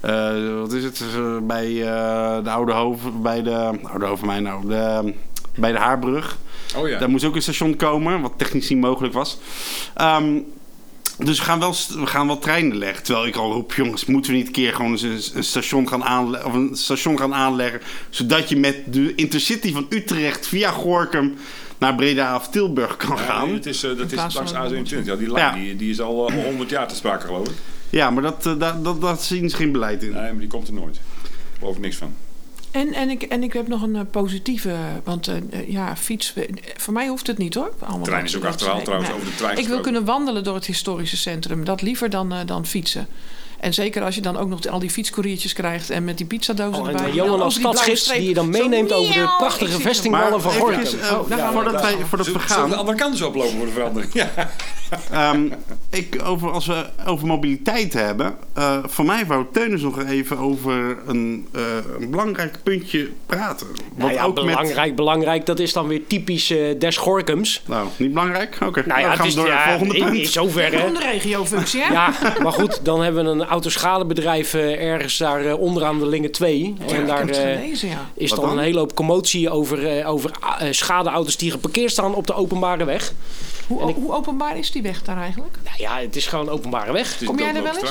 Speaker 2: eh, eh, wat is het? eh, bij eh, de Oude Hoven. Bij de. Oude Hoven, mij nou. De, bij de Haarbrug.
Speaker 1: oh ja.
Speaker 2: Daar moest ook een station komen, wat technisch niet mogelijk was. Ehm, dus we gaan, wel, st- we gaan wel treinen leggen. Terwijl ik al roep, jongens, moeten we niet een keer gewoon eens een, een station gaan aanle- of een station gaan aanleggen... zodat je met de Intercity van Utrecht via Gorkum naar Breda of Tilburg kan
Speaker 1: Ja, nee,
Speaker 2: gaan.
Speaker 1: het is, eh, dat is
Speaker 3: plaats
Speaker 1: langs
Speaker 3: van-
Speaker 1: A27. Ja, die lijn
Speaker 2: Ja.
Speaker 1: Die, die is al eh, 100 jaar te sprake, geloof ik.
Speaker 2: Ja, maar dat, eh, daar- dat, dat zien ze geen beleid
Speaker 3: Eh,
Speaker 2: in.
Speaker 1: Nee, maar die komt er nooit. Ik geloof er niks van.
Speaker 3: En, en, ik, en ik heb nog een eh, positieve, want eh, eh, ja, fiets, eh, voor mij hoeft het niet hoor. Allemaal
Speaker 1: Trein is
Speaker 3: dat-
Speaker 1: ook
Speaker 3: dat-
Speaker 1: achterhaald
Speaker 3: nee,
Speaker 1: trouwens,
Speaker 3: nee.
Speaker 1: over de trein
Speaker 3: Ik wil
Speaker 1: gesproken.
Speaker 3: kunnen wandelen door het historische centrum, dat liever dan, eh, dan fietsen. En zeker als je dan ook nog al die fietscouriertjes krijgt en met die pizzadozen
Speaker 4: Oh, en
Speaker 3: erbij.
Speaker 4: eh, Johan
Speaker 3: Ja,
Speaker 4: als
Speaker 3: over die blauwe
Speaker 4: stadsgids
Speaker 3: streep.
Speaker 4: die je dan
Speaker 3: Zo,
Speaker 4: meeneemt over de
Speaker 3: miauw, ik
Speaker 4: prachtige
Speaker 3: zit
Speaker 4: vestingwallen van Gorkum.
Speaker 2: eventjes, eh,
Speaker 3: Oh, daar gaan we.
Speaker 2: voordat, wij,
Speaker 4: Dus
Speaker 2: voordat we
Speaker 1: Zullen zullen we
Speaker 2: gaan...
Speaker 1: de andere kant eens oplopen voor de verandering? Ja.
Speaker 2: Ehm, ik, over, als we over mobiliteit hebben. eh, voor mij wou Teunis nog even over een, eh, een belangrijk puntje praten. Wat
Speaker 4: Nou ja,
Speaker 2: ook met.
Speaker 4: belangrijk, belangrijk. Dat is dan weer typisch eh des Gorkums.
Speaker 2: Nou, niet belangrijk? Oké.
Speaker 4: Nou ja,
Speaker 2: dan gaan
Speaker 4: het
Speaker 2: we
Speaker 4: is
Speaker 2: door naar
Speaker 4: ja,
Speaker 2: het volgende
Speaker 4: in,
Speaker 2: punt. Eh,
Speaker 4: in zoverre.
Speaker 3: Een regiofunctie, hè?
Speaker 4: Ja, maar goed, dan hebben we een autoschadebedrijf eh, ergens daar eh, onderaan de Lingen 2. en
Speaker 3: Ik
Speaker 4: daar
Speaker 3: heb het
Speaker 4: eh,
Speaker 3: gelezen, ja.
Speaker 4: is
Speaker 2: Wat
Speaker 4: dan
Speaker 2: dan?
Speaker 4: een hele hoop commotie over, eh, over ah, eh, schadeauto's die geparkeerd staan op de openbare weg.
Speaker 3: Hoe,
Speaker 4: ik-
Speaker 3: hoe openbaar is die weg daar eigenlijk?
Speaker 4: Nou ja, het is gewoon openbare weg.
Speaker 3: Kom jij er wel eens?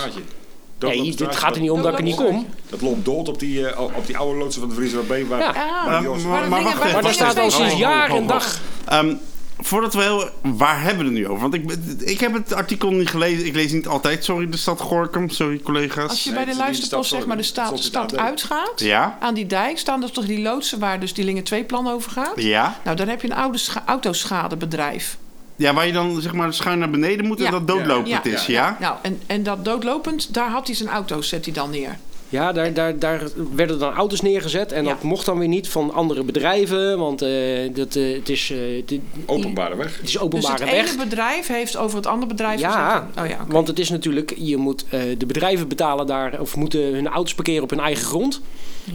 Speaker 4: Nee, dit gaat er niet om dat ik er niet
Speaker 3: Doodlopen
Speaker 4: kom.
Speaker 1: Dat loopt dood op die, eh, op die oude loodsen van de Vriezer B. Waar,
Speaker 4: Ja.
Speaker 3: Ja,
Speaker 2: Maar-
Speaker 1: Joost-
Speaker 2: maar- maar wacht even.
Speaker 4: Maar daar staat al sinds jaar en dag.
Speaker 2: Ehm, voordat we heel. Waar hebben we het nu over? Want ik, ik heb het artikel niet gelezen. Ik lees niet altijd. Sorry, de stad Gorkum. Sorry, collega's.
Speaker 3: Als je
Speaker 1: Nee,
Speaker 3: bij
Speaker 1: het is
Speaker 3: de
Speaker 1: niet de
Speaker 3: luisterpost
Speaker 1: stad,
Speaker 3: zeg maar de
Speaker 1: sorry.
Speaker 3: staat,
Speaker 1: Het stond in het
Speaker 3: stad
Speaker 1: AD.
Speaker 3: uitgaat,
Speaker 2: Ja.
Speaker 3: aan die dijk staan dus toch die loodsen waar dus die Lingen 2 plan over gaat.
Speaker 2: Ja.
Speaker 3: Nou, dan heb je een oude scha- autoschadebedrijf.
Speaker 2: ja, waar je dan zeg maar schuin naar beneden moet en
Speaker 3: Ja.
Speaker 2: dat doodlopend
Speaker 3: Ja.
Speaker 2: is, ja?
Speaker 3: Nou, en, en dat doodlopend, daar had hij zijn auto's, zet hij dan neer.
Speaker 4: Ja, daar, daar, daar werden dan auto's neergezet. En dat
Speaker 3: Ja.
Speaker 4: mocht dan weer niet van andere bedrijven. Want eh, dat, eh, het, is, eh, dit-
Speaker 1: Openbare weg.
Speaker 4: het is
Speaker 3: Dus
Speaker 4: openbare
Speaker 3: het
Speaker 4: weg.
Speaker 3: ene bedrijf heeft over het andere bedrijf
Speaker 4: Ja,
Speaker 3: gezegd... Oh ja, oké.
Speaker 4: want het is natuurlijk, je moet eh, de bedrijven betalen daar, of moeten hun auto's parkeren op hun eigen grond.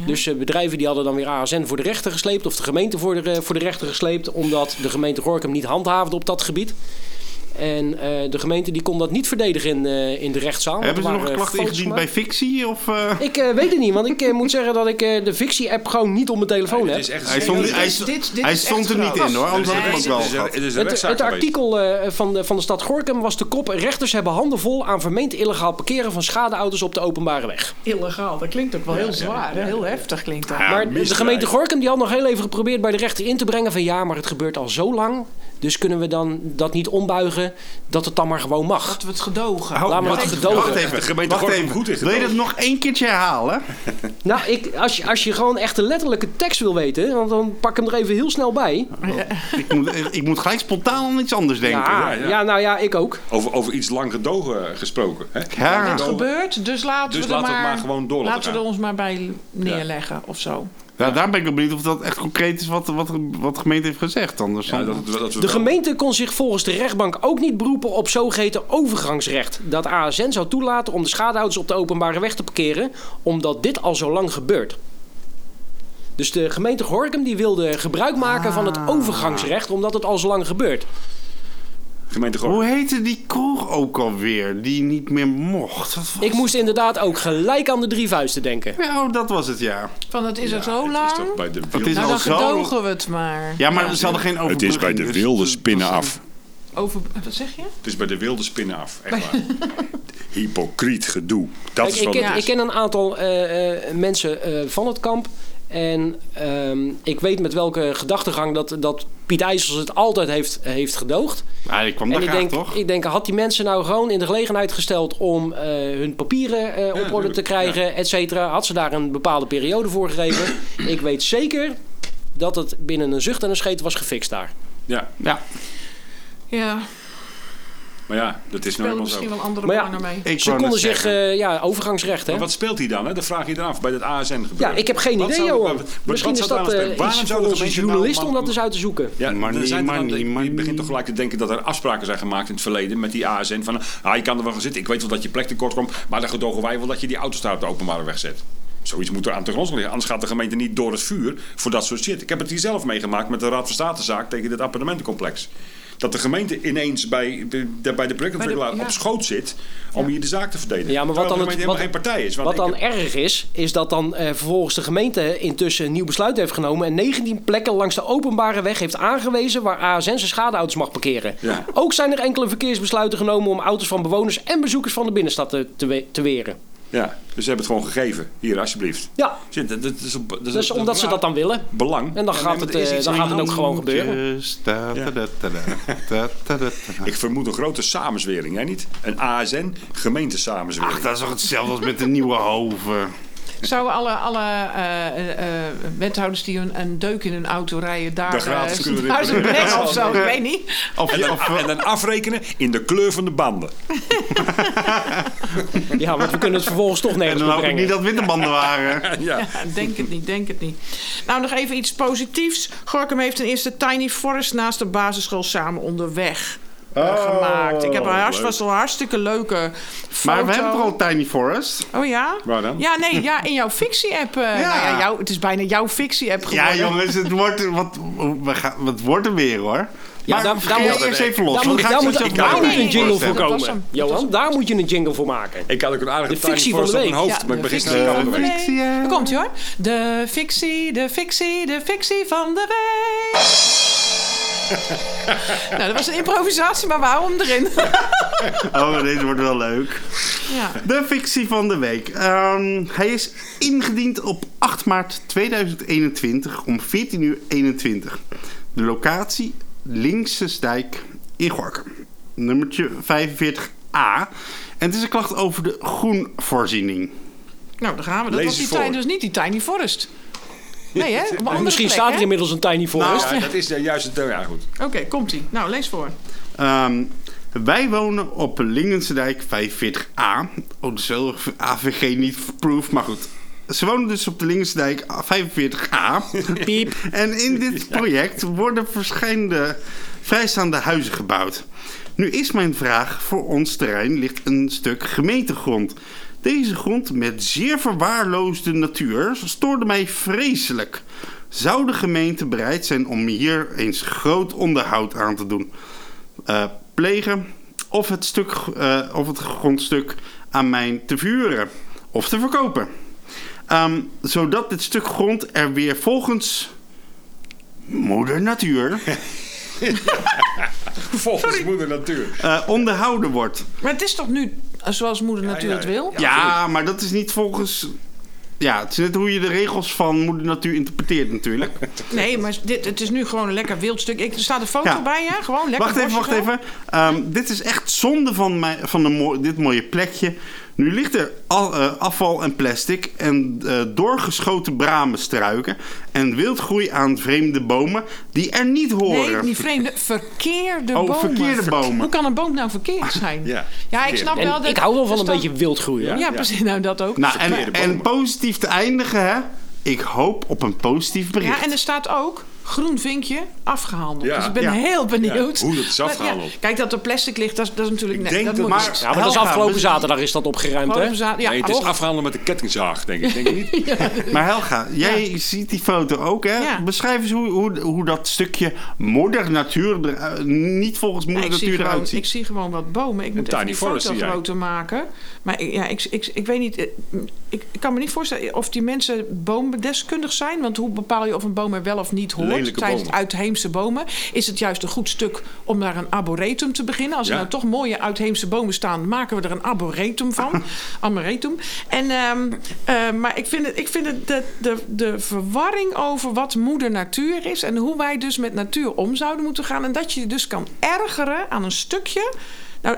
Speaker 4: Dus eh, bedrijven die hadden dan weer ASN voor de rechter gesleept, of de gemeente voor de, eh, voor de rechter gesleept, omdat de gemeente Gorkum niet handhaafde op dat gebied. En eh, de gemeente die kon dat niet verdedigen in, eh, in de rechtszaal. want
Speaker 2: Hebben ze
Speaker 4: er
Speaker 2: nog
Speaker 1: eh,
Speaker 4: waren
Speaker 2: klachten
Speaker 4: foto's
Speaker 2: ingediend bij
Speaker 4: gemaakt.
Speaker 2: fictie? Of, eh?
Speaker 4: Ik eh, weet het niet, want ik eh, moet zeggen dat ik eh, de fictie-app gewoon niet op mijn telefoon
Speaker 1: Het
Speaker 4: heb.
Speaker 1: is echt
Speaker 2: Hij stond,
Speaker 1: serieus.
Speaker 2: hij,
Speaker 3: dit- dit is
Speaker 2: hij
Speaker 3: echt
Speaker 2: stond er niet
Speaker 3: groot.
Speaker 2: in hoor, anders had ik
Speaker 3: Nee,
Speaker 2: hem ook
Speaker 3: dit
Speaker 2: wel
Speaker 1: Het is een-
Speaker 2: gehad.
Speaker 1: Het is een
Speaker 4: Het,
Speaker 1: rechtszaak
Speaker 4: het
Speaker 1: geweest.
Speaker 4: artikel eh, van, de, van de stad Gorkum was de kop... rechters hebben handen vol aan vermeend illegaal parkeren van schadeauto's op de openbare weg.
Speaker 3: Illegaal, dat klinkt ook wel heel zwaar. hè? Heel heftig klinkt dat.
Speaker 4: maar de
Speaker 1: misdrijf.
Speaker 4: gemeente Gorkum die had nog heel even geprobeerd bij de rechter in te brengen van ja, maar het gebeurt al zo lang. Dus kunnen we dan dat niet ombuigen gemeente dat het dan maar gewoon mag.
Speaker 3: Dat we het gedogen.
Speaker 2: Hou-
Speaker 4: Laat maar
Speaker 2: Oh, wacht
Speaker 4: het
Speaker 2: even,
Speaker 4: gedogen.
Speaker 2: Wacht
Speaker 1: De
Speaker 2: even,
Speaker 1: gemeente
Speaker 2: wacht
Speaker 1: Gorkum
Speaker 2: even.
Speaker 1: goed is het
Speaker 2: Wil je dat
Speaker 1: wel.
Speaker 2: nog één keertje herhalen?
Speaker 4: Nou, ik, als, je, als je gewoon echt de letterlijke tekst wil weten, want dan pak ik hem er even heel snel bij.
Speaker 2: ik, moet, ik moet gelijk spontaan aan iets anders denken.
Speaker 4: ja,
Speaker 1: ja, ja.
Speaker 4: ja, nou ja, ik ook.
Speaker 1: Over, over iets lang gedogen gesproken. Hè?
Speaker 2: Ja.
Speaker 1: Lang
Speaker 2: Het
Speaker 3: Het
Speaker 1: gedogen.
Speaker 3: gebeurt, dus laten
Speaker 1: Dus
Speaker 3: we er
Speaker 1: laten we het
Speaker 3: maar,
Speaker 1: maar gewoon door laten
Speaker 3: Laten we er
Speaker 1: gaan.
Speaker 3: ons maar bij neerleggen of zo.
Speaker 2: Nou, daar ben ik wel benieuwd of dat echt concreet is wat, wat, wat de gemeente heeft gezegd. Anders
Speaker 1: Ja,
Speaker 2: dan-
Speaker 1: Nou, dat, dat we
Speaker 4: De
Speaker 1: wel-
Speaker 4: gemeente kon zich volgens de rechtbank ook niet beroepen op zogeheten overgangsrecht. Dat ASN zou toelaten om de schadehouders op de openbare weg te parkeren, omdat dit al zo lang gebeurt. Dus de gemeente Gorkum die wilde gebruik maken van het overgangsrecht, omdat het al zo lang gebeurt.
Speaker 1: gemeente Gorkum.
Speaker 2: Hoe heette die kroeg ook alweer? Die niet meer mocht. Wat was-
Speaker 4: Ik moest inderdaad ook gelijk aan de drie vuisten denken.
Speaker 2: Ja, oh, dat was het, ja.
Speaker 3: Van het is
Speaker 1: Ja,
Speaker 3: er zo
Speaker 1: Het is
Speaker 3: lang.
Speaker 1: toch bij de
Speaker 2: is
Speaker 1: wilde,
Speaker 3: nou, dan
Speaker 2: al zo-
Speaker 3: gedogen we het maar.
Speaker 2: Ja, maar ze hadden geen
Speaker 1: het
Speaker 2: overbrugging.
Speaker 1: is bij de
Speaker 2: dus
Speaker 1: wilde
Speaker 2: dat-
Speaker 1: spinnen
Speaker 2: dat was-
Speaker 1: af.
Speaker 3: Over, wat zeg je?
Speaker 1: Het is bij de wilde spinnen af. Echt waar. Hypocriet gedoe. Dat
Speaker 4: Kijk,
Speaker 1: is
Speaker 4: ik,
Speaker 1: wat
Speaker 4: ken,
Speaker 1: het
Speaker 4: ik
Speaker 1: is.
Speaker 4: ken een aantal eh, eh, mensen eh, van het kamp. En ehm, ik weet met welke gedachtegang dat, dat Piet IJssels het altijd heeft, heeft gedoogd.
Speaker 2: Ja, ik kwam
Speaker 4: en
Speaker 2: daar
Speaker 4: ik
Speaker 2: graag,
Speaker 4: denk,
Speaker 2: toch?
Speaker 4: ik denk, had die mensen nou gewoon in de gelegenheid gesteld om eh, hun papieren eh, op orde te
Speaker 1: natuurlijk,
Speaker 4: krijgen, et cetera. Had ze daar een bepaalde periode voor gegeven. ik weet zeker dat het binnen een zucht en een scheet was gefixt daar.
Speaker 1: Ja,
Speaker 2: Ja,
Speaker 3: Ja,
Speaker 1: maar ja, dat is nou
Speaker 3: speelden
Speaker 1: helemaal
Speaker 3: misschien
Speaker 1: zo.
Speaker 3: wel andere
Speaker 4: Maar ja,
Speaker 3: belangen mee.
Speaker 2: ik
Speaker 4: ze
Speaker 2: wou
Speaker 4: konden
Speaker 2: net
Speaker 4: zich,
Speaker 2: zeggen.
Speaker 4: eh, ja, overgangsrecht hè.
Speaker 1: Maar wat speelt hij dan? Hè? Dat vraag je eraf bij het ASN gebeuren.
Speaker 4: Ja, ik heb geen
Speaker 1: Wat
Speaker 4: idee,
Speaker 1: zou-
Speaker 4: Johan.
Speaker 1: wat- wat
Speaker 4: Misschien is
Speaker 1: zou daar
Speaker 4: dat
Speaker 1: nou
Speaker 4: eh,
Speaker 1: spelen? Waarom
Speaker 4: iets
Speaker 1: zou
Speaker 4: voor
Speaker 1: de
Speaker 4: onze
Speaker 1: gemeente nou-
Speaker 4: journalist om
Speaker 1: man-
Speaker 4: dat eens uit te zoeken.
Speaker 1: Ja,
Speaker 2: Maar
Speaker 1: er
Speaker 2: nee,
Speaker 1: zijn er
Speaker 2: maar
Speaker 1: dan-
Speaker 2: nee,
Speaker 1: ik-
Speaker 2: maar
Speaker 1: je begint toch
Speaker 2: nee.
Speaker 1: gelijk te denken dat er afspraken zijn gemaakt in het verleden met die ASN. Van, ah, je kan er wel gaan zitten. Ik weet wel dat je plek tekort komt. Maar dan gedogen wij wel dat je die auto's daar op de openbare weg zet. Zoiets moet er aan te grond liggen. Anders gaat de gemeente niet door het vuur voor dat soort shit. Ik heb het hier zelf meegemaakt met de Raad van Statenzaak tegen dit appartementencomplex. Dat de gemeente ineens bij de, de- bij de projectontwikkelaar
Speaker 3: Bij de-
Speaker 1: op
Speaker 3: ja.
Speaker 1: schoot zit om hier de zaak te verdedigen.
Speaker 4: Ja, maar wat
Speaker 1: Terwijl
Speaker 4: dan
Speaker 1: de
Speaker 4: het-
Speaker 1: gemeente
Speaker 4: wat-
Speaker 1: helemaal geen partij is. Want
Speaker 4: Wat
Speaker 1: ik
Speaker 4: dan
Speaker 1: heb-
Speaker 4: erg is, is dat dan eh, vervolgens de gemeente intussen een nieuw besluit heeft genomen en 19 plekken langs de openbare weg heeft aangewezen waar ASN zijn schadeauto's mag parkeren.
Speaker 1: Ja.
Speaker 4: Ook zijn er enkele verkeersbesluiten genomen om auto's van bewoners en bezoekers van de binnenstad te, te, we- te weren.
Speaker 1: ja, dus ze hebben het gewoon gegeven. Hier, alsjeblieft.
Speaker 4: Ja,
Speaker 1: Shit, dat, dat is, op- dat is
Speaker 4: dus
Speaker 1: op-
Speaker 4: omdat ze dat dan willen.
Speaker 1: belang.
Speaker 4: En dan
Speaker 1: Ja,
Speaker 4: gaat
Speaker 1: nee,
Speaker 4: het,
Speaker 1: maar er is
Speaker 4: eh,
Speaker 1: iets
Speaker 4: dan
Speaker 1: aan
Speaker 4: gaat
Speaker 1: de
Speaker 4: het ook
Speaker 1: hand.
Speaker 4: gewoon gebeuren.
Speaker 2: Just da-
Speaker 1: Ja.
Speaker 2: da- da- da- da- da- da- da.
Speaker 1: Ik vermoed een grote samenzwering, hè niet? Een ASN gemeentesamenzwering.
Speaker 2: Ach, dat is toch hetzelfde als met de Nieuwe Hoven.
Speaker 3: Zouden alle, alle eh, eh, eh, wethouders die een, een deuk in hun auto rijden daar...
Speaker 1: Daar gratis
Speaker 3: eh,
Speaker 1: kunnen we dit
Speaker 3: daar zijn
Speaker 1: proberen.
Speaker 3: bek of zo, ik weet niet.
Speaker 2: Of,
Speaker 1: en,
Speaker 2: je-
Speaker 1: dan,
Speaker 2: of,
Speaker 1: en dan afrekenen in de kleur van de banden.
Speaker 4: Ja, want we kunnen het vervolgens toch
Speaker 2: en
Speaker 4: nergens
Speaker 2: dan
Speaker 4: meer
Speaker 2: hoop ik
Speaker 4: brengen.
Speaker 2: niet dat winterbanden waren.
Speaker 1: Ja.
Speaker 3: Denk het niet, denk het niet. Nou, nog even iets positiefs. Gorkum heeft een eerste Tiny Forest naast de basisschool samen onderweg. eh,
Speaker 2: Oh,
Speaker 3: gemaakt. Ik heb een hartst, was wel een hartstikke leuke foto.
Speaker 2: Maar we hebben toch al Tiny Forest?
Speaker 3: Oh ja?
Speaker 1: Waar dan?
Speaker 3: Ja, nee, ja, in jouw fictie-app. eh,
Speaker 2: Ja.
Speaker 3: Nou ja, jou, het is bijna jouw fictie-app geworden.
Speaker 2: Ja, jongens, het wordt, wat, we gaan, het wordt er weer hoor.
Speaker 4: Ja,
Speaker 2: maar
Speaker 4: daar-
Speaker 2: daar,
Speaker 4: daar moet-
Speaker 2: eerst even los.
Speaker 4: Daar
Speaker 2: want
Speaker 4: moet,
Speaker 2: ik ga
Speaker 4: daar
Speaker 2: zo
Speaker 4: moet,
Speaker 2: zelf
Speaker 4: daar
Speaker 2: wel
Speaker 4: moet
Speaker 3: nee,
Speaker 4: een
Speaker 2: even
Speaker 4: jingle
Speaker 2: voorstellen.
Speaker 4: voor
Speaker 3: Dat was
Speaker 4: komen.
Speaker 3: hem.
Speaker 4: Johan, daar moet je een jingle voor maken.
Speaker 1: Ik had ook een aardige
Speaker 4: De fictie van de
Speaker 1: op mijn
Speaker 4: week.
Speaker 1: hoofd,
Speaker 3: Ja,
Speaker 1: maar ik
Speaker 3: de
Speaker 1: begin
Speaker 3: fictie
Speaker 1: snel aan
Speaker 3: van
Speaker 1: de
Speaker 3: de
Speaker 1: week.
Speaker 3: week. Daar komt ie hoor. De fictie, de fictie, de fictie van de week. nou, dat was een improvisatie, maar waarom erin?
Speaker 2: Oh, deze wordt wel leuk.
Speaker 3: ja.
Speaker 2: De fictie van de week. Ehm, hij is ingediend op 8 maart 2021 om 14.21 uur. De locatie Linksesdijk in Gorkum. Nummertje 45a. En het is een klacht over de groenvoorziening.
Speaker 3: Nou, daar gaan we. Dat
Speaker 1: Lees
Speaker 3: was die
Speaker 1: eens voor.
Speaker 3: tiny, dus niet die Tiny Forest. Nee, hè? Op een andere
Speaker 4: Misschien
Speaker 3: plek,
Speaker 4: staat er
Speaker 3: hè?
Speaker 4: inmiddels een tiny forest.
Speaker 1: Ja, dat is eh, juist het... Ja, goed.
Speaker 3: Oké, komt-ie. Nou, lees voor.
Speaker 2: Ehm, wij wonen op Lingensdijk 45A. Oh, dat is wel AVG niet proof, maar goed. Ze wonen dus op de Lingensdijk 45A.
Speaker 4: Piep.
Speaker 2: En in dit project worden verschillende vrijstaande huizen gebouwd. Nu is mijn vraag, voor ons terrein ligt een stuk gemeentegrond. Deze grond met zeer verwaarloosde natuur stoorde mij vreselijk. Zou de gemeente bereid zijn om hier eens groot onderhoud aan te doen? eh, plegen of het, stuk, eh, of het grondstuk aan mij te vuren of te verkopen. Ehm, zodat dit stuk grond er weer volgens moeder natuur
Speaker 1: Volgens moeder natuur.
Speaker 2: eh, onderhouden wordt.
Speaker 3: Maar het is toch nu eh, zoals moeder natuur
Speaker 1: ja,
Speaker 3: het wil?
Speaker 2: Ja, maar dat is niet volgens Ja, het is net hoe je de regels van moeder natuur interpreteert natuurlijk.
Speaker 3: Nee, maar dit, het is nu gewoon een lekker wild stuk. Ik, er staat een foto
Speaker 2: Ja.
Speaker 3: bij, ja? Gewoon lekker
Speaker 2: wacht even, wacht
Speaker 3: borstig.
Speaker 2: even. Ehm, dit is echt zonde van, mij, van de mo- dit mooie plekje. Nu ligt er al- eh, afval en plastic en eh, doorgeschoten bramenstruiken en wildgroei aan vreemde bomen die er niet horen.
Speaker 3: Nee, niet vreemde. Verkeerde
Speaker 2: Oh,
Speaker 3: bomen.
Speaker 2: verkeerde bomen.
Speaker 3: Hoe kan een boom nou verkeerd zijn?
Speaker 1: Ja,
Speaker 3: ik
Speaker 1: verkeerde.
Speaker 3: snap
Speaker 4: En
Speaker 3: wel dat...
Speaker 4: ik hou wel van
Speaker 3: er
Speaker 4: een
Speaker 3: staan-
Speaker 4: beetje wild groeien. hoor.
Speaker 3: Ja,
Speaker 1: Ja.
Speaker 3: precies. Nou, dat ook.
Speaker 2: Nou, en,
Speaker 1: Verkeerde
Speaker 2: en
Speaker 1: bomen.
Speaker 2: positief te eindigen, hè? Ik hoop op een positief bericht.
Speaker 3: Ja, en er staat ook groen vinkje afgehandeld.
Speaker 1: Ja.
Speaker 3: Dus ik ben
Speaker 2: Ja.
Speaker 3: heel benieuwd.
Speaker 1: Ja, hoe dat is
Speaker 3: Maar
Speaker 1: afgehandeld.
Speaker 3: kijk, dat er plastic ligt, dat, is- dat is natuurlijk...
Speaker 1: denk dat-
Speaker 3: moet
Speaker 2: maar-
Speaker 4: Ja, maar dat is
Speaker 2: Helga,
Speaker 4: afgelopen
Speaker 2: we-
Speaker 4: zaterdag is dat opgeruimd, hè?
Speaker 3: Gewoon verza- Ja,
Speaker 1: nee, het is
Speaker 3: toch?
Speaker 1: afgehandeld met de kettingzaag, denk ik. Denk je niet?
Speaker 2: Maar Helga, jij ziet die foto ook, hè?
Speaker 3: Ja.
Speaker 2: Beschrijf eens hoe, hoe, hoe dat stukje moeder natuur, er, eh, niet volgens
Speaker 3: Ja,
Speaker 2: moeder
Speaker 3: Nou, ik, zie
Speaker 2: natuur
Speaker 3: gewoon,
Speaker 2: eruit
Speaker 3: ik
Speaker 2: ziet.
Speaker 3: zie gewoon wat bomen. Ik moet even
Speaker 1: tiny
Speaker 3: die
Speaker 1: forest
Speaker 3: foto
Speaker 1: zie jij.
Speaker 3: groter maken. Maar ik, ja, ik, ik, ik weet niet... eh, Ik, ik kan me niet voorstellen of die mensen boomdeskundig zijn. Want hoe bepaal je of een boom er wel of niet hoort?
Speaker 1: Lelijke
Speaker 3: tijdens
Speaker 1: bomen.
Speaker 3: uitheemse bomen. Is het juist een goed stuk om naar een arboretum te beginnen? Als
Speaker 1: Ja.
Speaker 3: er nou toch mooie uitheemse bomen staan... maken we er een arboretum van. Arboretum. En, ehm, eh, maar ik vind het, ik vind het de, de, de verwarring over wat moeder natuur is... en hoe wij dus met natuur om zouden moeten gaan... en dat je je dus kan ergeren aan een stukje... Nou,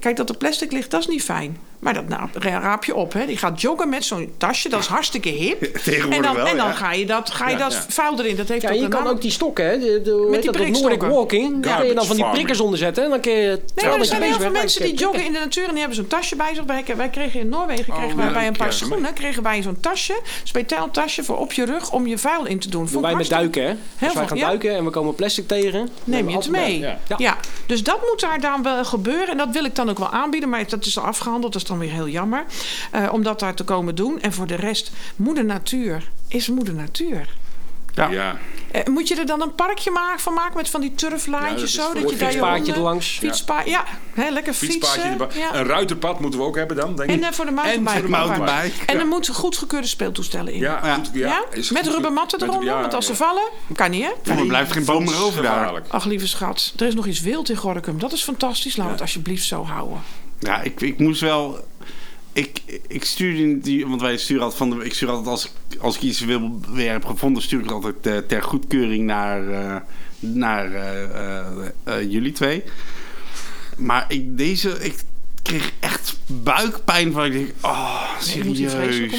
Speaker 3: kijk, dat er plastic ligt, dat is niet fijn. Maar dat nou, ra- raap je op. Hè. Die gaat joggen met zo'n tasje, dat is hartstikke hip.
Speaker 2: Tegenwoordig
Speaker 3: en dan,
Speaker 2: wel,
Speaker 3: en dan
Speaker 2: ja.
Speaker 3: ga je dat, ga je
Speaker 1: Ja,
Speaker 3: dat
Speaker 1: ja.
Speaker 3: vuil erin. Dat heeft
Speaker 4: Ja,
Speaker 3: ook
Speaker 4: je
Speaker 3: een
Speaker 4: kan
Speaker 3: naam.
Speaker 4: ook die stokken, hè? De, de, hoe
Speaker 3: Met
Speaker 4: heet
Speaker 3: die
Speaker 4: dat, dat Nordic
Speaker 3: prikstokken.
Speaker 4: Walking. Daar kun je dan van die
Speaker 1: Garbage
Speaker 4: prikkers onder zetten. En dan kun je...
Speaker 3: Nee, maar er zijn heel veel mensen die joggen in de natuur en die hebben zo'n tasje bij zich. Wij, wij kregen in Noorwegen kregen wij bij een paar
Speaker 1: krijgen we
Speaker 3: schoenen kregen wij zo'n tasje, speciaal tasje voor op je rug om je vuil in te doen. Vond ik
Speaker 4: Wij met
Speaker 3: hartstikke-
Speaker 4: duiken, hè?
Speaker 3: veel,
Speaker 4: Als wij gaan
Speaker 3: ja.
Speaker 4: duiken en we komen plastic tegen...
Speaker 3: Neem je het mee. Ja.
Speaker 4: eh,
Speaker 1: Ja.
Speaker 3: Dus dat moet daar dan wel gebeuren. En dat wil ik dan ook wel aanbieden. Maar dat is al afgehandeld. Dat is dan weer heel jammer. eh, om dat daar te komen doen. En voor de rest, moeder natuur is moeder natuur.
Speaker 2: Ja.
Speaker 1: Ja.
Speaker 3: Eh, moet je er dan een parkje ma- van maken met van die
Speaker 1: Ja, dat
Speaker 3: turflaantjes
Speaker 1: is
Speaker 3: zo?
Speaker 1: voor-
Speaker 3: Dat je daar je
Speaker 4: Fietspaadje
Speaker 3: honden-
Speaker 4: erlangs.
Speaker 3: Fietspa ja, hè, lekker
Speaker 1: Fietspaadje
Speaker 3: fietsen.
Speaker 1: erbij.
Speaker 3: Ja.
Speaker 1: Een ruiterpad moeten we ook hebben dan, denk ik.
Speaker 3: En eh, voor de mountainbike.
Speaker 1: de
Speaker 3: nog maar.
Speaker 2: mountainbike,
Speaker 3: En
Speaker 1: ja.
Speaker 3: er moeten goedgekeurde speeltoestellen in.
Speaker 1: Ja,
Speaker 2: Ja.
Speaker 1: goed, ja,
Speaker 3: Ja?
Speaker 1: is
Speaker 3: Met
Speaker 1: goed.
Speaker 3: rubbermatten
Speaker 1: Met-
Speaker 3: eronder,
Speaker 1: ja,
Speaker 3: want als ze
Speaker 1: ja.
Speaker 3: vallen, kan niet hè?
Speaker 2: Voor me blijft geen boom meer over daar.
Speaker 1: Gevaarlijk.
Speaker 3: Ach lieve schat, er is nog iets wild in Gorkum. Dat is fantastisch. Laat het alsjeblieft zo houden.
Speaker 2: Ja, ik, ik moest wel... Ik, ik stuurde in die... Want wij sturen altijd van de... Ik stuur altijd als ik, als ik iets wil, weer heb gevonden... stuur ik altijd eh, ter goedkeuring naar, eh, naar eh, eh, eh, jullie twee. Maar ik, deze... Ik kreeg echt buikpijn van... Ik denk, oh,
Speaker 3: Ik moet hier vreselijk om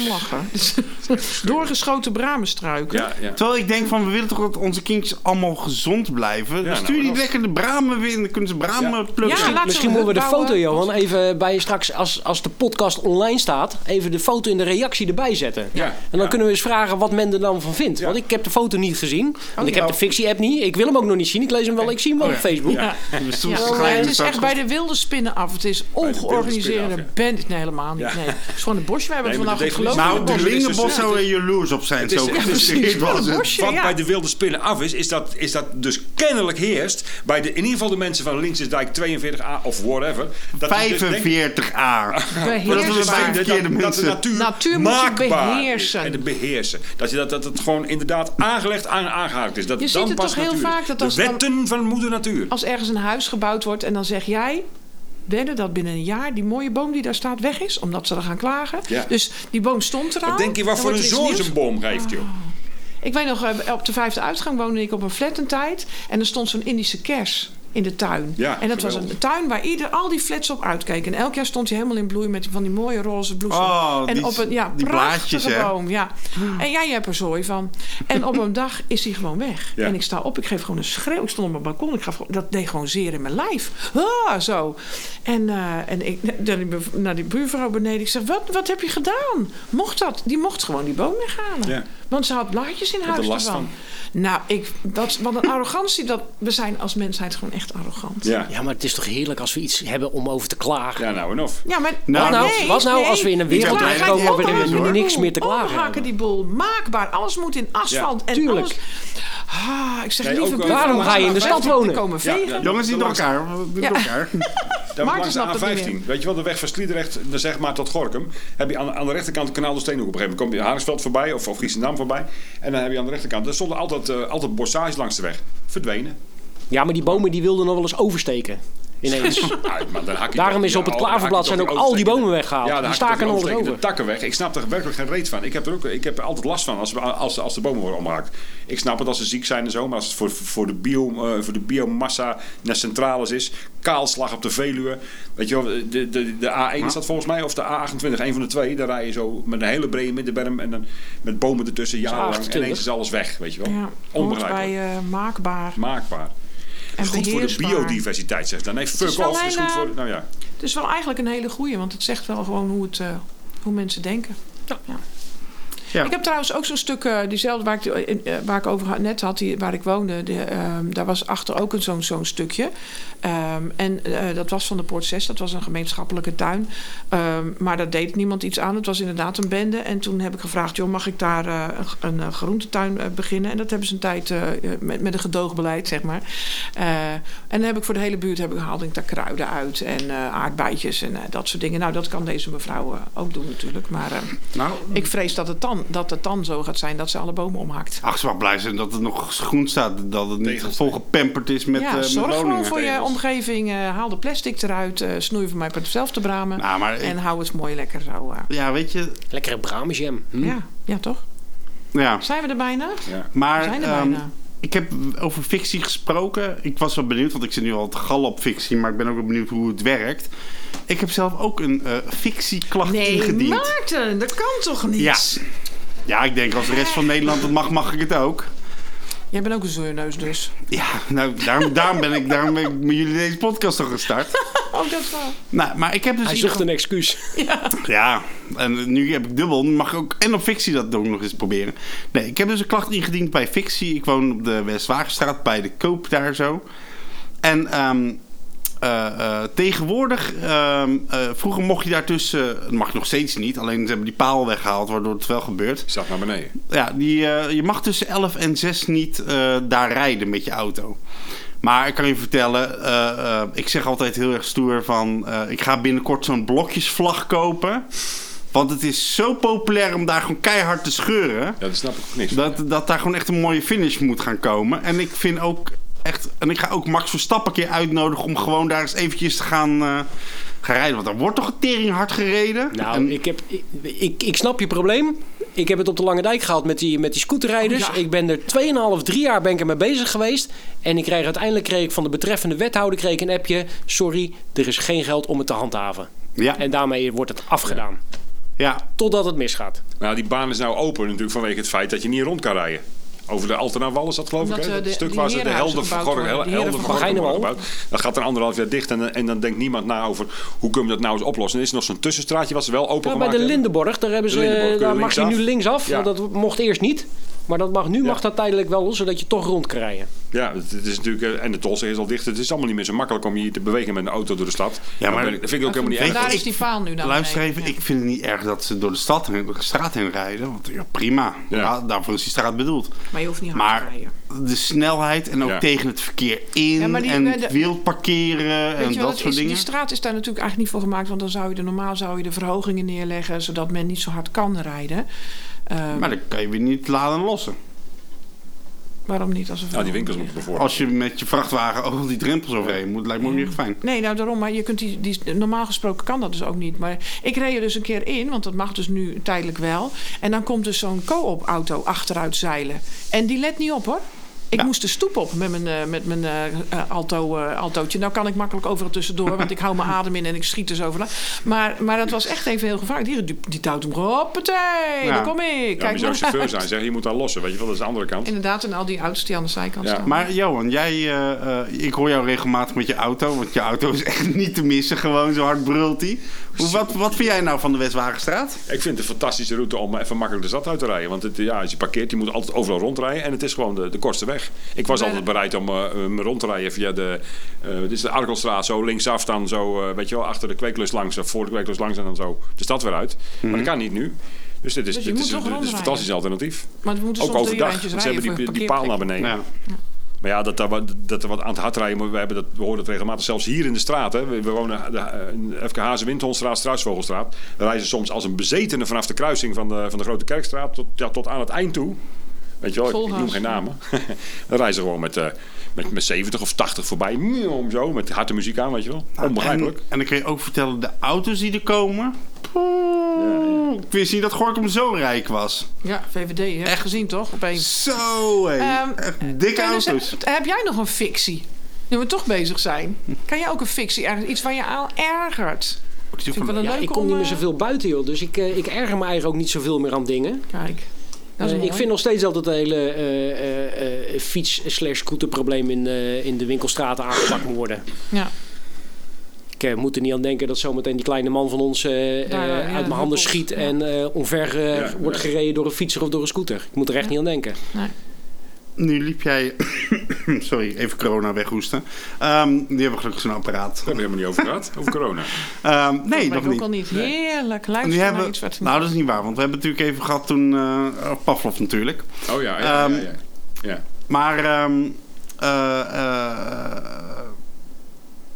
Speaker 2: serieus.
Speaker 3: lachen. Doorgeschoten bramenstruiken.
Speaker 1: Ja, ja.
Speaker 2: Terwijl ik denk van, we willen toch dat onze kindjes allemaal gezond blijven?
Speaker 1: nou,
Speaker 2: Stuur die
Speaker 1: dat-
Speaker 2: lekker de bramen weer in, dan kunnen ze bramen plukken.
Speaker 3: Ja, laat- ze
Speaker 4: Misschien moeten we de
Speaker 3: bouwen.
Speaker 4: foto, Johan, even bij straks, als, als de podcast online staat, even de foto in de reactie erbij zetten.
Speaker 1: Ja.
Speaker 4: En dan
Speaker 1: Ja.
Speaker 4: kunnen we eens vragen wat men er dan van vindt. Want ik heb de foto niet gezien.
Speaker 3: Oh,
Speaker 4: Want ik heb de fictie-app niet. Ik wil hem ook nog niet zien. Ik lees hem wel. Ik zie hem wel op Facebook.
Speaker 2: Dus toen
Speaker 3: Ja,
Speaker 2: ga je
Speaker 3: maar het
Speaker 2: dus
Speaker 3: is
Speaker 2: ook
Speaker 3: echt bij de wilde spinnen af. Het is
Speaker 1: wilde
Speaker 3: ongeorganiseerde
Speaker 1: spinnen af,
Speaker 3: band. Nee, helemaal niet. Nee. Het is gewoon een bosje. We hebben
Speaker 1: Nee,
Speaker 3: het
Speaker 1: maar
Speaker 3: vandaag
Speaker 1: de
Speaker 3: het
Speaker 1: definitie-
Speaker 2: Nou,
Speaker 3: geloof.
Speaker 1: Ja,
Speaker 2: de
Speaker 1: het is
Speaker 2: Lingenbos
Speaker 1: dus-
Speaker 2: zou er jaloers op zijn.
Speaker 1: is-
Speaker 2: zo
Speaker 1: ja,
Speaker 2: gefrustreerd was
Speaker 3: Een
Speaker 2: het.
Speaker 3: bosje,
Speaker 1: Wat
Speaker 3: ja.
Speaker 1: bij de wilde spinnen af is, is dat, is dat dus kennelijk heerst bij de, in ieder geval de mensen van Linksdijk 42a of whatever. Dat die dus denken- Ah.
Speaker 2: 45a.
Speaker 3: Beheersbaar.
Speaker 2: Dat is bij de
Speaker 1: dat, dat
Speaker 2: verkeerde
Speaker 1: de
Speaker 2: mensen.
Speaker 1: natuur,
Speaker 3: Natuur moet je
Speaker 1: maakbaar is
Speaker 3: beheersen.
Speaker 1: En de beheersen. Dat, je dat, dat het gewoon inderdaad aangelegd en aangehaakt is. Dat
Speaker 3: Je ziet
Speaker 1: dan
Speaker 3: het
Speaker 1: pas
Speaker 3: toch heel
Speaker 1: natuur is.
Speaker 3: vaak dat als
Speaker 1: de
Speaker 3: dan-
Speaker 1: wetten van moeder natuur.
Speaker 3: Als ergens een huis gebouwd wordt en dan zeg jij... Wedden dat binnen een jaar die mooie boom die daar staat weg is. Omdat ze er gaan klagen.
Speaker 1: Ja.
Speaker 3: Dus die boom stond er al.
Speaker 1: Wat denk je
Speaker 3: Oh, dan
Speaker 1: wat voor
Speaker 3: wordt
Speaker 1: een
Speaker 3: er iets
Speaker 1: zoon
Speaker 3: nieuws Ah.
Speaker 1: zijn boom geeft, joh?
Speaker 3: Ik weet nog, eh, op de vijfde uitgang woonde ik op een flat een tijd. En er stond zo'n Indische kers in de tuin.
Speaker 1: Ja,
Speaker 3: en dat was
Speaker 1: geweldig.
Speaker 3: een tuin waar ieder, al die flats op uitkeken. En elk jaar stond hij helemaal in bloei met van die mooie roze bloesem.
Speaker 2: Oh,
Speaker 3: en
Speaker 2: die-
Speaker 3: op een ja,
Speaker 2: die blaadjes,
Speaker 3: prachtige
Speaker 2: hè?
Speaker 3: boom. Ja. En jij hebt er zooi van. En op een dag is hij gewoon weg.
Speaker 1: Ja.
Speaker 3: En ik sta op, ik geef gewoon een schreeuw. Ik stond op mijn balkon. Ik gaf, gewoon- dat deed gewoon zeer in mijn lijf. Ah, zo. En, eh, en ik naar die, bu- naar die buurvrouw beneden. Ik zeg, wat, wat heb je gedaan? Mocht dat? Die mocht gewoon die boom weghalen.
Speaker 1: Ja.
Speaker 3: Want ze had blaadjes in
Speaker 1: er
Speaker 3: huis
Speaker 1: last
Speaker 3: ervan. Nou, ik, dat, wat een arrogantie. Dat, we zijn als mensheid gewoon echt arrogant.
Speaker 1: Ja.
Speaker 4: Ja, maar het is toch heerlijk als we iets hebben om over te klagen.
Speaker 1: ja, nou en of.
Speaker 3: Ja, maar
Speaker 2: Nou,
Speaker 3: maar
Speaker 4: nou,
Speaker 3: nee,
Speaker 4: wat nou
Speaker 3: nee,
Speaker 4: als we in een
Speaker 3: die
Speaker 4: wereld
Speaker 3: klagen-
Speaker 4: terechtkomen
Speaker 3: Kijk,
Speaker 4: waarin we
Speaker 3: ophakken
Speaker 4: niks
Speaker 3: die
Speaker 4: meer te
Speaker 3: boel,
Speaker 4: klagen
Speaker 3: ophakken
Speaker 4: hebben.
Speaker 3: die boel. Maakbaar. Alles moet in asfalt. en
Speaker 4: tuurlijk.
Speaker 3: Alles, ah, ik zeg
Speaker 1: Nee,
Speaker 3: lieve
Speaker 1: ook-
Speaker 3: buurvrouw,
Speaker 1: Daarom
Speaker 4: ga je in de
Speaker 3: laat maar
Speaker 4: stad
Speaker 3: weg,
Speaker 4: wonen.
Speaker 3: Er komen
Speaker 1: Ja,
Speaker 3: vegen.
Speaker 1: ja.
Speaker 2: Jongens, niet door
Speaker 1: Langs-
Speaker 2: elkaar. Niet door elkaar.
Speaker 1: Daar
Speaker 3: Maarten
Speaker 1: langs
Speaker 3: snapt het niet
Speaker 1: de A15. Weet je wel, de weg van Sliedrecht eh, zeg maar tot Gorkum. Heb je aan, aan de rechterkant Kanaal de Steenhoek op een gegeven moment. Kom je Haringsveld voorbij of, of Giesendam voorbij. En dan heb je aan de rechterkant. Daar stonden altijd, eh, altijd bossages langs de weg. Verdwenen.
Speaker 4: Ja, maar die bomen die wilden nog wel eens oversteken. ineens.
Speaker 1: Uit, maar dan hak je
Speaker 4: Daarom
Speaker 1: toch-
Speaker 4: is op
Speaker 1: ja, oh,
Speaker 4: het
Speaker 1: dan hak je
Speaker 4: klaverblad
Speaker 1: toch
Speaker 4: zijn
Speaker 1: die
Speaker 4: ook al die
Speaker 1: overstekende-
Speaker 4: bomen weggehaald.
Speaker 1: Ja,
Speaker 4: Die
Speaker 1: dan hak je toch
Speaker 4: staken
Speaker 1: die
Speaker 4: alles
Speaker 1: overstekende
Speaker 4: over.
Speaker 1: takken weg. Ik snap er werkelijk geen reet van. Ik heb er, ook, ik heb er altijd last van als, als, als de bomen worden omgehakt. Ik snap het als ze ziek zijn en zo. Maar als het voor, voor, de, bio, eh, voor de biomassa naar centrales is. Kaalslag op de Veluwe. Weet je wel, de, de, de A1 is dat volgens mij. Of de A28, een van de twee. Daar rij je zo met een hele brede middenberm. En dan met bomen ertussen jarenlang. En
Speaker 4: 28.
Speaker 1: ineens is alles weg, weet je wel.
Speaker 3: Ja, hoort
Speaker 1: Onbegrijpelijk.
Speaker 3: bij eh, maakbaar
Speaker 1: Maakbaar.
Speaker 3: en
Speaker 1: Goed voor de
Speaker 3: beheersbaar.
Speaker 1: biodiversiteit, zegt dan. Nee,
Speaker 3: is
Speaker 1: fuck
Speaker 3: wel
Speaker 1: off. Het is
Speaker 3: een,
Speaker 1: goed voor...
Speaker 3: eh,
Speaker 1: Nou ja.
Speaker 3: Het is wel eigenlijk een hele goeie, want het zegt wel gewoon hoe, het, eh, hoe mensen denken. Ja.
Speaker 2: Ja.
Speaker 3: Ik heb trouwens ook zo'n stuk, eh, diezelfde waar ik, eh, eh, waar ik over had- net had, die, waar ik woonde. de, ehm, daar was achter ook een, zo'n, zo'n stukje. Ehm, en eh, dat was van de Poort 6, dat was een gemeenschappelijke tuin. Ehm, maar daar deed niemand iets aan. Het was inderdaad een bende. En toen heb ik gevraagd, joh, mag ik daar eh, een, een eh, groentetuin eh, beginnen? En dat hebben ze een tijd eh, met, met een gedoogbeleid, zeg maar. Eh, en dan heb ik voor de hele buurt heb ik, haalde ik daar kruiden uit en eh, aardbeidjes en eh, dat soort dingen. Nou, dat kan deze mevrouw eh, ook doen natuurlijk. Maar eh,
Speaker 2: Nou,
Speaker 3: ik vrees dat het, dan, dat het dan zo gaat zijn dat ze alle bomen omhakt.
Speaker 2: Ach, ze mag blij zijn dat het nog groen staat. Dat het niet
Speaker 1: Tegels.
Speaker 2: volgepamperd is met, eh
Speaker 3: ja,
Speaker 2: met
Speaker 3: zorg gewoon
Speaker 2: woningen.
Speaker 3: voor je omgeving. eh, haal de plastic eruit. eh snoei van mij per hetzelfde bramen.
Speaker 2: Nou, maar ik-
Speaker 3: en hou het mooi lekker zo. eh.
Speaker 2: Ja, weet je.
Speaker 4: Lekkere bramesjam. Hm?
Speaker 3: ja, ja, toch?
Speaker 2: Hmm. Ja.
Speaker 3: Zijn we er bijna?
Speaker 2: Maar
Speaker 3: We zijn er
Speaker 2: ehm,
Speaker 3: bijna.
Speaker 2: ik heb over fictie gesproken. Ik was wel benieuwd, want ik zit nu al te gallen op fictie. Maar ik ben ook wel benieuwd hoe het werkt. Ik heb zelf ook een eh, fictieklacht ingediend.
Speaker 3: Maarten, dat kan toch niet?
Speaker 2: Ja. ja, ik denk als de rest van Nederland het mag, mag ik het ook.
Speaker 3: Jij bent ook een zeurneus dus.
Speaker 2: Ja, nou, daarom, daarom, ben, ik, daarom ben ik met jullie deze podcast toch gestart.
Speaker 3: Ook Oh, dat wel.
Speaker 2: Nou, maar ik heb dus...
Speaker 4: Hij
Speaker 2: in
Speaker 4: zocht
Speaker 2: ieder
Speaker 4: een excuus.
Speaker 2: Ja, en nu heb ik dubbel. Nu mag ik ook en op fictie dat ook nog eens proberen. Nee, ik heb dus een klacht ingediend bij fictie. Ik woon op de Westwagenstraat bij de Koop daar zo. En ehm, eh, eh, tegenwoordig, ehm, eh, vroeger mocht je daartussen, dat mag nog steeds niet, alleen ze hebben die paal weggehaald, waardoor het wel gebeurt.
Speaker 1: Zag naar beneden.
Speaker 2: Ja, die, eh, je mag tussen 11 en 6 niet eh, daar rijden met je auto. Maar ik kan je vertellen, eh, eh, ik zeg altijd heel erg stoer van... eh, ik ga binnenkort zo'n blokjesvlag kopen. Want het is zo populair om daar gewoon keihard te scheuren...
Speaker 1: Ja, dat snap ik ook niks. van.
Speaker 2: dat, dat daar gewoon echt een mooie finish moet gaan komen. En ik vind ook echt... En ik ga ook Max Verstappen een keer uitnodigen om gewoon daar eens eventjes te gaan, eh, gaan rijden. Want daar wordt toch een tering hard gereden?
Speaker 4: Nou,
Speaker 2: En-
Speaker 4: ik, heb, ik, ik, ik snap je probleem. Ik heb het op de Lange Dijk gehad met die, met die
Speaker 2: Oh,
Speaker 4: scooterrijders. Ik ben er 2,5, 3 jaar ben ik ermee bezig geweest. En ik kreeg, uiteindelijk kreeg ik van de betreffende wethouder kreeg ik een appje. Sorry, er is geen geld om het te handhaven.
Speaker 2: ja,
Speaker 4: En daarmee wordt het afgedaan.
Speaker 2: ja,
Speaker 4: Totdat het misgaat.
Speaker 1: Nou, die baan is nou open natuurlijk vanwege het feit dat je niet rond kan rijden. Over de Altenawal is dat geloof
Speaker 3: Omdat,
Speaker 1: ik, hè?
Speaker 3: eh,
Speaker 1: Dat
Speaker 3: de-
Speaker 1: stuk
Speaker 3: die
Speaker 1: waar ze de
Speaker 3: herenhuizen
Speaker 1: helden van
Speaker 3: gebouwd
Speaker 1: Gorkum
Speaker 3: worden, die
Speaker 1: helden
Speaker 3: heren
Speaker 1: van
Speaker 3: van
Speaker 1: Gorkum worden
Speaker 4: Gijnenwal.
Speaker 1: gebouwd. Dat gaat er anderhalf jaar dicht en, en dan denkt niemand na over hoe kunnen we dat nou eens oplossen. Er is nog zo'n tussenstraatje wat ze wel open
Speaker 4: Ja, bij
Speaker 1: gemaakt
Speaker 4: de
Speaker 1: hebben.
Speaker 4: Lindenborg, daar, hebben
Speaker 1: De
Speaker 4: ze,
Speaker 1: Lindenborg kun je
Speaker 4: daar mag je
Speaker 1: linksaf.
Speaker 4: nu linksaf.
Speaker 1: Ja.
Speaker 4: want Dat mocht eerst niet. Maar dat mag, nu mag dat tijdelijk wel, zodat je toch rond kan rijden.
Speaker 1: Ja, het, het is natuurlijk, eh, en de tolseg is al dicht. Het is allemaal niet meer zo makkelijk om je te bewegen met een auto door de stad. Ja,
Speaker 2: maar-
Speaker 1: maar, dat vind ik ook helemaal niet
Speaker 2: Weet
Speaker 1: erg.
Speaker 2: je,
Speaker 3: Daar
Speaker 2: ik-
Speaker 3: is die faal nu naar
Speaker 2: Luister
Speaker 3: beneden.
Speaker 2: even, ik vind het niet erg dat ze door de, stad heen, de straat heen rijden. Want ja, prima.
Speaker 1: Ja.
Speaker 2: Ja, daarvoor is die straat bedoeld.
Speaker 3: Maar je hoeft niet hard te
Speaker 2: Maar
Speaker 3: rijden.
Speaker 2: de snelheid en ook
Speaker 1: Ja.
Speaker 2: tegen het verkeer in.
Speaker 3: Ja, maar die-
Speaker 2: en
Speaker 3: de-
Speaker 2: wild parkeren
Speaker 3: Weet
Speaker 2: en
Speaker 3: je wel,
Speaker 2: dat
Speaker 3: het
Speaker 2: soort
Speaker 3: is-
Speaker 2: dingen.
Speaker 3: Die straat is daar natuurlijk eigenlijk niet voor gemaakt. Want dan zou je er normaal zou je de verhogingen neerleggen. Zodat men niet zo hard kan rijden. Ehm,
Speaker 2: Maar dan kan je weer niet laden en lossen.
Speaker 3: waarom niet als een
Speaker 1: Ja, Nou, Oh, die
Speaker 3: verhoging
Speaker 1: winkels moeten
Speaker 3: neerleggen?
Speaker 1: bijvoorbeeld.
Speaker 2: Als je met je vrachtwagen over die drempels overheen moet, lijkt me ook niet echt fijn.
Speaker 3: Nee, nou daarom. Maar je kunt die, die, normaal gesproken kan dat dus ook niet. Maar ik reed er dus een keer in, want dat mag dus nu tijdelijk wel. En dan komt dus zo'n co-op auto achteruit zeilen. En die let niet op hoor. Ik
Speaker 2: Ja.
Speaker 3: moest de stoep op met mijn, eh, met mijn eh, eh, alto, eh, altootje. Nou kan ik makkelijk overal tussendoor, want ik hou mijn adem in en ik schiet dus overal. Maar, maar dat was echt even heel gevaarlijk. Die, die, die duwt hem gewoon, hoppatee,
Speaker 2: Ja.
Speaker 3: daar kom ik.
Speaker 1: Ja, Nou, maar
Speaker 3: Kijk
Speaker 1: je zou
Speaker 3: maar
Speaker 1: chauffeur
Speaker 3: uit.
Speaker 1: zijn, zeg je moet daar lossen. Weet je wel, dat is de andere kant.
Speaker 3: Inderdaad, en al die auto's die aan de zijkant
Speaker 1: Ja.
Speaker 3: staan.
Speaker 2: Maar Johan, jij, eh, eh, ik hoor jou regelmatig met je auto. Want je auto is echt niet te missen. Gewoon zo hard brult hij. Wat, wat vind jij nou van de Westwagenstraat?
Speaker 1: Ik vind het een fantastische route om even makkelijk de stad uit te rijden. Want het, ja, als je parkeert, je moet altijd overal rondrijden. En het is gewoon de, de kortste weg. Ik was
Speaker 3: Ja.
Speaker 1: altijd bereid om eh, eh, me rond te rijden via de, eh dit is de Arkelstraat. Zo linksaf dan zo, eh, weet je wel, achter de kweeklus langs. Of voor de kweeklus langs en dan zo de stad weer uit. Maar dat kan niet nu. Dus dit is,
Speaker 3: Mhm. Dus je
Speaker 1: dit
Speaker 3: moet
Speaker 1: is, dit
Speaker 3: toch
Speaker 1: is een
Speaker 3: rondrijden.
Speaker 1: fantastisch alternatief.
Speaker 3: Maar we moeten
Speaker 1: Ook
Speaker 3: soms drie
Speaker 1: overdag.
Speaker 3: lijntjes
Speaker 1: want
Speaker 3: rijden
Speaker 1: Ze hebben die,
Speaker 3: voor
Speaker 1: die
Speaker 3: parkeerplek.
Speaker 1: paal naar beneden.
Speaker 2: Ja.
Speaker 1: Maar ja, dat, daar wat- dat er wat aan het hard rijden moet. We, hebben dat, we horen dat regelmatig. Zelfs hier in de straat. Hè, we, we wonen de, eh, in FK Hazen, Windhondstraat, Struisvogelstraat. We reizen soms als een bezetene vanaf de kruising van de, van de Grote Kerkstraat tot, ja, tot aan het eind toe. Weet je wel, ik, ik noem
Speaker 3: Volgas,
Speaker 1: geen
Speaker 3: ja.
Speaker 1: namen. we reizen gewoon met, eh, met, met 70 of 80 voorbij. Om zo, met harde muziek aan, weet je wel. Onbegrijpelijk.
Speaker 2: Nou, En, en dan kun je ook vertellen, de auto's die er komen... Ik wist niet dat Gorkum zo rijk was.
Speaker 3: Ja, VVD, je hebt het gezien toch? Opeens.
Speaker 2: Zo, hé.
Speaker 3: Ehm,
Speaker 2: Echt dikke
Speaker 3: Teun, dus
Speaker 2: auto's.
Speaker 3: heb- Heb jij nog een fictie? Nu we toch bezig zijn. Kan jij ook een fictie ergens? Iets waar je aan ergert? Vind ik wel een
Speaker 4: Ja,
Speaker 3: leuke
Speaker 4: ik kom
Speaker 3: om,
Speaker 4: niet meer
Speaker 3: eh,
Speaker 4: zoveel buiten, joh. Dus ik, eh, ik erger me eigenlijk ook niet zoveel meer aan dingen.
Speaker 3: Kijk, dat is
Speaker 4: Eh,
Speaker 3: mooi.
Speaker 4: ik vind nog steeds dat het hele eh, eh, eh, fiets-slash-scooterprobleem in, eh, in de winkelstraten aangepakt moet worden.
Speaker 3: Ja.
Speaker 4: Ik eh, moet er niet aan denken dat zometeen die kleine man van ons eh, eh,
Speaker 3: Daar, ja,
Speaker 4: uit mijn
Speaker 3: dat
Speaker 4: handen
Speaker 3: klopt.
Speaker 4: schiet
Speaker 3: Ja.
Speaker 4: en eh, omver eh,
Speaker 1: Ja,
Speaker 4: wordt
Speaker 1: ja.
Speaker 4: gereden door een fietser of door een scooter. Ik moet er echt niet aan denken.
Speaker 2: Nu liep jij... Sorry, even corona weghoesten. Ehm, die hebben gelukkig zo'n apparaat.
Speaker 1: Daar hebben we helemaal niet over gehad, over corona.
Speaker 2: Ehm, nee,
Speaker 3: dat
Speaker 2: nog
Speaker 3: weet Oh, ik ook
Speaker 2: niet.
Speaker 3: al niet. Heerlijk.
Speaker 2: En
Speaker 3: Luister
Speaker 2: die
Speaker 3: naar
Speaker 2: hebben,
Speaker 3: iets wat...
Speaker 2: nou, dat is niet waar, want we hebben het natuurlijk even gehad toen... eh, Pavlov natuurlijk.
Speaker 1: Oh ja, ja,
Speaker 2: Ehm,
Speaker 1: ja, ja. ja.
Speaker 2: Maar... ehm, eh, eh,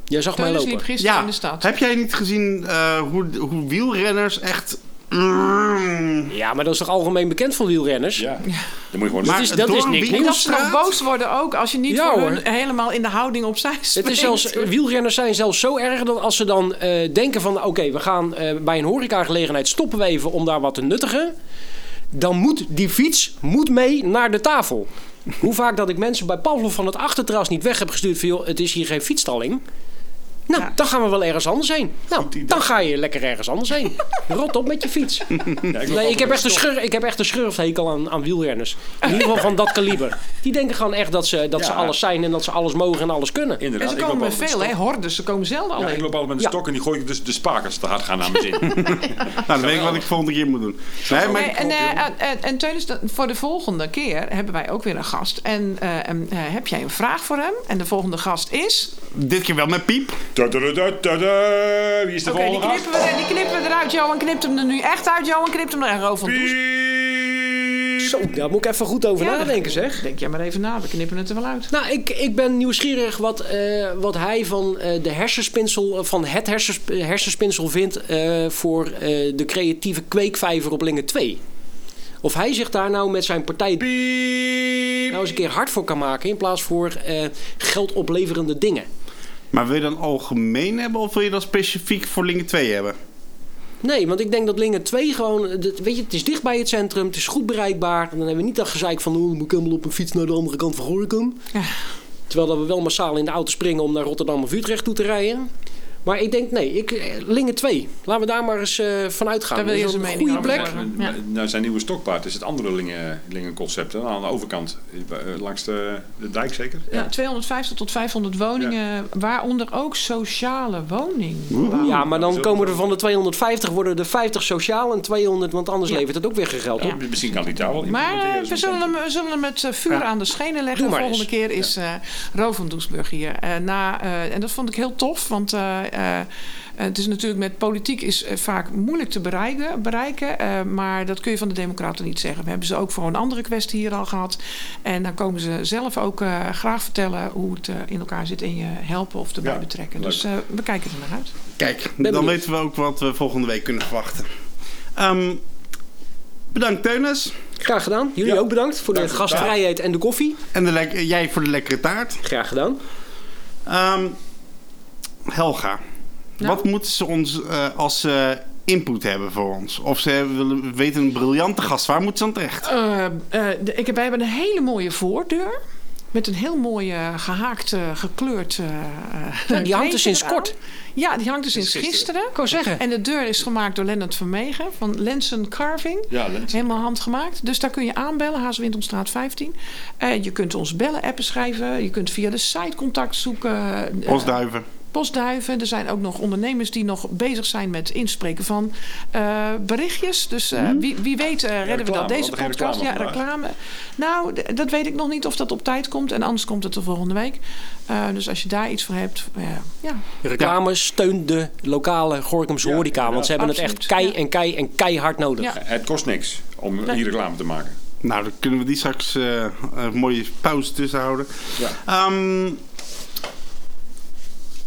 Speaker 4: Jij zag mij
Speaker 3: Teunis
Speaker 4: lopen.
Speaker 3: liep gisteren
Speaker 2: ja,
Speaker 3: in de stad.
Speaker 2: heb jij niet gezien eh, hoe, hoe wielrenners echt... mm,
Speaker 4: Ja, maar dat is toch algemeen bekend van wielrenners?
Speaker 1: Ja. Dan moet je gewoon
Speaker 4: Maar-
Speaker 1: maar,
Speaker 4: is- dat
Speaker 2: door
Speaker 4: is
Speaker 2: een
Speaker 4: niks
Speaker 3: En dat
Speaker 4: nieuws.
Speaker 3: ze nog
Speaker 2: winkelstraat?
Speaker 3: boos worden ook als je niet
Speaker 4: Ja,
Speaker 3: voor
Speaker 4: hoor.
Speaker 3: hun helemaal in de houding opzij
Speaker 4: Het
Speaker 3: springt.
Speaker 4: is zelfs, wielrenners zijn zelfs zo erg dat als ze dan eh, denken van... oké, we gaan eh, bij een horecagelegenheid stoppen we even om daar wat te nuttigen... dan moet die fiets moet mee naar de tafel. Hoe vaak dat ik mensen bij Pavlov van het achterterras niet weg heb gestuurd... van joh, het is hier geen fietsstalling. Nou,
Speaker 3: Ja.
Speaker 4: dan gaan we wel ergens anders heen. Nou, dan ga je lekker ergens anders heen. Rot op met je fiets. Nee, ik, heb echt een schur, ik heb echt een schurfthekel aan, aan wielrenners. In ieder geval van dat kaliber. Die denken gewoon echt dat ze, dat ze
Speaker 1: Ja.
Speaker 4: alles zijn en dat ze alles mogen en alles kunnen.
Speaker 3: En
Speaker 1: Inderdaad,
Speaker 3: ze
Speaker 1: ik loop
Speaker 3: komen met
Speaker 1: altijd met
Speaker 3: veel,
Speaker 1: een
Speaker 3: hè? Hordes. Ze komen zelden
Speaker 1: stok. Ja,
Speaker 3: alleen.
Speaker 1: ik loop altijd met een
Speaker 4: Ja.
Speaker 1: stok en die gooi ik dus de spakers te hard gaan naar mijn zin.
Speaker 2: Nou, dan weet ik wat ik volgende keer moet doen. Nee, maar
Speaker 3: Nee, en, eh, en, en, en Teunis, dat- voor de volgende keer hebben wij ook weer een gast. En eh, en, eh, heb jij een vraag voor hem? En de volgende gast is...
Speaker 2: dit keer wel met piep.
Speaker 1: Tudududududu. Wie is de
Speaker 3: Oké, die,
Speaker 1: volgende gast?
Speaker 3: knippen we- die knippen we eruit. Johan knipt hem er nu echt uit. Johan knipt hem er echt over.
Speaker 4: Zo, daar moet ik even goed over
Speaker 3: Ja,
Speaker 4: nadenken, zeg.
Speaker 3: Denk jij maar even na, we knippen het er wel uit.
Speaker 4: Nou, ik, ik ben nieuwsgierig wat, eh, wat hij van eh, de hersenspinsel, eh, van het hersensp- hersenspinsel vindt eh, voor eh, de creatieve kweekvijver op Lingen 2. Of hij zich daar nou met zijn partij nou eens een keer hard voor kan maken in plaats voor eh geldopleverende dingen.
Speaker 2: Maar wil je dan algemeen hebben of wil je dan specifiek voor Lingen 2 hebben?
Speaker 4: Nee, want ik denk dat Lingen 2 gewoon... eh, dat- Weet je, het is dicht bij het centrum, het is goed bereikbaar. En dan hebben we niet dat gezeik van... Oh, dan moet ik helemaal op een fiets naar de andere kant van Gorinchem.
Speaker 3: Ja.
Speaker 4: Terwijl dat we wel massaal in de auto springen om naar Rotterdam of Utrecht toe te rijden. Maar ik denk, nee, ik, eh, Lingen 2. Laten we daar maar eens eh van uitgaan.
Speaker 3: Daar wil je
Speaker 4: Dat is
Speaker 3: zijn
Speaker 4: een
Speaker 3: mening
Speaker 4: goede
Speaker 3: over
Speaker 4: plek.
Speaker 3: horen.
Speaker 1: Maar, Nou, zijn nieuwe stokpaard is het andere lingen, lingenconcept. hè? Aan de overkant, eh, langs de, de dijk zeker?
Speaker 3: Ja, 250 tot 500 woningen, waaronder ook sociale woning.
Speaker 4: Ja, maar dan
Speaker 1: Zo-
Speaker 4: komen er van de 250 worden er 50 sociaal en 200... want anders levert het ook weer geen geld op.
Speaker 1: Ja, Oh, Misschien kan die daar wel
Speaker 3: Maar eh,
Speaker 1: implementeren, zo'n
Speaker 3: we zullen hem, we zullen hem met eh, vuur aan de schenen leggen.
Speaker 4: Doe
Speaker 3: De
Speaker 4: maar
Speaker 3: volgende keer is eh Ro van Doesburg hier. Eh, na, eh, en dat vond ik heel tof, want eh, eh, het is natuurlijk met politiek is eh, vaak moeilijk te bereiken. bereiken eh, maar dat kun je van de Democraten niet zeggen. We hebben ze ook voor een andere kwestie hier al gehad. En dan komen ze zelf ook eh, graag vertellen hoe het eh, in elkaar zit en je helpen of erbij
Speaker 1: Ja,
Speaker 3: betrekken.
Speaker 1: leuk.
Speaker 3: Dus eh, we kijken er naar uit.
Speaker 2: Kijk,
Speaker 4: Ben
Speaker 2: dan
Speaker 4: benieuwd.
Speaker 2: weten we ook wat we volgende week kunnen verwachten. Ehm, bedankt Teunis.
Speaker 4: Graag gedaan. Jullie
Speaker 1: Ja.
Speaker 4: ook bedankt voor de
Speaker 1: Dank je wel.
Speaker 4: gastvrijheid en de koffie.
Speaker 2: En de lek- jij voor de lekkere taart.
Speaker 4: Graag gedaan.
Speaker 2: Ehm, Helga, wat moeten ze ons eh, als eh, input hebben voor ons? Of ze hebben- willen, weten een briljante gast, waar moeten ze dan terecht?
Speaker 3: Eh, eh, de- ik heb, wij hebben een hele mooie voordeur. Met een heel mooi eh, gehaakt, eh, gekleurd. eh, eh,
Speaker 4: die hangt er
Speaker 3: kleedje
Speaker 4: sinds
Speaker 3: eraan.
Speaker 4: kort.
Speaker 3: Ja, die hangt er sinds gisteren.
Speaker 4: Ik wou zeggen.
Speaker 3: En de deur is gemaakt door Lennart Vermegen van Lensen Carving.
Speaker 1: Ja, Lensen.
Speaker 3: Helemaal handgemaakt. Dus daar kun je aanbellen, Haaswindomstraat 15. Eh, je kunt ons bellen, appen schrijven. Je kunt via de site contact zoeken. Eh,
Speaker 2: Postduiven.
Speaker 3: postduiven. Er zijn ook nog ondernemers die nog bezig zijn met inspreken van eh, berichtjes. Dus eh, wie, wie weet eh, redden we
Speaker 1: reclame.
Speaker 3: dat deze
Speaker 1: Wat een
Speaker 3: podcast.
Speaker 1: reclame
Speaker 3: ja,
Speaker 1: vandaag.
Speaker 3: reclame. Nou, d- dat weet ik nog niet of dat op tijd komt. En anders komt het de volgende week. Eh, dus als je daar iets voor hebt, eh, ja.
Speaker 4: Reclame steunt de lokale Gorkumse
Speaker 1: Ja,
Speaker 4: horeca. Want ze hebben het
Speaker 3: absoluut.
Speaker 4: echt kei
Speaker 3: Ja.
Speaker 4: en kei en keihard nodig.
Speaker 3: Ja.
Speaker 1: Eh, Het kost niks om hier reclame te maken.
Speaker 2: Nou, dan kunnen we die straks eh, een mooie pauze tussen houden.
Speaker 1: Ja.
Speaker 2: Ehm,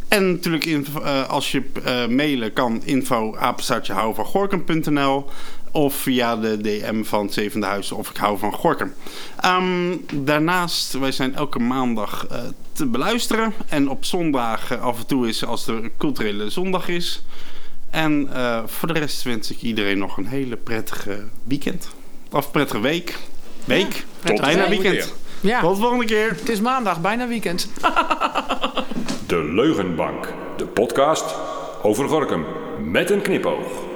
Speaker 2: en natuurlijk, info- eh, als je eh, mailen kan, info apenstaartje houden van Gorkum.nl. of via de DM van het Zevende Huis of Ik hou van Gorkum. Ehm, daarnaast, wij zijn elke maandag eh, te beluisteren. En op zondag eh, af en toe is als er een culturele zondag is. En eh, voor de rest wens ik iedereen nog een hele prettige weekend. Of prettige week. Week.
Speaker 1: Tot
Speaker 2: Bijna
Speaker 1: de volgende
Speaker 2: weekend.
Speaker 3: Ja,
Speaker 2: Tot de volgende keer.
Speaker 3: het is maandag, bijna weekend.
Speaker 5: De Leugenbank, de podcast over Gorkum met een knipoog.